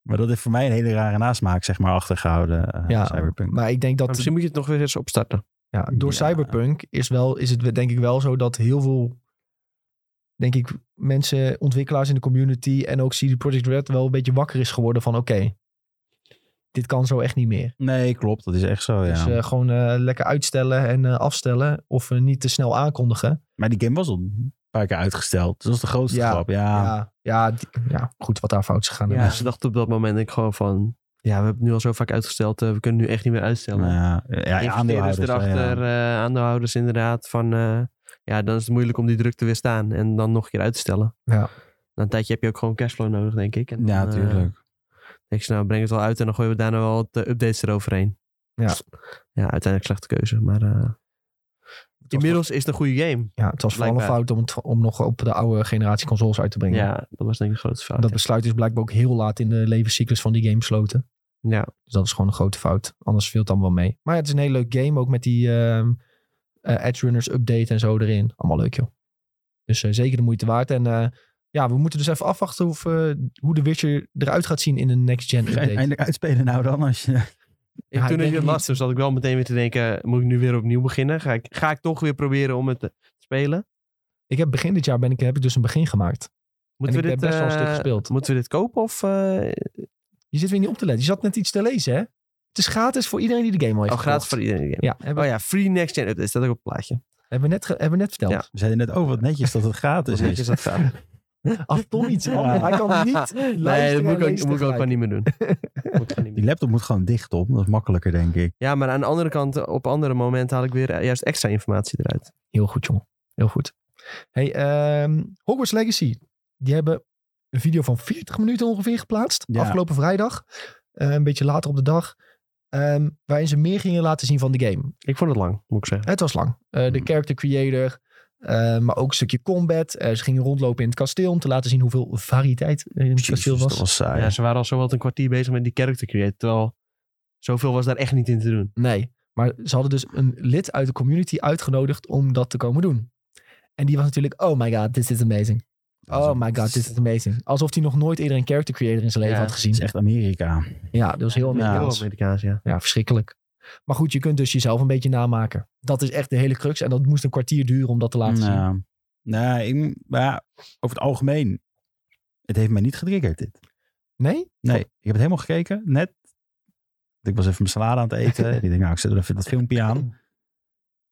C: maar dat heeft voor mij een hele rare nasmaak, zeg maar, achtergehouden. eh,
A: Ja,
C: Cyberpunk.
A: Maar ik denk
B: Maar
A: dat
C: eh,
B: misschien moet je het nog weer eens opstarten.
A: ja, door
C: Ja.
A: Cyberpunk is, wel, is het denk ik wel zo dat heel veel... Denk ik, mensen, ontwikkelaars in de community en ook CD Projekt Red wel een beetje wakker is geworden van oké, dit kan zo echt niet meer.
C: Nee, klopt. Dat is echt zo, ja.
A: Dus eh, gewoon eh, lekker uitstellen en eh, afstellen of eh, niet te snel aankondigen.
C: Maar die game was al een paar keer uitgesteld. Dus dat is de grootste
A: Ja,
C: grap. Ja,
A: Ja, ja, die- ja, goed wat daar fout is gegaan. Dus
B: Ja. Ze dachten op dat moment ik gewoon van... Ja, we hebben het nu al zo vaak uitgesteld. eh, we kunnen nu echt niet meer uitstellen.
C: Nou ja, ja, ja
B: Investeerders
C: aandeelhouders.
B: erachter,
C: ja.
B: eh, aandeelhouders inderdaad. Van, eh, ja, dan is het moeilijk om die druk te weerstaan en dan nog een keer uit te stellen.
A: Ja.
B: Na een tijdje heb je ook gewoon cashflow nodig, denk ik. En dan,
C: Ja,
B: eh,
C: tuurlijk.
B: denk je, nou, breng het wel uit en dan gooien we daarna wel wat eh, updates eroverheen. Dus,
A: Ja.
B: Ja, uiteindelijk slechte keuze. Maar eh, inmiddels is het een goede game.
A: Ja, het was vooral een
B: Blijkbaar.
A: fout om, het, om nog op de oude generatie consoles uit te brengen.
B: Ja, dat was denk ik de grootste fout.
A: Dat
B: ja.
A: besluit is blijkbaar ook heel laat in de levenscyclus van die game besloten.
B: Ja.
A: Dus dat is gewoon een grote fout. Anders viel het allemaal wel mee. Maar ja, het is een hele leuk game. Ook met die ehm eh, Edge Runners update en zo erin. Allemaal leuk joh. Dus eh, zeker de moeite waard. En eh, ja, we moeten dus even afwachten of, eh, hoe de Witcher eruit gaat zien in de next gen
C: Ga
A: update.
C: je eindelijk uitspelen nou dan? Als je...
A: Ja, ik
B: toen
A: denk
B: ik het
A: niet.
B: las, toen zat ik wel meteen weer te denken, moet ik nu weer opnieuw beginnen? Ga ik, ga ik toch weer proberen om het te spelen?
A: Ik heb begin dit jaar ben ik, heb ik dus een begin gemaakt.
B: Moeten
A: en
B: we
A: ik
B: dit,
A: heb best wel een stuk
B: eh,
A: gespeeld.
B: Moeten we dit kopen of... eh
A: Je zit weer niet op te letten. Je zat net iets te lezen, hè? Het is gratis voor iedereen die de game al heeft
B: oh, gratis voor
A: gekocht.
B: iedereen.
A: Ja, hebben,
B: Oh ja, free next gen update. Staat ook op het plaatje.
A: hebben, we net, ge- hebben we net verteld.
B: Ja.
C: We zeiden net, oh wat netjes dat het gratis
B: Hoe netjes
A: <laughs>
C: is.
B: dat gaat.
A: Af Tom
B: <laughs>
A: iets.
C: Ja.
A: anders. Hij kan niet
B: Nee, dat
A: luisteren
B: moet ik
A: en
B: ook,
A: lezen
B: moet ik ook gewoon
A: tegelijk.
B: niet meer
A: <laughs>
B: doen. Moet ik gewoon niet meer
C: Die laptop moet gewoon dicht op. Dat is makkelijker denk ik.
B: doen. Ja, maar aan de andere kant, op andere momenten haal ik weer eh, juist extra informatie eruit.
A: Heel goed, jongen. Heel goed. Hey, ehm, Hogwarts Legacy. Die hebben een video van 40 minuten ongeveer geplaatst.
C: Ja.
A: Afgelopen vrijdag. Eh, een beetje later op de dag. Ehm, waarin ze meer gingen laten zien van de game.
B: Ik vond het lang, moet ik zeggen.
A: Het was lang. Eh, de
C: Hmm.
A: character creator. eh, maar ook een stukje combat. Eh, ze gingen rondlopen in het kasteel om te laten zien hoeveel variëteit er in het kasteel
B: dus
C: Jezus,
A: was.
C: dat was saai.
B: Ja, ze waren al zowat een kwartier bezig met die character create. Terwijl zoveel was daar echt niet in te doen.
A: Nee, maar ze hadden dus een lid uit de community uitgenodigd om dat te komen doen. En die was natuurlijk, oh my god, this is amazing.
C: Dat was
A: Oh
C: ook-
A: my god, this is amazing. Alsof hij nog nooit eerder een character creator in zijn leven
B: Ja,
A: had
C: Het is
A: gezien.
C: echt Amerika.
A: Ja, dat was heel
B: Heel
A: Amerikaans. Ja.
B: Amerikaans, ja.
A: verschrikkelijk. Maar goed, je kunt dus jezelf een beetje namaken. Dat is echt de hele crux. En dat moest een kwartier duren om dat te laten zien.
C: Nou, nou, ik- maar over het algemeen, het heeft mij niet getriggerd dit.
A: Nee?
C: Nee, ik heb het helemaal gekeken, net. Ik was even mijn salade aan het eten. en ik denk, nou, ik zet er even dat filmpje aan.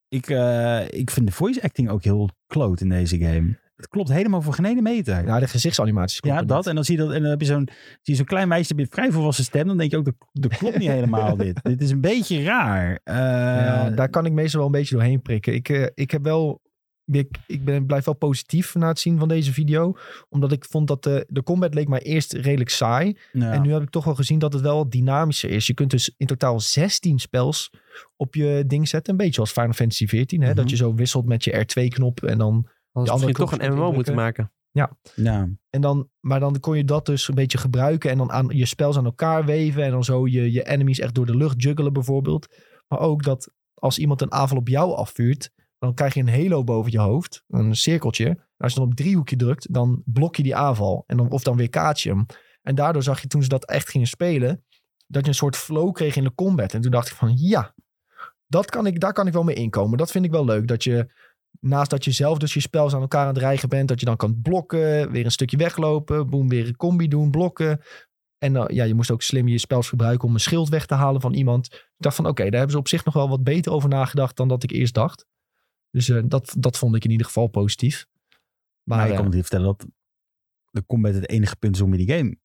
C: Ik, eh, ik vind de voice acting ook heel kloot in deze game. Het klopt helemaal voor geen ene meter.
A: Nou, de gezichtsanimaties.
C: Ja,
A: kloppen
C: dat.
A: niet.
C: En dan zie je, dat, en dan heb je zo'n zie je zo'n klein meisje met vrij volwassen stem. Dan denk je ook, dat, dat klopt niet helemaal dit. Dit is een beetje raar. Eh,
A: Ja, daar kan ik meestal wel een beetje doorheen prikken. Ik, eh, ik heb wel. Ik, ik ben, blijf wel positief na het zien van deze video. Omdat ik vond dat de, de combat leek mij eerst redelijk saai.
C: ja.
A: En nu heb ik toch wel gezien dat het wel wat dynamischer is. Je kunt dus in totaal 16 spels op je ding zetten. Een beetje als Final Fantasy 14. Hè? Dat
C: Mhm.
A: je zo wisselt met je R2-knop. En dan,
B: Anders
A: andere
B: misschien toch
A: knopjes
B: een MMO
A: indrukken.
B: moeten maken.
C: ja.
A: en dan, maar dan kon je dat dus een beetje gebruiken. En dan aan, je spels aan elkaar weven. En dan zo je, je enemies echt door de lucht juggelen bijvoorbeeld. Maar ook dat als iemand een aanval op jou afvuurt. Dan krijg je een halo boven je hoofd. Een cirkeltje. En als je dan op driehoekje drukt, dan blok je die aanval. En dan, of dan weer kaats je hem. En daardoor zag je toen ze dat echt gingen spelen. Dat je een soort flow kreeg in de combat. En toen dacht ik van ja, dat kan ik, daar kan ik wel mee inkomen. Dat vind ik wel leuk. Dat je naast dat je zelf dus je spels aan elkaar aan het rijgen bent. Dat je dan kan blokken. Weer een stukje weglopen. Boem, weer een combi doen. Blokken. En eh, ja, je moest ook slim je spels gebruiken om een schild weg te halen van iemand. Ik dacht van oké, daar hebben ze op zich nog wel wat beter over nagedacht dan dat ik eerst dacht. Dus eh, dat, dat vond ik in ieder geval positief. Maar,
C: Maar ik
A: eh,
C: nou, kan me niet vertellen dat de combat het enige punt is om in die game.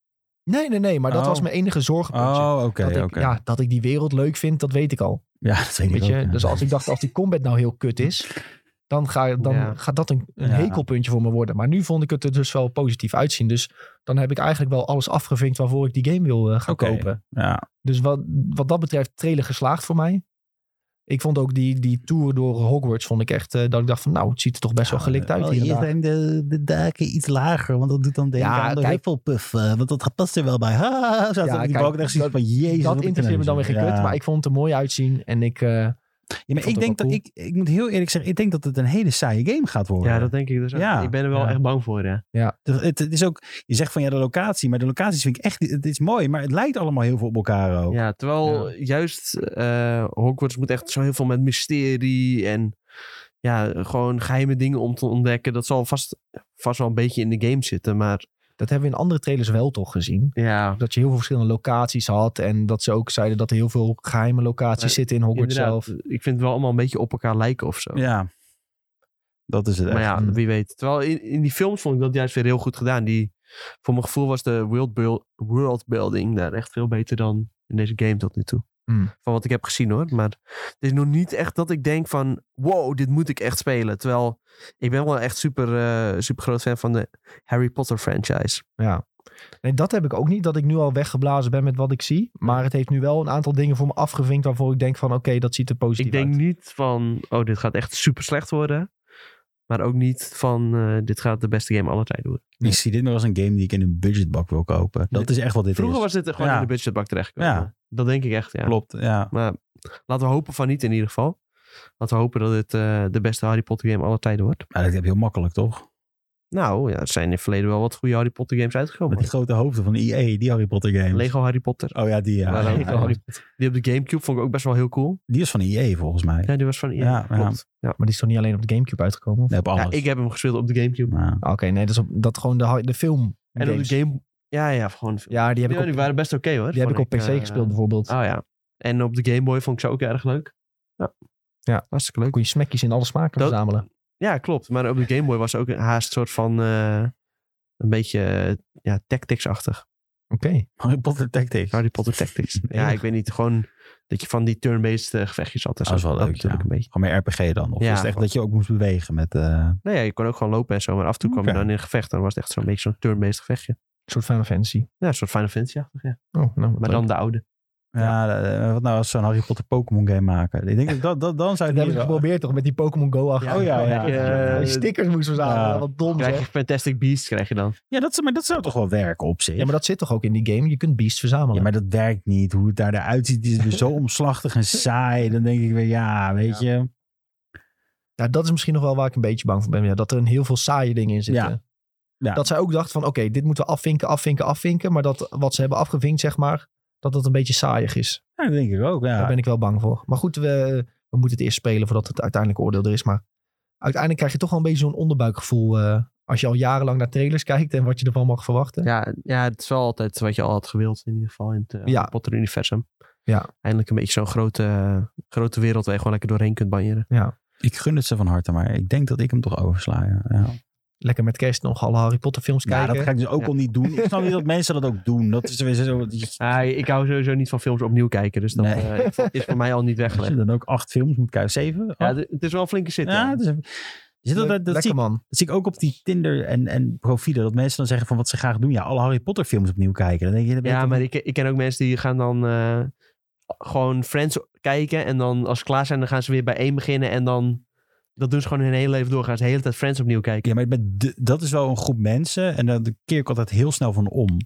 A: nee, nee, nee. Maar dat
C: Oh.
A: was mijn enige zorgenpuntje.
C: Oh, oké,
A: Dat ik,
C: oké.
A: ja, dat ik die wereld leuk vind, dat weet ik al.
C: Ja, dat weet ik
A: Weet
C: ook,
A: je?
C: ja.
A: Dus als ik dacht, als die combat nou heel kut is, dan, ga, dan
B: Ja.
A: gaat dat een, een
C: Ja.
A: hekelpuntje voor me worden. Maar nu vond ik het er dus wel positief uitzien. Dus dan heb ik eigenlijk wel alles afgevinkt waarvoor ik die game wil eh, gaan
C: Oké.
A: kopen.
C: Ja,
A: Dus wat, wat dat betreft, trailer geslaagd voor mij. Ik vond ook die, die tour door Hogwarts, vond ik echt, eh, dat ik dacht van nou, het ziet er toch best wel
C: Eh,
A: gelikt
C: oh,
A: uit. hier en daar.
C: zijn de, de daken iets lager, want dat doet dan denken
A: Ja,
C: aan de
A: kijk.
C: Hufflepuff. eh, want dat past er wel bij. Ha, ha, ha, zaten
A: Ja,
C: op die
A: kijk,
C: balken echt zoiets
A: dat-
C: van, jezus. wat
A: dat
C: een
A: interesseert me dan weer geen
C: kneuzen.
A: kut,
C: Ja.
A: maar ik vond het er mooi uitzien. En ik, eh,
C: Ja, maar
A: vond
C: ik
A: het
C: denk dat
A: wel
C: ik, ik moet heel eerlijk zeggen, ik denk dat het een hele saaie game gaat worden.
B: Ja, dat denk ik dus ook.
C: Ja.
B: Ik ben er wel
A: Ja.
B: echt bang voor, ja.
C: Het, het- het is ook, je zegt van ja, de locatie, maar de locaties vind ik echt, het is mooi, maar het lijkt allemaal heel veel op elkaar ook.
B: Ja, terwijl juist eh, Hogwarts moet echt zo heel veel met mysterie en ja, gewoon geheime dingen om te ontdekken. Dat zal vast, vast wel een beetje in de game zitten, maar
A: dat hebben we in andere trailers wel toch gezien.
B: ja,
A: Dat je heel veel verschillende locaties had. En dat ze ook zeiden dat er heel veel geheime locaties
B: Maar
A: zitten in Hogwarts
B: inderdaad,
A: zelf.
B: ik vind het wel allemaal een beetje op elkaar lijken of zo.
C: Ja. dat is het echt.
B: maar ja,
A: Mm.
B: wie weet. Terwijl in, in die films vond ik dat juist weer heel goed gedaan. Die, voor mijn gevoel was de worldbuil- worldbuilding daar echt veel beter dan in deze game tot nu toe.
A: Mm.
B: Van wat ik heb gezien hoor. Maar het is nog niet echt dat ik denk van... Wow, dit moet ik echt spelen. Terwijl ik ben wel echt super, eh, super groot fan van de Harry Potter franchise.
A: Ja. Nee, dat heb ik ook niet. Dat ik nu al weggeblazen ben met wat ik zie. Maar het heeft nu wel een aantal dingen voor me afgevinkt. Waarvoor ik denk van oké, dat ziet er positief
B: ik denk
A: uit.
B: niet van... Oh, dit gaat echt super slecht worden. Maar ook niet van... eh, dit gaat de beste game aller tijden worden.
C: Ik zie dit nog als een game die ik in een budgetbak wil kopen. Dat is echt wat dit
B: Vroeger
C: is.
B: was dit er gewoon
C: Ja.
B: in de budgetbak terechtgekomen.
C: Ja.
B: Dat denk ik echt, ja.
C: Klopt, ja.
B: Maar laten we hopen van niet in ieder geval. Laten we hopen dat het eh, de beste Harry Potter game aller tijden wordt.
C: Maar dat heb je heel makkelijk, toch?
B: Nou, ja, er zijn in het verleden wel wat goede Harry Potter games
C: Met
B: uitgekomen.
C: die grote hoofden van EA, die Harry Potter games.
B: Lego Harry Potter.
C: Oh ja, die, ja.
B: Maar dan-
C: Ja,
B: Die op de Gamecube vond ik ook best wel heel cool.
C: Die is van EA volgens mij.
B: Ja, die was van... Ja,
C: Ja, ja.
B: klopt. Ja.
A: Maar die is toch niet alleen op de Gamecube uitgekomen? of?
C: Nee, op alles.
B: Ja, ik heb hem gespeeld op de Gamecube.
C: Maar-
A: Ah, Oké, nee, dat is op, dat gewoon de, ha- de film.
B: En op
A: games.
B: de Game... Ja, ja, gewoon...
A: Ja, die heb
B: Ja,
A: ik
B: die
A: op,
B: waren best oké hoor.
A: die heb ik
B: vond
A: op PC
B: eh,
A: gespeeld bijvoorbeeld.
B: Oh ja. En op de Game Boy vond ik ze ook erg leuk. Ja.
A: Ja.
B: Hartstikke leuk.
A: kon je smekjes in alle smaken
B: Dat-
A: verzamelen.
B: Ja, klopt. Maar op de Game Boy was ook haast een soort van... eh, een beetje eh, ja, tactics-achtig.
A: Oké.
C: Harry Potter Tactics.
B: Harry Potter Tactics. <laughs> ja,
A: Enig.
B: ik weet niet. Gewoon dat je van die turn-based eh, gevechtjes had. en
C: Dat is
B: zo.
C: wel leuk,
B: bedoel
C: ja.
B: ik een beetje.
C: Gewoon meer RPG dan. Of
B: Ja,
C: is het echt
B: gewoon-
C: dat je ook moest bewegen met... eh,
B: Nou ja, je kon ook gewoon lopen en zo. Maar af en toe kwam
C: Oké.
B: je dan in een gevecht. En dan was het echt zo'n beetje zo'n turn-based gevechtje.
A: Een soort Final Fantasy.
B: Ja, een soort Final Fantasy-achtig, ja.
A: Oh, nou, wat
B: Maar
A: leuk.
B: dan de oude.
C: Ja, eh, wat nou als ze een Harry Potter Pokémon game maken? Ik denk dat, dat, dat dan zou
A: Dat
C: het
A: hebben ze
C: niet wel-
A: geprobeerd toch met die Pokémon go achter.
C: Oh ja, ja.
B: krijg je,
C: Ja,
B: eh,
A: Die stickers moesten verzamelen.
C: Ja.
A: Wat dom
B: krijg je
A: zeg.
B: Fantastic Beasts krijg je dan.
C: Ja, dat, zou- maar dat zou toch wel werken op zich?
A: Ja, maar dat zit toch ook in die game? Je kunt beasts verzamelen.
C: Ja, maar dat werkt niet. Hoe het daar eruit ziet is weer <laughs> zo omslachtig en saai. Dan denk ik weer, ja, weet je.
A: Ja, Nou, dat is misschien nog wel waar ik een beetje bang voor ben. Ja, dat er een heel veel saaie dingen in zitten.
C: Ja.
A: Dat zij ook dachten van, oké, dit moeten we afvinken, afvinken, afvinken. Maar dat wat ze hebben afgevinkt, zeg maar, dat dat een beetje saaiig is.
C: Ja, dat denk ik ook, ja.
A: Daar ben ik wel bang voor. Maar goed, we, we moeten het eerst spelen voordat het uiteindelijke oordeel er is. Maar uiteindelijk krijg je toch wel een beetje zo'n onderbuikgevoel... eh, als je al jarenlang naar trailers kijkt en wat je ervan mag verwachten.
B: Ja, ja, het is wel altijd wat je al had gewild. In ieder geval in het eh,
A: Ja.
B: Harry Potter-universum.
A: Ja.
B: Eindelijk een beetje zo'n grote, grote wereld waar je gewoon lekker doorheen kunt banjeren.
C: Ik gun het ze van harte, maar ik denk dat ik hem toch oversla. Ja, ja.
A: Lekker met kerst nog alle Harry Potter films
C: Ja,
A: kijken.
C: dat ga ik dus ook
B: Ja.
C: al niet doen. Ik snap niet dat mensen dat ook doen. Dat is weer zo...
B: Ah, ik hou sowieso niet van films opnieuw kijken. Dus dat
C: Nee. Oh.
B: eh,
A: <laughs>
B: is voor mij al niet
C: Als <laughs> je
B: weggelegd.
C: dan ook acht films moet kijken. Zeven?
B: Ja,
C: Acht?
B: d- het is wel een flinke zit.
C: Ja,
B: ja.
C: dus, je zit
A: Leuk-
C: altijd- dat,
A: Lekker
C: zie ik,
A: man.
C: dat zie ik ook op die Tinder en, en profielen. Dat mensen dan zeggen van wat ze graag doen. Ja, alle Harry Potter films opnieuw kijken. Dan denk je, dat ben je
B: Ja,
C: toch
B: maar ik, ik ken ook mensen die gaan dan eh, gewoon Friends kijken. En dan als ze klaar zijn, dan gaan ze weer bij één beginnen. En dan, dat doen ze gewoon hun hele leven door. Gaan ze de hele tijd Friends opnieuw kijken.
C: Ja, maar met de- dat is wel een groep mensen. En daar keer ik altijd heel snel van om.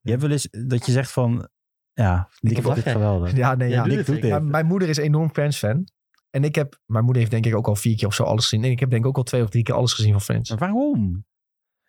C: Je hebt wel eens dat je zegt van... Ja, Nick
B: heb
C: vond dit
B: lachen.
C: geweldig.
A: Ja, nee,
B: Ja,
A: ja.
B: doe
C: Nick
B: het,
C: doet
B: ik-
C: dit.
A: Maar mijn moeder is enorm Friends fan. En ik heb, mijn moeder heeft denk ik ook al vier keer of zo alles gezien. En ik heb denk ik ook al twee of drie keer alles gezien van Friends.
C: Maar waarom?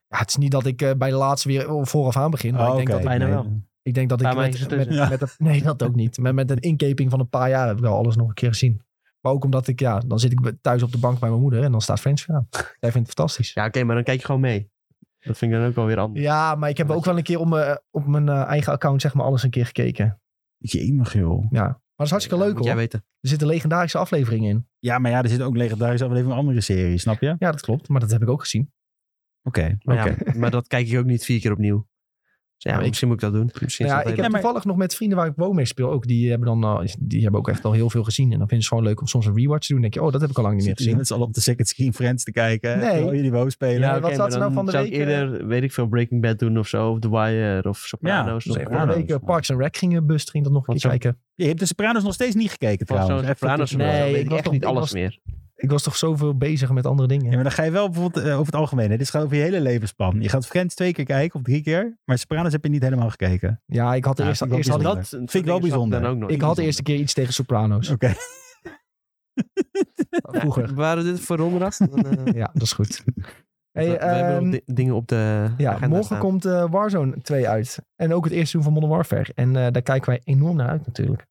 A: Ja, het is niet dat ik eh, bij de laatste weer oh, vooraf aan begin. Maar
B: Ah,
C: Oh,
A: ik, denk
C: oké.
A: dat ik,
B: Bijna
C: Nee.
B: wel.
A: ik denk dat ik
B: Paar
A: met,
B: maandjes
A: met,
B: ertussen.
C: Ja.
A: met een- <laughs> nee, dat ook niet. Met, met een inkeping van een paar jaar heb ik wel alles nog een keer gezien. Maar ook omdat ik, ja, dan zit ik be- thuis op de bank bij mijn moeder en dan staat Friends
B: <laughs>
A: weer aan. Zij vindt het fantastisch.
B: Ja, oké, maar dan kijk je gewoon mee. Dat vind ik dan ook wel weer anders.
A: Ja, maar ik heb
B: Dat
A: ook wel een keer op mijn, op mijn eh, eigen account zeg maar alles een keer gekeken.
C: Jemig, joh.
A: Ja, maar dat is hartstikke
B: Ja,
A: leuk
B: moet
A: hoor.
B: Jij
A: Er
B: weten.
A: zitten legendarische afleveringen in.
C: Ja, maar ja, er zit ook legendarische aflevering van andere series, snap je? Oké,
A: Ja, dat klopt. Maar dat heb ik ook gezien.
C: oké.
B: Maar, ja, maar dat kijk ik ook niet vier keer opnieuw. Dus ja,
A: Ja, ik-
B: misschien moet ik dat doen. Misschien is
A: Nou
B: dat
A: ja, ik
B: heel-
A: heb
C: Nee, maar-
A: toevallig nog met vrienden waar ik woon mee speel ook. Die hebben, dan, eh, die hebben ook echt al heel veel gezien. En dan vinden ze het gewoon leuk om soms een rewatch te doen. Dan denk je, oh, dat heb ik al lang niet meer
C: Zitten jullie
A: gezien.
C: met z'n allen op de second screen Friends te kijken?
A: Nee.
C: Terwijl jullie WoW spelen?
A: Ja,
B: oké,
A: wat
B: maar
A: zat ze nou
B: dan
A: van de
B: zou
A: week,
B: Ik eerder, weet ik veel, Breaking Bad doen of zo. Of The Wire of Sopranos.
C: dat
A: Dus
B: of
C: is
A: even vorige
C: Sopranos.
A: week eh, Parks and Rec gingen bust, ging dat nog een
B: Want
A: keer
B: zo-
A: kijken.
C: Je hebt de Sopranos nog steeds niet gekeken
B: Van
C: trouwens.
B: zo'n
C: Even
B: Sopranos.
C: tussendoor.
A: Nee,
B: Nee,
A: ik
B: ik
A: was
B: echt
A: nog-
B: niet
A: ik
B: alles
A: was-
B: meer.
A: Ik was toch zoveel bezig met andere dingen.
C: Ja, maar dan ga je wel bijvoorbeeld eh, over het algemeen. Hè? Dit gaat over je hele levensspan. Je gaat Friends twee keer kijken of drie keer. Maar Sopranos heb je niet helemaal gekeken.
A: Ja, ik had de
C: Ja,
A: eerste,
C: vind ik
A: eerst
C: ook
A: had ik,
C: bijzonder.
B: Dat
C: Vind ik wel bijzonder.
B: Dan ook nog.
A: ik had de eerste keer iets tegen Soprano's.
B: <laughs>
C: Oké.
A: Vroeger.
B: Waren dit voor donderdag? Dan, eh,
A: Ja, dat is
B: <laughs>
A: goed.
B: we,
A: <laughs> Hey,
B: we hebben
A: ehm,
B: nog di- dingen op de
A: ja,
B: agenda
A: morgen
B: staan.
A: komt eh, Warzone 2 uit. En ook het eerste seizoen van Modern Warfare. En eh, daar kijken wij enorm naar uit natuurlijk.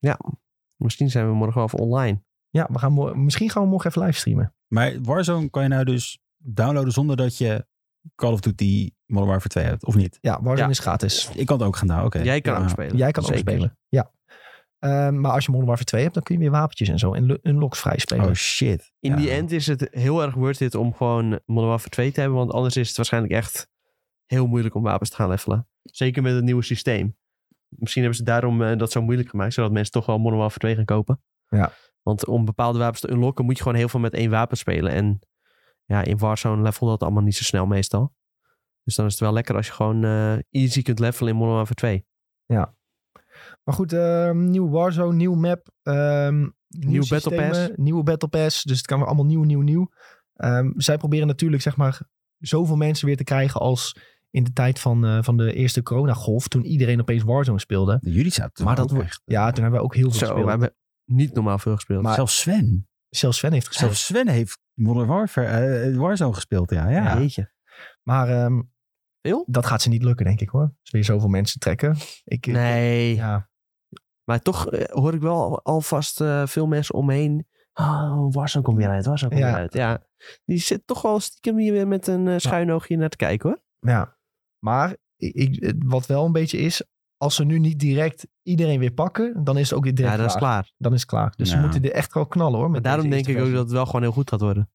B: Misschien zijn we morgen wel even online.
A: Ja, we gaan mo- misschien gaan we morgen even livestreamen.
C: Maar Warzone kan je nou dus downloaden zonder dat je Call of Duty Modern Warfare 2 hebt, of niet?
A: Ja, Warzone
B: Ja.
A: is gratis.
C: Ik kan het ook gaan doen, oké.
B: Jij kan
C: Eh, Ja.
B: ook spelen.
A: Jij kan ook
B: Zeker.
A: spelen. Ja. Ehm, maar als je Modern Warfare 2 hebt, dan kun je weer wapentjes en zo en lu- unlocks vrij spelen.
C: Oh shit.
B: In die
C: Ja.
B: end is het heel erg worth it om gewoon Modern Warfare 2 te hebben. Want anders is het waarschijnlijk echt heel moeilijk om wapens te gaan levelen. Zeker met het nieuwe systeem. Misschien hebben ze daarom eh, dat zo moeilijk gemaakt. Zodat mensen toch wel Modern Warfare 2 gaan kopen.
A: Ja.
B: Want om bepaalde wapens te unlocken moet je gewoon heel veel met één wapen spelen. En ja, in Warzone level dat allemaal niet zo snel meestal. Dus dan is het wel lekker als je gewoon eh, easy kunt levelen in Modern Warfare 2.
A: Maar goed, ehm, nieuw Warzone, nieuw map, ehm, nieuwe
B: Battle
A: systemen,
B: Pass.
A: nieuwe Battle Pass. Dus het kan weer allemaal nieuw, nieuw, nieuw. Ehm, zij proberen natuurlijk zeg maar zoveel mensen weer te krijgen als in de tijd van, eh, van de eerste coronagolf. Toen iedereen opeens Warzone speelde.
C: Jullie zaten
A: Maar
C: maar
A: dat
C: dat
A: wordt-
C: echt.
A: Ja, toen hebben we ook heel veel
B: Zo, we
A: gespeeld.
B: hebben niet normaal veel gespeeld.
A: Maar-
C: Zelfs Sven.
A: Zelfs Sven heeft gespeeld.
C: Zelfs Sven heeft Modern Warfare, eh, Warzone eh, gespeeld, ja. ja.
B: Jeetje.
A: Maar ehm,
B: Veel?
A: dat gaat ze niet lukken, denk ik hoor. Als weer zoveel mensen trekken. Ik, ik-
B: Nee.
A: Ja,
B: Maar toch eh, hoor ik wel al- alvast eh, veel mensen omheen. Oh, Warsan komt weer uit, Warsan komt
A: Ja.
B: weer uit. Ja, die zit toch wel stiekem hier weer met een eh, schuin oogje naar te kijken hoor.
A: ja. Maar ik, ik- het- wat wel een beetje is, als ze nu niet direct iedereen weer pakken, dan is het ook weer direct
B: ja, dat is klaar.
A: Dan is het klaar. Dus ze
C: Ja.
A: moeten er echt wel knallen hoor.
B: Maar
A: met
B: daarom
A: deze
B: denk
A: eerste
B: ik ook
A: versie.
B: dat het wel gewoon heel goed gaat worden.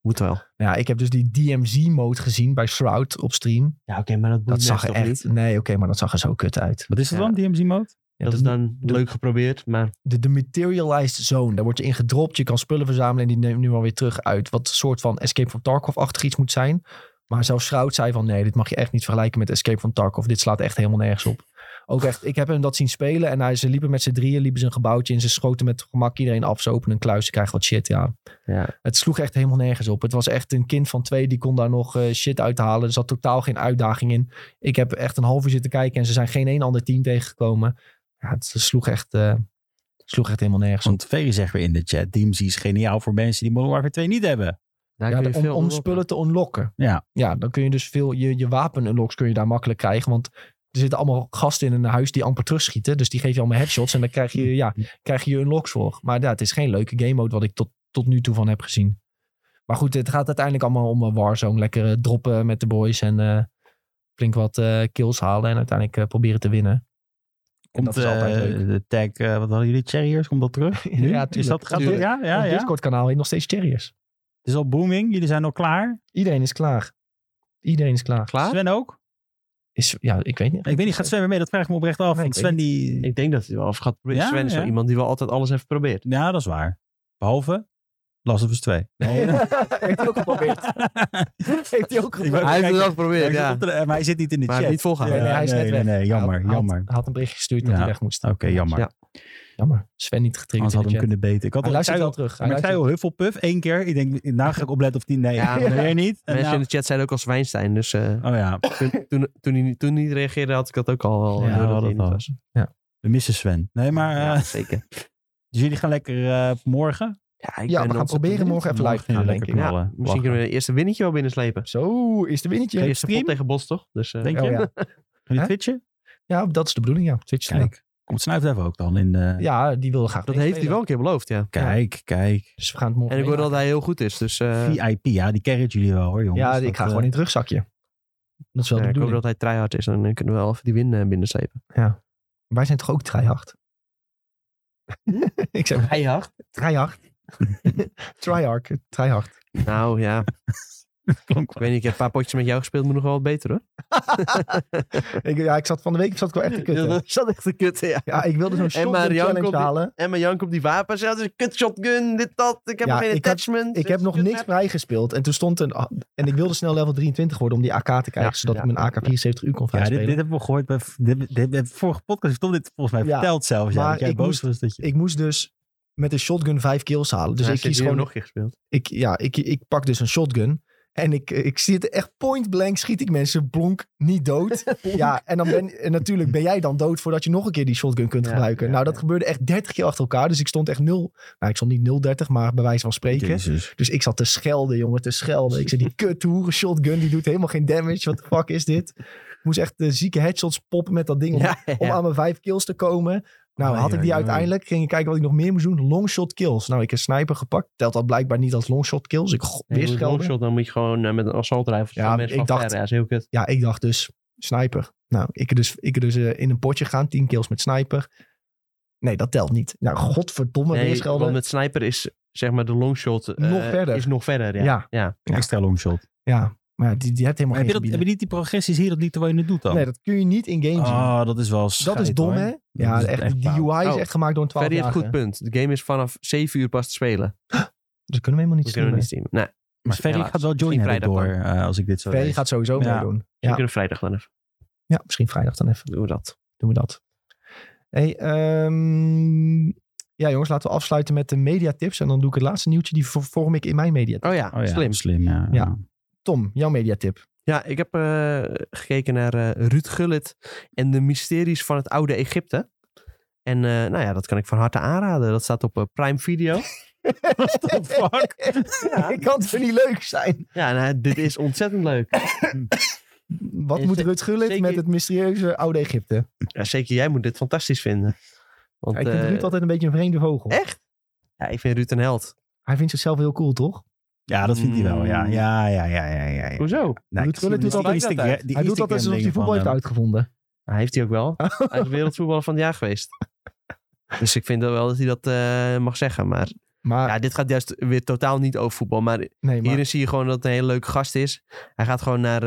B: Moet wel.
A: Nou Ja, ik heb dus die DMZ-mode gezien bij Shroud op stream.
B: Ja, oké, maar dat,
A: Dat zag er echt... Nee, oké, maar dat zag er zo kut uit.
C: Wat is dat
B: Ja.
C: dan, DMZ-mode?
A: Ja,
B: Dat is dan leuk geprobeerd, maar
A: de, de materialized zone. Daar word je in gedropt. Je kan spullen verzamelen en die neemt nu alweer terug uit. Wat een soort van Escape from Tarkov-achtig iets moet zijn. Maar zelfs Schrout zei van nee, dit mag je echt niet vergelijken met Escape from Tarkov. Dit slaat echt helemaal nergens op. Ook echt, ik heb hem dat zien spelen en hij, ze liepen met z'n drieën, liepen ze een gebouwtje in. Ze schoten met gemak iedereen af, ze openen een kluis, ze krijgen wat shit, ja.
B: ja.
A: Het sloeg echt helemaal nergens op. Het was echt een kind van twee die kon daar nog eh, shit uithalen. Er zat totaal geen uitdaging in. Ik heb echt een half uur zitten kijken en ze zijn geen een ander team tegengekomen. Ja, het sloeg echt, eh, sloeg echt helemaal nergens op.
C: Want Ferry zegt weer in de chat, DMZ is geniaal voor mensen die Modern Warfare 2 niet hebben.
B: daar
A: Ja,
B: kun je
A: om,
B: veel
A: om
B: onder op.
A: spullen te unlocken.
C: Ja.
A: Ja, dan kun je dus veel, je, je wapen-unlocks kun je daar makkelijk krijgen, want er zitten allemaal gasten in een huis die amper terugschieten, dus die geef je allemaal headshots en dan krijg je, ja, krijg je je unlocks voor. Maar ja, het is geen leuke game mode wat ik tot, tot nu toe van heb gezien. Maar goed, het gaat uiteindelijk allemaal om eh, Warzone. Lekker eh, droppen met de boys en eh, flink wat eh, kills halen en uiteindelijk eh, proberen te winnen. En
C: Komt
A: dat is altijd
C: eh,
A: leuk.
C: de tag, eh, wat hadden jullie, Cherryers, komt dat terug?
A: <laughs>
C: Nu?
A: Ja,
C: is
A: tuurlijk,
C: dat, gaat
B: tuurlijk.
C: Ja, ja,
A: Ons
C: ja.
A: Discord-kanaal heet nog steeds Terriers.
C: Het is al booming, jullie zijn al klaar.
A: Iedereen is klaar. Iedereen is klaar.
B: Klaar?
C: Sven ook?
A: Is, ja, ik weet <laughs> niet.
C: Ik weet niet, gaat Sven weer mee? Dat vraag ik me oprecht af.
A: Nee,
C: want
A: ik
C: Sven die...
B: Ik denk dat hij wel af gaat proberen.
C: Ja,
B: Sven is wel
C: ja.
B: iemand die wel altijd alles heeft geprobeerd.
C: Ja, dat is waar. Behalve Last of Us
B: <laughs>
C: 2.
A: Heeft hij ook geprobeerd. <laughs> Heeft hij ook geprobeerd.
C: Hij
B: Hij heeft het
C: heeft Kijk, het
B: wel
C: wel
B: geprobeerd,
C: Hij
B: ja.
C: zit op de- maar hij zit niet in de
B: Maar hij
C: chat.
B: heeft niet volgegaan.
A: Nee, nee, hij is
C: nee,
A: net
C: nee,
A: weg.
C: nee, jammer,
A: Hij had-
C: jammer.
A: Hij had een bericht gestuurd dat
C: Ja.
A: hij weg moest.
C: Oké, jammer.
B: Ja.
A: Jammer. Sven niet getriggerd
C: Anders hadden we
A: in de chat.
C: hem kunnen beten. Ik had
A: Hij
C: al-
A: luistert
C: ik
A: wel
C: zei
A: terug.
C: al-
A: Hij
C: Maar ik zei
A: luistert-
C: al Hufflepuff één keer. Ik denk, nou ga ik opletten of die nee.
B: Ja.
C: Ja, <laughs> weer niet. En
B: Mensen
C: nou-
B: in de chat zeiden ook als Wijnstein, dus eh,
C: oh ja,
B: toen, toen, toen, hij, niet- toen hij niet reageerde had ik dat ook al wel
A: Ja,
B: door
C: we
B: dat
C: hadden
B: hij
C: het
B: niet
C: al.
B: was.
C: we missen Sven. Nee, maar eh,
B: Ja, zeker.
C: dus jullie gaan lekker eh, morgen.
B: Ja, ik
A: Ja,
B: ben
A: we gaan
B: ontzettend
A: proberen
B: benieuwd.
A: morgen even live te
C: gaan
A: gaan,
C: jullie
A: denk
C: lekker
A: ik.
B: Ja,
C: knallen.
B: Misschien kunnen we de eerste winnetje wel binnenslepen.
A: Zo, is de
B: De
A: winnetje.
B: eerste pot tegen Bos, toch? Dus, eh,
C: Denk
A: Oh,
C: je?
A: ja.
C: Gaan
A: Hè?
C: jullie twitchen?
A: ja, dat is de bedoeling, ja. Twitch stream.
C: Kijk, komt Snuif even ook dan in de...
A: Ja, die wil graag
B: Dat
A: mee
B: heeft hij wel
A: spelen.
B: een keer beloofd, ja.
C: Kijk, kijk.
A: Dus we gaan het morgen
B: En ik hoor dat
A: meemaken.
B: hij heel goed is, dus eh,
C: VIP, ja, die carried jullie wel hoor jongens.
A: Ja,
C: Dat,
A: ik ga
C: eh,
A: gewoon in het rugzakje. Dat is wel
B: ja,
A: de
B: ik hoop
A: bedoeling.
B: dat hij tryhard is. Dan eh, kunnen we wel even die win eh, binnenslepen.
A: Wij zijn toch ook tryhard? ik zeg
B: Tryhard?
A: tryhard. <laughs> Tryhard. Tryhard. <laughs>
B: Nou ja,
C: klonk
B: ik
C: wel.
B: weet niet, ik heb een paar potjes met jou gespeeld, moet nog wel wat beter hoor.
A: Ik, ja, ik zat van de week zat ik wel echt te
B: Ja,
A: kutten.
B: dat zat echt een kut, ja.
A: Ja, ik wilde zo'n shotgun
B: Marianne
A: challenge
B: komt in-
A: halen.
B: En mijn Jank op die wapens. Ja, het is een kut shotgun, dit, dat. Ik heb
A: Ja,
B: nog geen
A: ik had-
B: attachment.
A: Ik heb nog niks vrijgespeeld. En toen stond een. En ik wilde snel level 23 worden om die AK te krijgen.
B: Ja,
A: zodat
B: ja.
A: ik mijn AK 74U kon
C: Ja, dit,
A: vrijspelen.
C: dit hebben we gehoord bij dit, dit, dit- vorige podcast. heeft Tom dit volgens mij
A: Ja,
C: verteld zelfs. Ja,
A: maar
C: dat jij
A: ik
C: boos
A: moest-
C: was dat je...
A: Ik moest dus met een shotgun vijf kills halen. Dus ik kies gewoon.
B: nog keer gespeeld.
A: Ik, ja, ik, ik pak dus een shotgun. En ik, ik zit echt point blank, schiet ik mensen blonk, niet
B: <laughs>
A: dood. ja, en, dan ben, en natuurlijk ben jij dan dood voordat je nog een keer die shotgun kunt
B: Ja,
A: gebruiken.
B: ja,
A: nou, dat
B: ja.
A: gebeurde echt 30 keer achter elkaar. Dus ik stond echt nul. Nou, ik stond niet 0,30, maar bij wijze van spreken.
C: Jezus.
A: Dus ik zat te schelden, jongen, te schelden. Ik zei, die kut hoeren shotgun, die doet helemaal geen damage. Wat de fuck is dit? Ik moest echt eh, zieke headshots poppen met dat ding om,
B: Ja,
A: om
B: ja.
A: aan mijn vijf kills te komen. Nou,
C: Ai,
A: had ik
C: ai,
A: die
C: ai.
A: uiteindelijk, ging ik kijken wat ik nog meer moest doen. Longshot kills. Nou, ik heb sniper gepakt. Telt dat blijkbaar niet als longshot kills. Ik go- weer
B: Nee, je moet
A: schelden.
B: longshot, dan moet je gewoon eh, met een assault rifle.
A: Ja,
B: Ja, mensen
A: ik
B: van
A: dacht-
B: ver, ja, is heel kut.
A: Ja, ik dacht dus, sniper. Nou, ik er dus, ik er dus eh, in een potje gaan, 10 kills met sniper. Nee, dat telt niet. Nou, godverdomme,
B: Nee,
A: weer
B: want
A: schelden.
B: met sniper is, zeg maar, de longshot eh,
A: Nog verder.
B: is nog verder. Ja.
A: Ja. Ja.
C: Extra longshot.
A: Ja, maar ja, die, die hebt helemaal
C: Heb je,
A: geen
C: dat,
A: gebieden.
C: heb je niet die progressies hier dat niet terwijl je het doet dan?
A: Nee, dat kun je niet in game zien.
C: Ah, dat is wel
A: Dat is
C: scheid,
A: dom,
C: hoor.
A: hè? Ja,
C: is
A: echt,
C: echt
A: die
C: fout.
A: UI is
B: Oh,
A: echt gemaakt door een 12
B: Verder heeft
A: jaar.
B: een goed punt. De game is vanaf 7 uur pas te
A: Dus
B: spelen.
A: kunnen we helemaal
B: We
A: niet
B: kunnen
A: streamen.
B: niet streamen. Nee,
C: Maar Ferry
B: Helaas.
C: gaat wel
B: Misschien
C: joinen heb ik door
B: vrijdag
C: eh, als ik dit zo
A: Ferry
C: lees.
A: gaat sowieso
C: Ja.
A: meedoen.
B: we
A: Ja.
B: kunnen vrijdag dan even.
A: ja, misschien vrijdag dan even.
B: Doen we dat.
A: Doen we dat. Hey, ehm, ja jongens, laten we afsluiten met de mediatips. En dan doe ik het laatste nieuwtje, die ver- vorm ik in mijn mediatip.
B: Oh ja,
C: Oh ja,
B: slim.
C: Slim, ja.
A: Ja. Tom, jouw mediatip.
B: Ja, ik heb eh, gekeken naar eh, Ruud Gullit en de mysteries van
A: <laughs>
B: het oude Egypte. En eh, nou ja, dat kan ik van harte aanraden. Dat staat op eh, Prime Video.
C: What the fuck?
A: Ik kan het niet leuk zijn.
B: Ja, nou, dit is ontzettend leuk.
A: Wat
B: Is
A: moet
B: het-
A: Rut Gullit
B: zeker-
A: met het mysterieuze oude Egypte?
B: Ja, zeker jij moet dit fantastisch vinden. Want,
A: Ja, ik vind
B: eh,
A: Ruud altijd een beetje een vreemde vogel.
B: Echt? Ja, ik vind Ruud een held.
A: Hij vindt zichzelf heel cool, toch?
C: Ja, dat vindt hij wel. Ja, ja, ja, ja, ja. ja, ja.
B: Hoezo?
C: Nou, ik
A: Ruud Gullit
C: zie hem
A: doet
C: die
B: altijd-
C: Instagram- die
A: hij doet altijd
C: Instagram
A: alsof hij
C: dingen
A: voetbal
C: van
A: heeft
C: hem.
A: uitgevonden.
B: Hij heeft hij ook
A: <laughs>
B: wel. Hij is wereldvoetballer van het jaar geweest. Dus ik vind wel wel dat hij dat eh, mag zeggen. Maar
A: Maar,
B: ja, dit gaat juist weer totaal niet over voetbal. Maar
A: nee, Ah. maar
B: hierin zie je gewoon dat het een hele leuke gast is. Hij gaat gewoon naar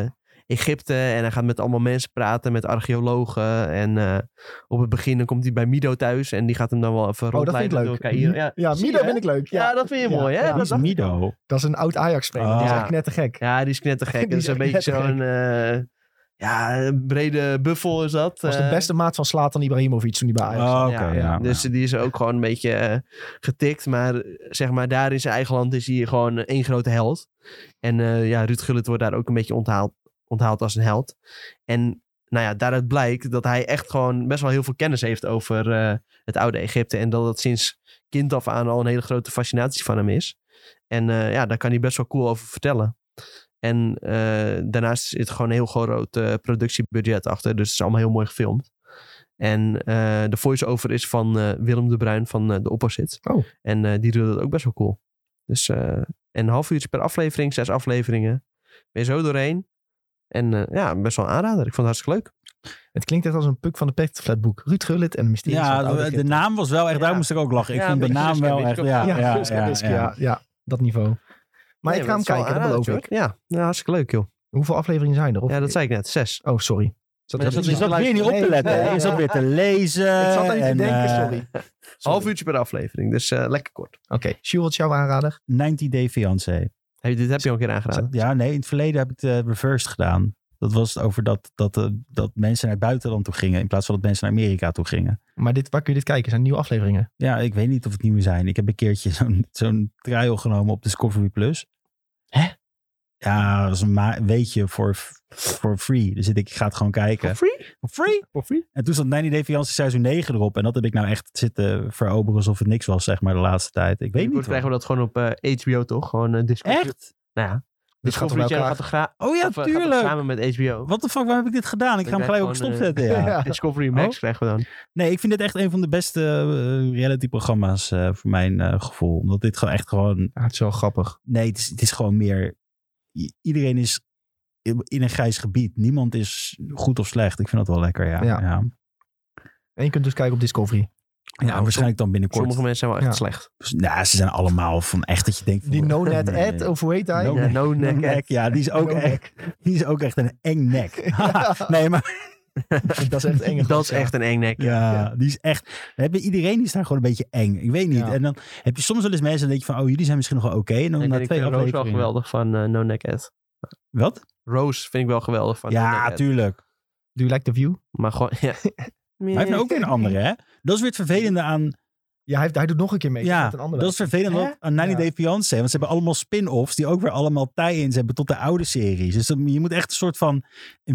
B: eh, Egypte en hij gaat met allemaal mensen praten, met archeologen. En eh, op het begin dan komt hij bij Mido thuis en die gaat hem dan wel even
A: oh, dat vind ik
B: rondleiden door
A: leuk.
B: Cairo. Ja,
A: ja,
B: zie je,
A: Mido
B: hè?
A: vind ik leuk. Ja,
B: Ja, dat vind je
A: Ja,
B: mooi, hè?
A: ja.
B: Dat
C: Wie is
B: dacht ik.
C: Mido?
A: Dat is een oud Ajax-speler. Dat is
C: Ah.
A: echt knettergek.
B: Ja, die is knettergek.
A: <laughs> Die
B: Dat
A: is
B: is een
A: echt
B: beetje
A: knettergek.
B: zo'n eh, ja, een brede buffel is dat.
A: Dat was de
B: Eh,
A: beste maat van Slatan Ibrahimovic toen hij bij Ajax
C: Oh,
A: was.
C: oké.
B: Ja,
C: ja, ja.
B: Dus die is ook gewoon een beetje eh, getikt. Maar eh, zeg maar, daar in zijn eigen land is hij gewoon eh, één grote held. En eh, ja, Ruud Gullit wordt daar ook een beetje onthaald, onthaald als een held. En nou ja, daaruit blijkt dat hij echt gewoon best wel heel veel kennis heeft over eh, het oude Egypte. En dat dat sinds kind af aan al een hele grote fascinatie van hem is. En eh, ja, daar kan hij best wel cool over vertellen. En eh, daarnaast zit gewoon een heel groot eh, productiebudget achter. Dus het is allemaal heel mooi gefilmd. En eh, de voice-over is van eh, Willem de Bruin van eh, de Opposit.
A: Oh.
B: En eh, die doet dat ook best wel cool. Dus eh, en een half uurtje per aflevering, zes afleveringen. Ben je zo doorheen. En eh, ja, best wel een aanrader. Ik vond het hartstikke leuk.
A: Het klinkt echt als een puk van de petflatboek. Ruud Gullit en de mysterie.
C: Ja, de, de naam was wel echt, daar
B: Ja.
C: moest ik ook lachen. Ik
B: Ja,
C: vond de
B: beetje
C: naam
B: Suske,
C: wel
B: beetje
C: echt,
B: Suske.
C: ja,
A: Ja,
C: ja, ja,
A: ja, ja,
C: ja.
A: dat niveau. Maar
B: Nee,
A: ik ga hem
B: het is wel
A: kijken, dat
B: een
A: beloof
B: aanrader,
A: ik.
B: hoor. Ja, ja, hartstikke leuk joh.
A: Hoeveel afleveringen zijn er? Of-
B: Ja, dat zei ik net. Zes.
A: Oh, sorry. Zat
B: Maar
A: er-
B: dat is
C: Je zat weer niet op te
A: Nee,
C: letten.
A: nee,
C: hè? Je zat weer te lezen.
A: <laughs> Ik zat aan je te
C: en,
A: denken,
C: eh, <laughs>
A: sorry.
B: Half uurtje per aflevering. Dus eh, lekker kort.
A: Oké, Sjoerd, wat is jouw aanrader?
C: 90 Day Fiancé.
B: Heb je- dit heb je al een keer aangeraden.
C: Ja, nee, in het verleden heb ik het eh, reversed gedaan. Dat was het over dat, dat, eh, dat mensen naar het buitenland toe gingen in plaats van dat mensen naar Amerika toe gingen.
A: Maar dit, waar kun je dit kijken? Zijn nieuwe afleveringen?
C: Ja, ik weet niet of het nieuwe zijn. Ik heb een keertje <laughs> zo'n zo'n trial genomen op Discovery Plus.
A: Hè?
C: Ja, dat is een ma- weetje voor, f- voor free. Dus ik, denk, ik ga het gewoon kijken.
B: Free?
C: Free? En toen stond 90 Day Fiancé seizoen 9 erop. En dat heb ik nou echt zitten veroberen alsof het niks was, zeg maar, de laatste tijd. Ik weet
B: Binnenkort
C: niet.
B: krijgen
C: hoor.
B: we dat gewoon op eh, HBO toch? Gewoon eh Discovery.
C: Echt?
B: Nou ja.
A: Dit gaat
B: Discovery
A: om
B: Channel
A: elkaar.
B: gaat toch gra-
C: Oh ja,
B: of, eh, gaat toch
C: tuurlijk.
B: samen met HBO.
C: Wat de fuck, waarom heb ik dit gedaan? Ik ga
B: Ik
C: hem gelijk ook
B: krijg gewoon, eh,
C: stopzetten. ja.
A: <laughs>
B: <laughs>
A: Ja.
B: Discovery Max
C: Oh.
B: krijgen we dan.
C: Nee, ik vind dit echt een van de beste eh, reality-programma's eh, voor mijn eh, gevoel. Omdat dit gewoon echt gewoon.
A: Ja, Ah, het is wel grappig.
C: Nee, het is, het is gewoon meer. i- Iedereen is in in een grijs gebied. Niemand is goed of slecht. Ik vind dat wel lekker, ja.
A: Ja.
C: Ja, ja.
A: En je kunt dus kijken op Discovery.
C: waarschijnlijk dan binnenkort.
B: Sommige mensen zijn wel echt
A: Ja.
B: slecht.
C: Dus, nou, ze zijn allemaal van echt dat je denkt. van-
A: Die no net
C: <laughs> Nee.
A: ad, of hoe heet hij?
C: No
B: Ja, <laughs> no neck.
C: Nek, ja, die is, ook
A: No
C: echt, die is ook echt een eng nek. <laughs> nee, maar
A: Dat is echt eng.
B: Dat is echt een eng nek.
C: ja, die is echt. we hebben- Iedereen is daar gewoon een beetje eng. Ik weet niet.
A: Ja.
C: En dan heb je soms wel eens mensen en denk je van, oh, jullie zijn misschien nog wel oké. En dan
B: Ik, vind-
C: na
B: ik eh,
C: twee
B: vind Rose wel
C: afleveringen.
B: geweldig van eh, No Neck Ed.
C: Wat?
B: Rose vind ik wel geweldig van No Neck
C: Ja,
B: Ed.
C: tuurlijk.
A: Do you like the view?
B: Maar gewoon, <laughs> ja.
C: Maar
B: nou
C: hij heeft nou ook weer een andere, hè? Dat is weer het vervelende aan...
A: Ja, hij, heeft, hij doet nog een keer mee.
C: ja,
A: met een andere.
C: dat is het vervelende
A: Hè?
C: aan 90
A: Ja.
C: Day Fiancé. Want ze hebben allemaal spin-offs die ook weer allemaal tie-ins hebben tot de oude series. Dus dan- je moet echt een soort van een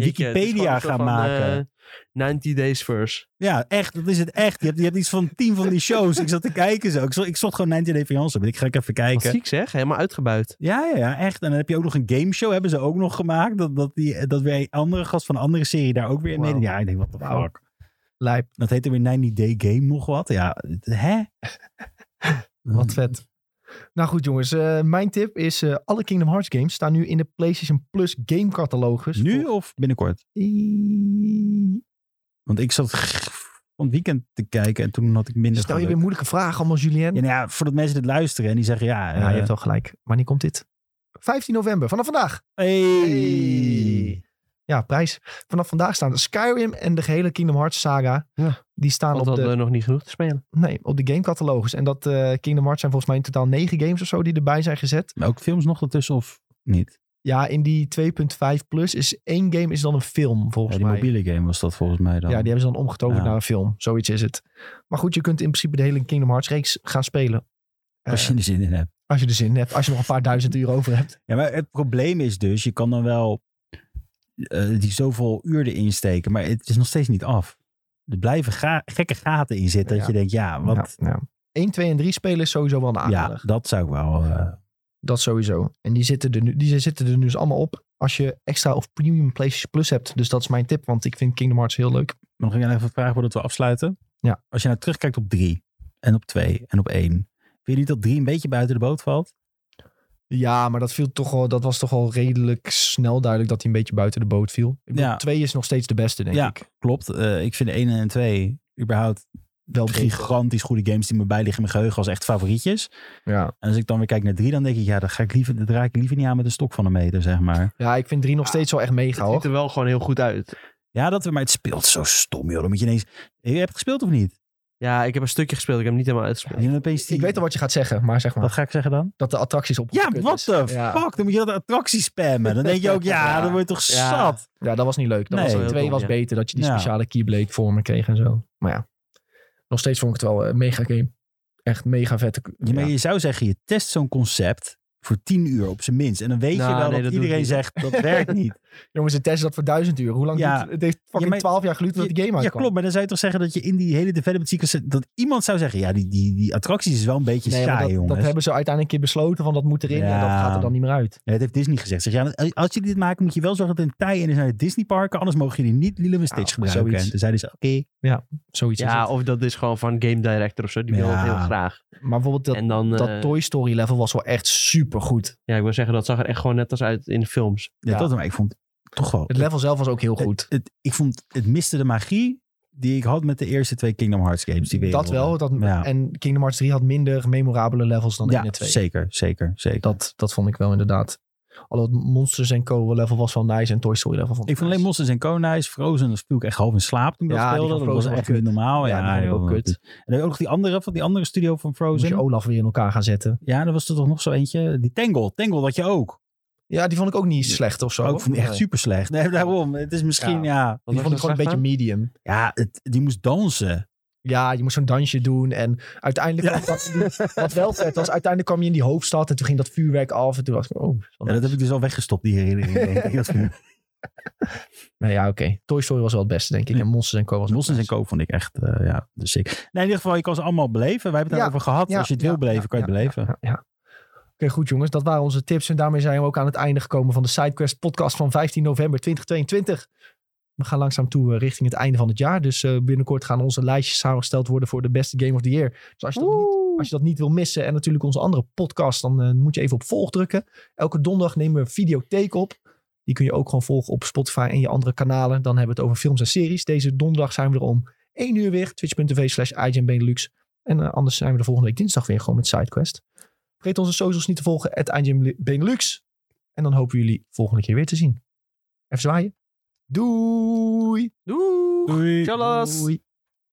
B: Ik, eh, het is gewoon
C: Wikipedia
B: een soort
C: gaan
B: van,
C: maken.
B: eh, 90 Days First.
C: Ja, echt. Dat is het echt. Je hebt, je hebt iets van tien van die shows. ik zat te kijken zo. Ik zocht, ik zocht gewoon 90 Day Fiancé. Maar ik ga ik even
B: Wat
C: kijken.
B: ziek zeg, helemaal uitgebuit.
C: Ja, ja, ja, echt. En dan heb je ook nog een gameshow, hebben ze ook nog gemaakt. Dat, dat, die, dat weer een andere gast van een andere serie daar ook weer in
B: Wauw.
C: meedoet. Ja, ik denk, wat de
A: Wauw.
C: fuck.
A: Lijp.
C: Dat heette weer 90 Day Game nog wat. Ja, het- hè?
A: <laughs>
C: Mm.
A: Wat vet. Nou goed jongens, eh, mijn tip is eh, alle Kingdom Hearts games staan nu in de PlayStation Plus game catalogus.
C: Nu of binnenkort? Want ik zat van het weekend te kijken en toen had ik minder
A: Stel je weer
C: geluk.
A: moeilijke vragen allemaal Julien.
C: ja, nou ja, voordat mensen dit luisteren en die zeggen ja.
A: Ja,
C: eh,
A: je hebt wel gelijk. Wanneer komt dit? 15 november, vanaf vandaag.
C: hey.
A: Hey. Ja, prijs. Vanaf vandaag staan Skyrim en de gehele Kingdom Hearts saga.
B: Ja.
A: Die staan
B: Want
A: op
B: we hadden
A: de,
B: eh, nog niet genoeg te spelen.
A: nee, op de gamecatalogus. En dat eh, Kingdom Hearts zijn volgens mij in totaal negen games of zo die erbij zijn gezet.
C: Maar ook films nog ertussen of niet?
A: Ja, in die 2.5 plus is één game is dan een film
C: Ja,
A: volgens
C: die
A: mij.
C: mobiele game was dat volgens mij dan.
A: Ja, die hebben ze dan omgetoverd
C: Ja.
A: naar een film. Zoiets is het. Maar goed, je kunt in principe de hele Kingdom Hearts reeks gaan spelen. Eh,
C: Als je er zin in hebt.
A: als je er zin in hebt. Als je nog een paar duizend uur over hebt.
C: Ja, maar het probleem is dus, je kan dan wel eh, die zoveel uur erin steken, maar het is nog steeds niet af. Er blijven ga- gekke gaten in zitten. Dat
A: Ja.
C: je denkt, ja, wat,
A: Ja, ja. 1, 2 en 3 spelen is sowieso wel een aanrader.
C: Ja, dat zou ik wel. eh,
A: Dat sowieso. En die zitten, er nu, die zitten er nu dus allemaal op als je extra of premium PlayStation Plus hebt. Dus dat is mijn tip, want ik vind Kingdom Hearts heel leuk.
C: Maar nog even een vraag voordat we afsluiten.
A: Ja.
C: Als je nou terugkijkt op drie en op twee en op één. Vind je niet dat drie een beetje buiten de boot valt?
A: Ja, maar dat, viel toch wel, dat was toch al redelijk snel duidelijk dat hij een beetje buiten de boot viel. Ik bedoel,
C: Ja.
A: Twee is nog steeds de beste, denk
C: Ja.
A: ik.
C: Klopt. eh, ik vind één en twee überhaupt
A: Wel beter.
C: gigantisch goede games die me bijliggen in mijn geheugen als echt favorietjes.
A: Ja.
C: En als ik dan weer kijk naar drie, dan denk ik, ja, dan ga ik liever, dan draai ik liever niet aan met een stok van een meter, zeg maar.
A: ja, ik vind drie nog
B: Ja.
A: steeds wel echt mega,
B: Het ziet
A: hoor.
B: er wel gewoon heel goed uit.
C: Ja, dat, maar het speelt zo stom, joh. Dan moet je ineens... Je hebt het gespeeld of niet?
B: Ja, ik heb een stukje gespeeld. Ik heb hem niet helemaal uitgespeeld.
C: Je hebt opeens die-
A: Ik weet al wat je gaat zeggen, maar zeg
C: Wat
A: maar
C: ga ik zeggen dan?
A: dat de attracties op.
C: Ja,
A: kut
C: what
A: is.
C: the
A: Ja.
C: fuck? Dan moet je dat attractie spammen. Dan denk
A: <laughs>
C: je ook, ja,
B: Ja.
C: dan word je toch
B: Ja.
C: zat.
A: Ja, dat was niet leuk. Dat
C: Nee.
A: was,
B: Heel
A: twee
B: dom,
A: was
B: ja.
A: beter dat je die
C: Ja.
A: speciale Keyblade vormen kreeg en zo. Maar ja, nog steeds vond ik het wel een mega game. Echt mega vette.
C: Ja, maar je zou zeggen, je test zo'n concept voor tien uur op zijn minst. En dan weet
B: Nou,
C: je wel
B: nee, dat doe
C: dat,
B: ik
C: iedereen
B: niet.
C: zegt, dat werkt
A: <laughs>
C: niet.
A: Jongens, het test dat voor duizend uur. Hoe lang
C: Ja.
A: duurt het? Het heeft fucking
C: maar-
A: 12 jaar geluid dat die game
C: ja,
A: uitkwam.
C: klopt. Maar dan zou je toch zeggen dat je in die hele development sequence... dat iemand zou zeggen, ja, die, die, die attracties is wel een beetje
A: Nee, maar
C: saai,
A: dat, dat
C: jongens.
A: hebben ze uiteindelijk een keer besloten van dat moet erin en dat
C: Ja.
A: gaat er dan niet meer uit.
C: Ja, dat heeft Disney gezegd. Zeg, ja, als- als jullie dit maken, moet je wel zorgen dat het een tie-in is naar de Disneyparken. Anders mogen jullie niet Lilo en Stitch
A: Ja,
C: gebruiken.
A: Ah, zoiets.
C: En toen zeiden ze, oké.
A: Zoiets is
B: Ja,
A: het.
B: of dat is gewoon van Game Director of zo. Die wil
C: Ja.
B: het heel graag.
A: Maar bijvoorbeeld dat,
B: en dan,
A: dat
B: eh,
A: Toy Story level was wel echt super goed.
B: ja, ik wil zeggen, dat zag er echt gewoon net als uit in de films.
C: Ja,
A: Ja.
C: dat maar ik vond toch wel...
A: Het level zelf was ook heel
C: het-
A: goed.
C: het- ik vond, het miste de magie die ik had met de eerste twee Kingdom Hearts games. Die we
A: dat
C: eerder
A: wel.
C: hadden.
A: Dat,
C: Ja.
A: En Kingdom Hearts 3 had minder memorabele levels dan
C: ja,
A: in de 2.
C: zeker, zeker, zeker.
A: Dat, dat vond ik wel inderdaad. Alhoewel het Monsters Co. level was wel nice en Toy Story level vond
C: Ik vond alleen Monsters en Konijs, Frozen, dat viel ik echt half in slaap toen ik
A: Ja,
C: dat
A: die
C: speelde.
A: van
C: Dat was
A: Frozen
C: echt
A: was
C: niet
A: kut.
C: normaal.
A: Ja,
C: Ja,
A: die vond ik
C: joh,
A: ook kut.
C: dat is- En dan ook nog die andere, van die andere studio van
A: Moest je
C: Frozen.
A: Olaf weer in elkaar gaan zetten.
C: Ja, er was er toch nog zo eentje. Die Tangle, Tangle had je ook.
A: Ja, die vond ik ook niet slecht of zo.
C: ook vond ik echt
A: Nee.
C: super slecht. Nee, daarom. Het is misschien, ja.
B: Wat
A: Die
B: was
A: vond ik
B: er
A: gewoon een
B: slecht
A: beetje
B: aan?
A: medium.
C: Ja, het, die moest dansen.
A: Ja, je moest zo'n dansje doen. En uiteindelijk,
C: Ja.
A: kwam
C: <laughs>
A: dat, wat wel vet was, uiteindelijk kwam je in die hoofdstad. En toen ging dat vuurwerk af. En toen was ik, oh. is wel
C: Ja, dat
A: nice.
C: heb ik dus al weggestopt, die herinnering. denk ik. Dat vind ik-
A: Nou ja, oké. Toy Story was wel het beste, denk ik.
C: Ja.
A: En Monsters Co. was ook
C: Monsters en
A: nice.
C: Co vond ik echt, eh, ja, dus ik. Nee, in ieder geval, je kan ze allemaal beleven. Wij hebben het
A: Ja,
C: daarover gehad.
A: ja,
C: Als je het
A: ja,
C: wil beleven, kan je het
A: ja,
C: beleven.
A: Ja, ja. Oké, goed jongens. Dat waren onze tips. En daarmee zijn we ook aan het einde gekomen van de SideQuest podcast van 15 november 2022. We gaan langzaam toe eh, richting het einde van het jaar. Dus eh, binnenkort gaan onze lijstjes samengesteld worden voor de beste Game of the Year. Dus als je dat niet Als je dat niet wil missen en natuurlijk onze andere podcast, dan eh, moet je even op volg drukken. Elke donderdag nemen we een videotheek op. Die kun je ook gewoon volgen op Spotify en je andere kanalen. Dan hebben we het over films en series. Deze donderdag zijn we er om 1 uur weer. Twitch.tv slash IGNBenelux. En eh, anders zijn we de volgende week dinsdag weer gewoon met SideQuest. Vergeet onze socials niet te volgen, at IGNBenelux. En dan hopen we jullie volgende keer weer te zien. Even zwaaien. Doei!
B: Doei!
C: Doei.
B: Tjallas!
A: Doei.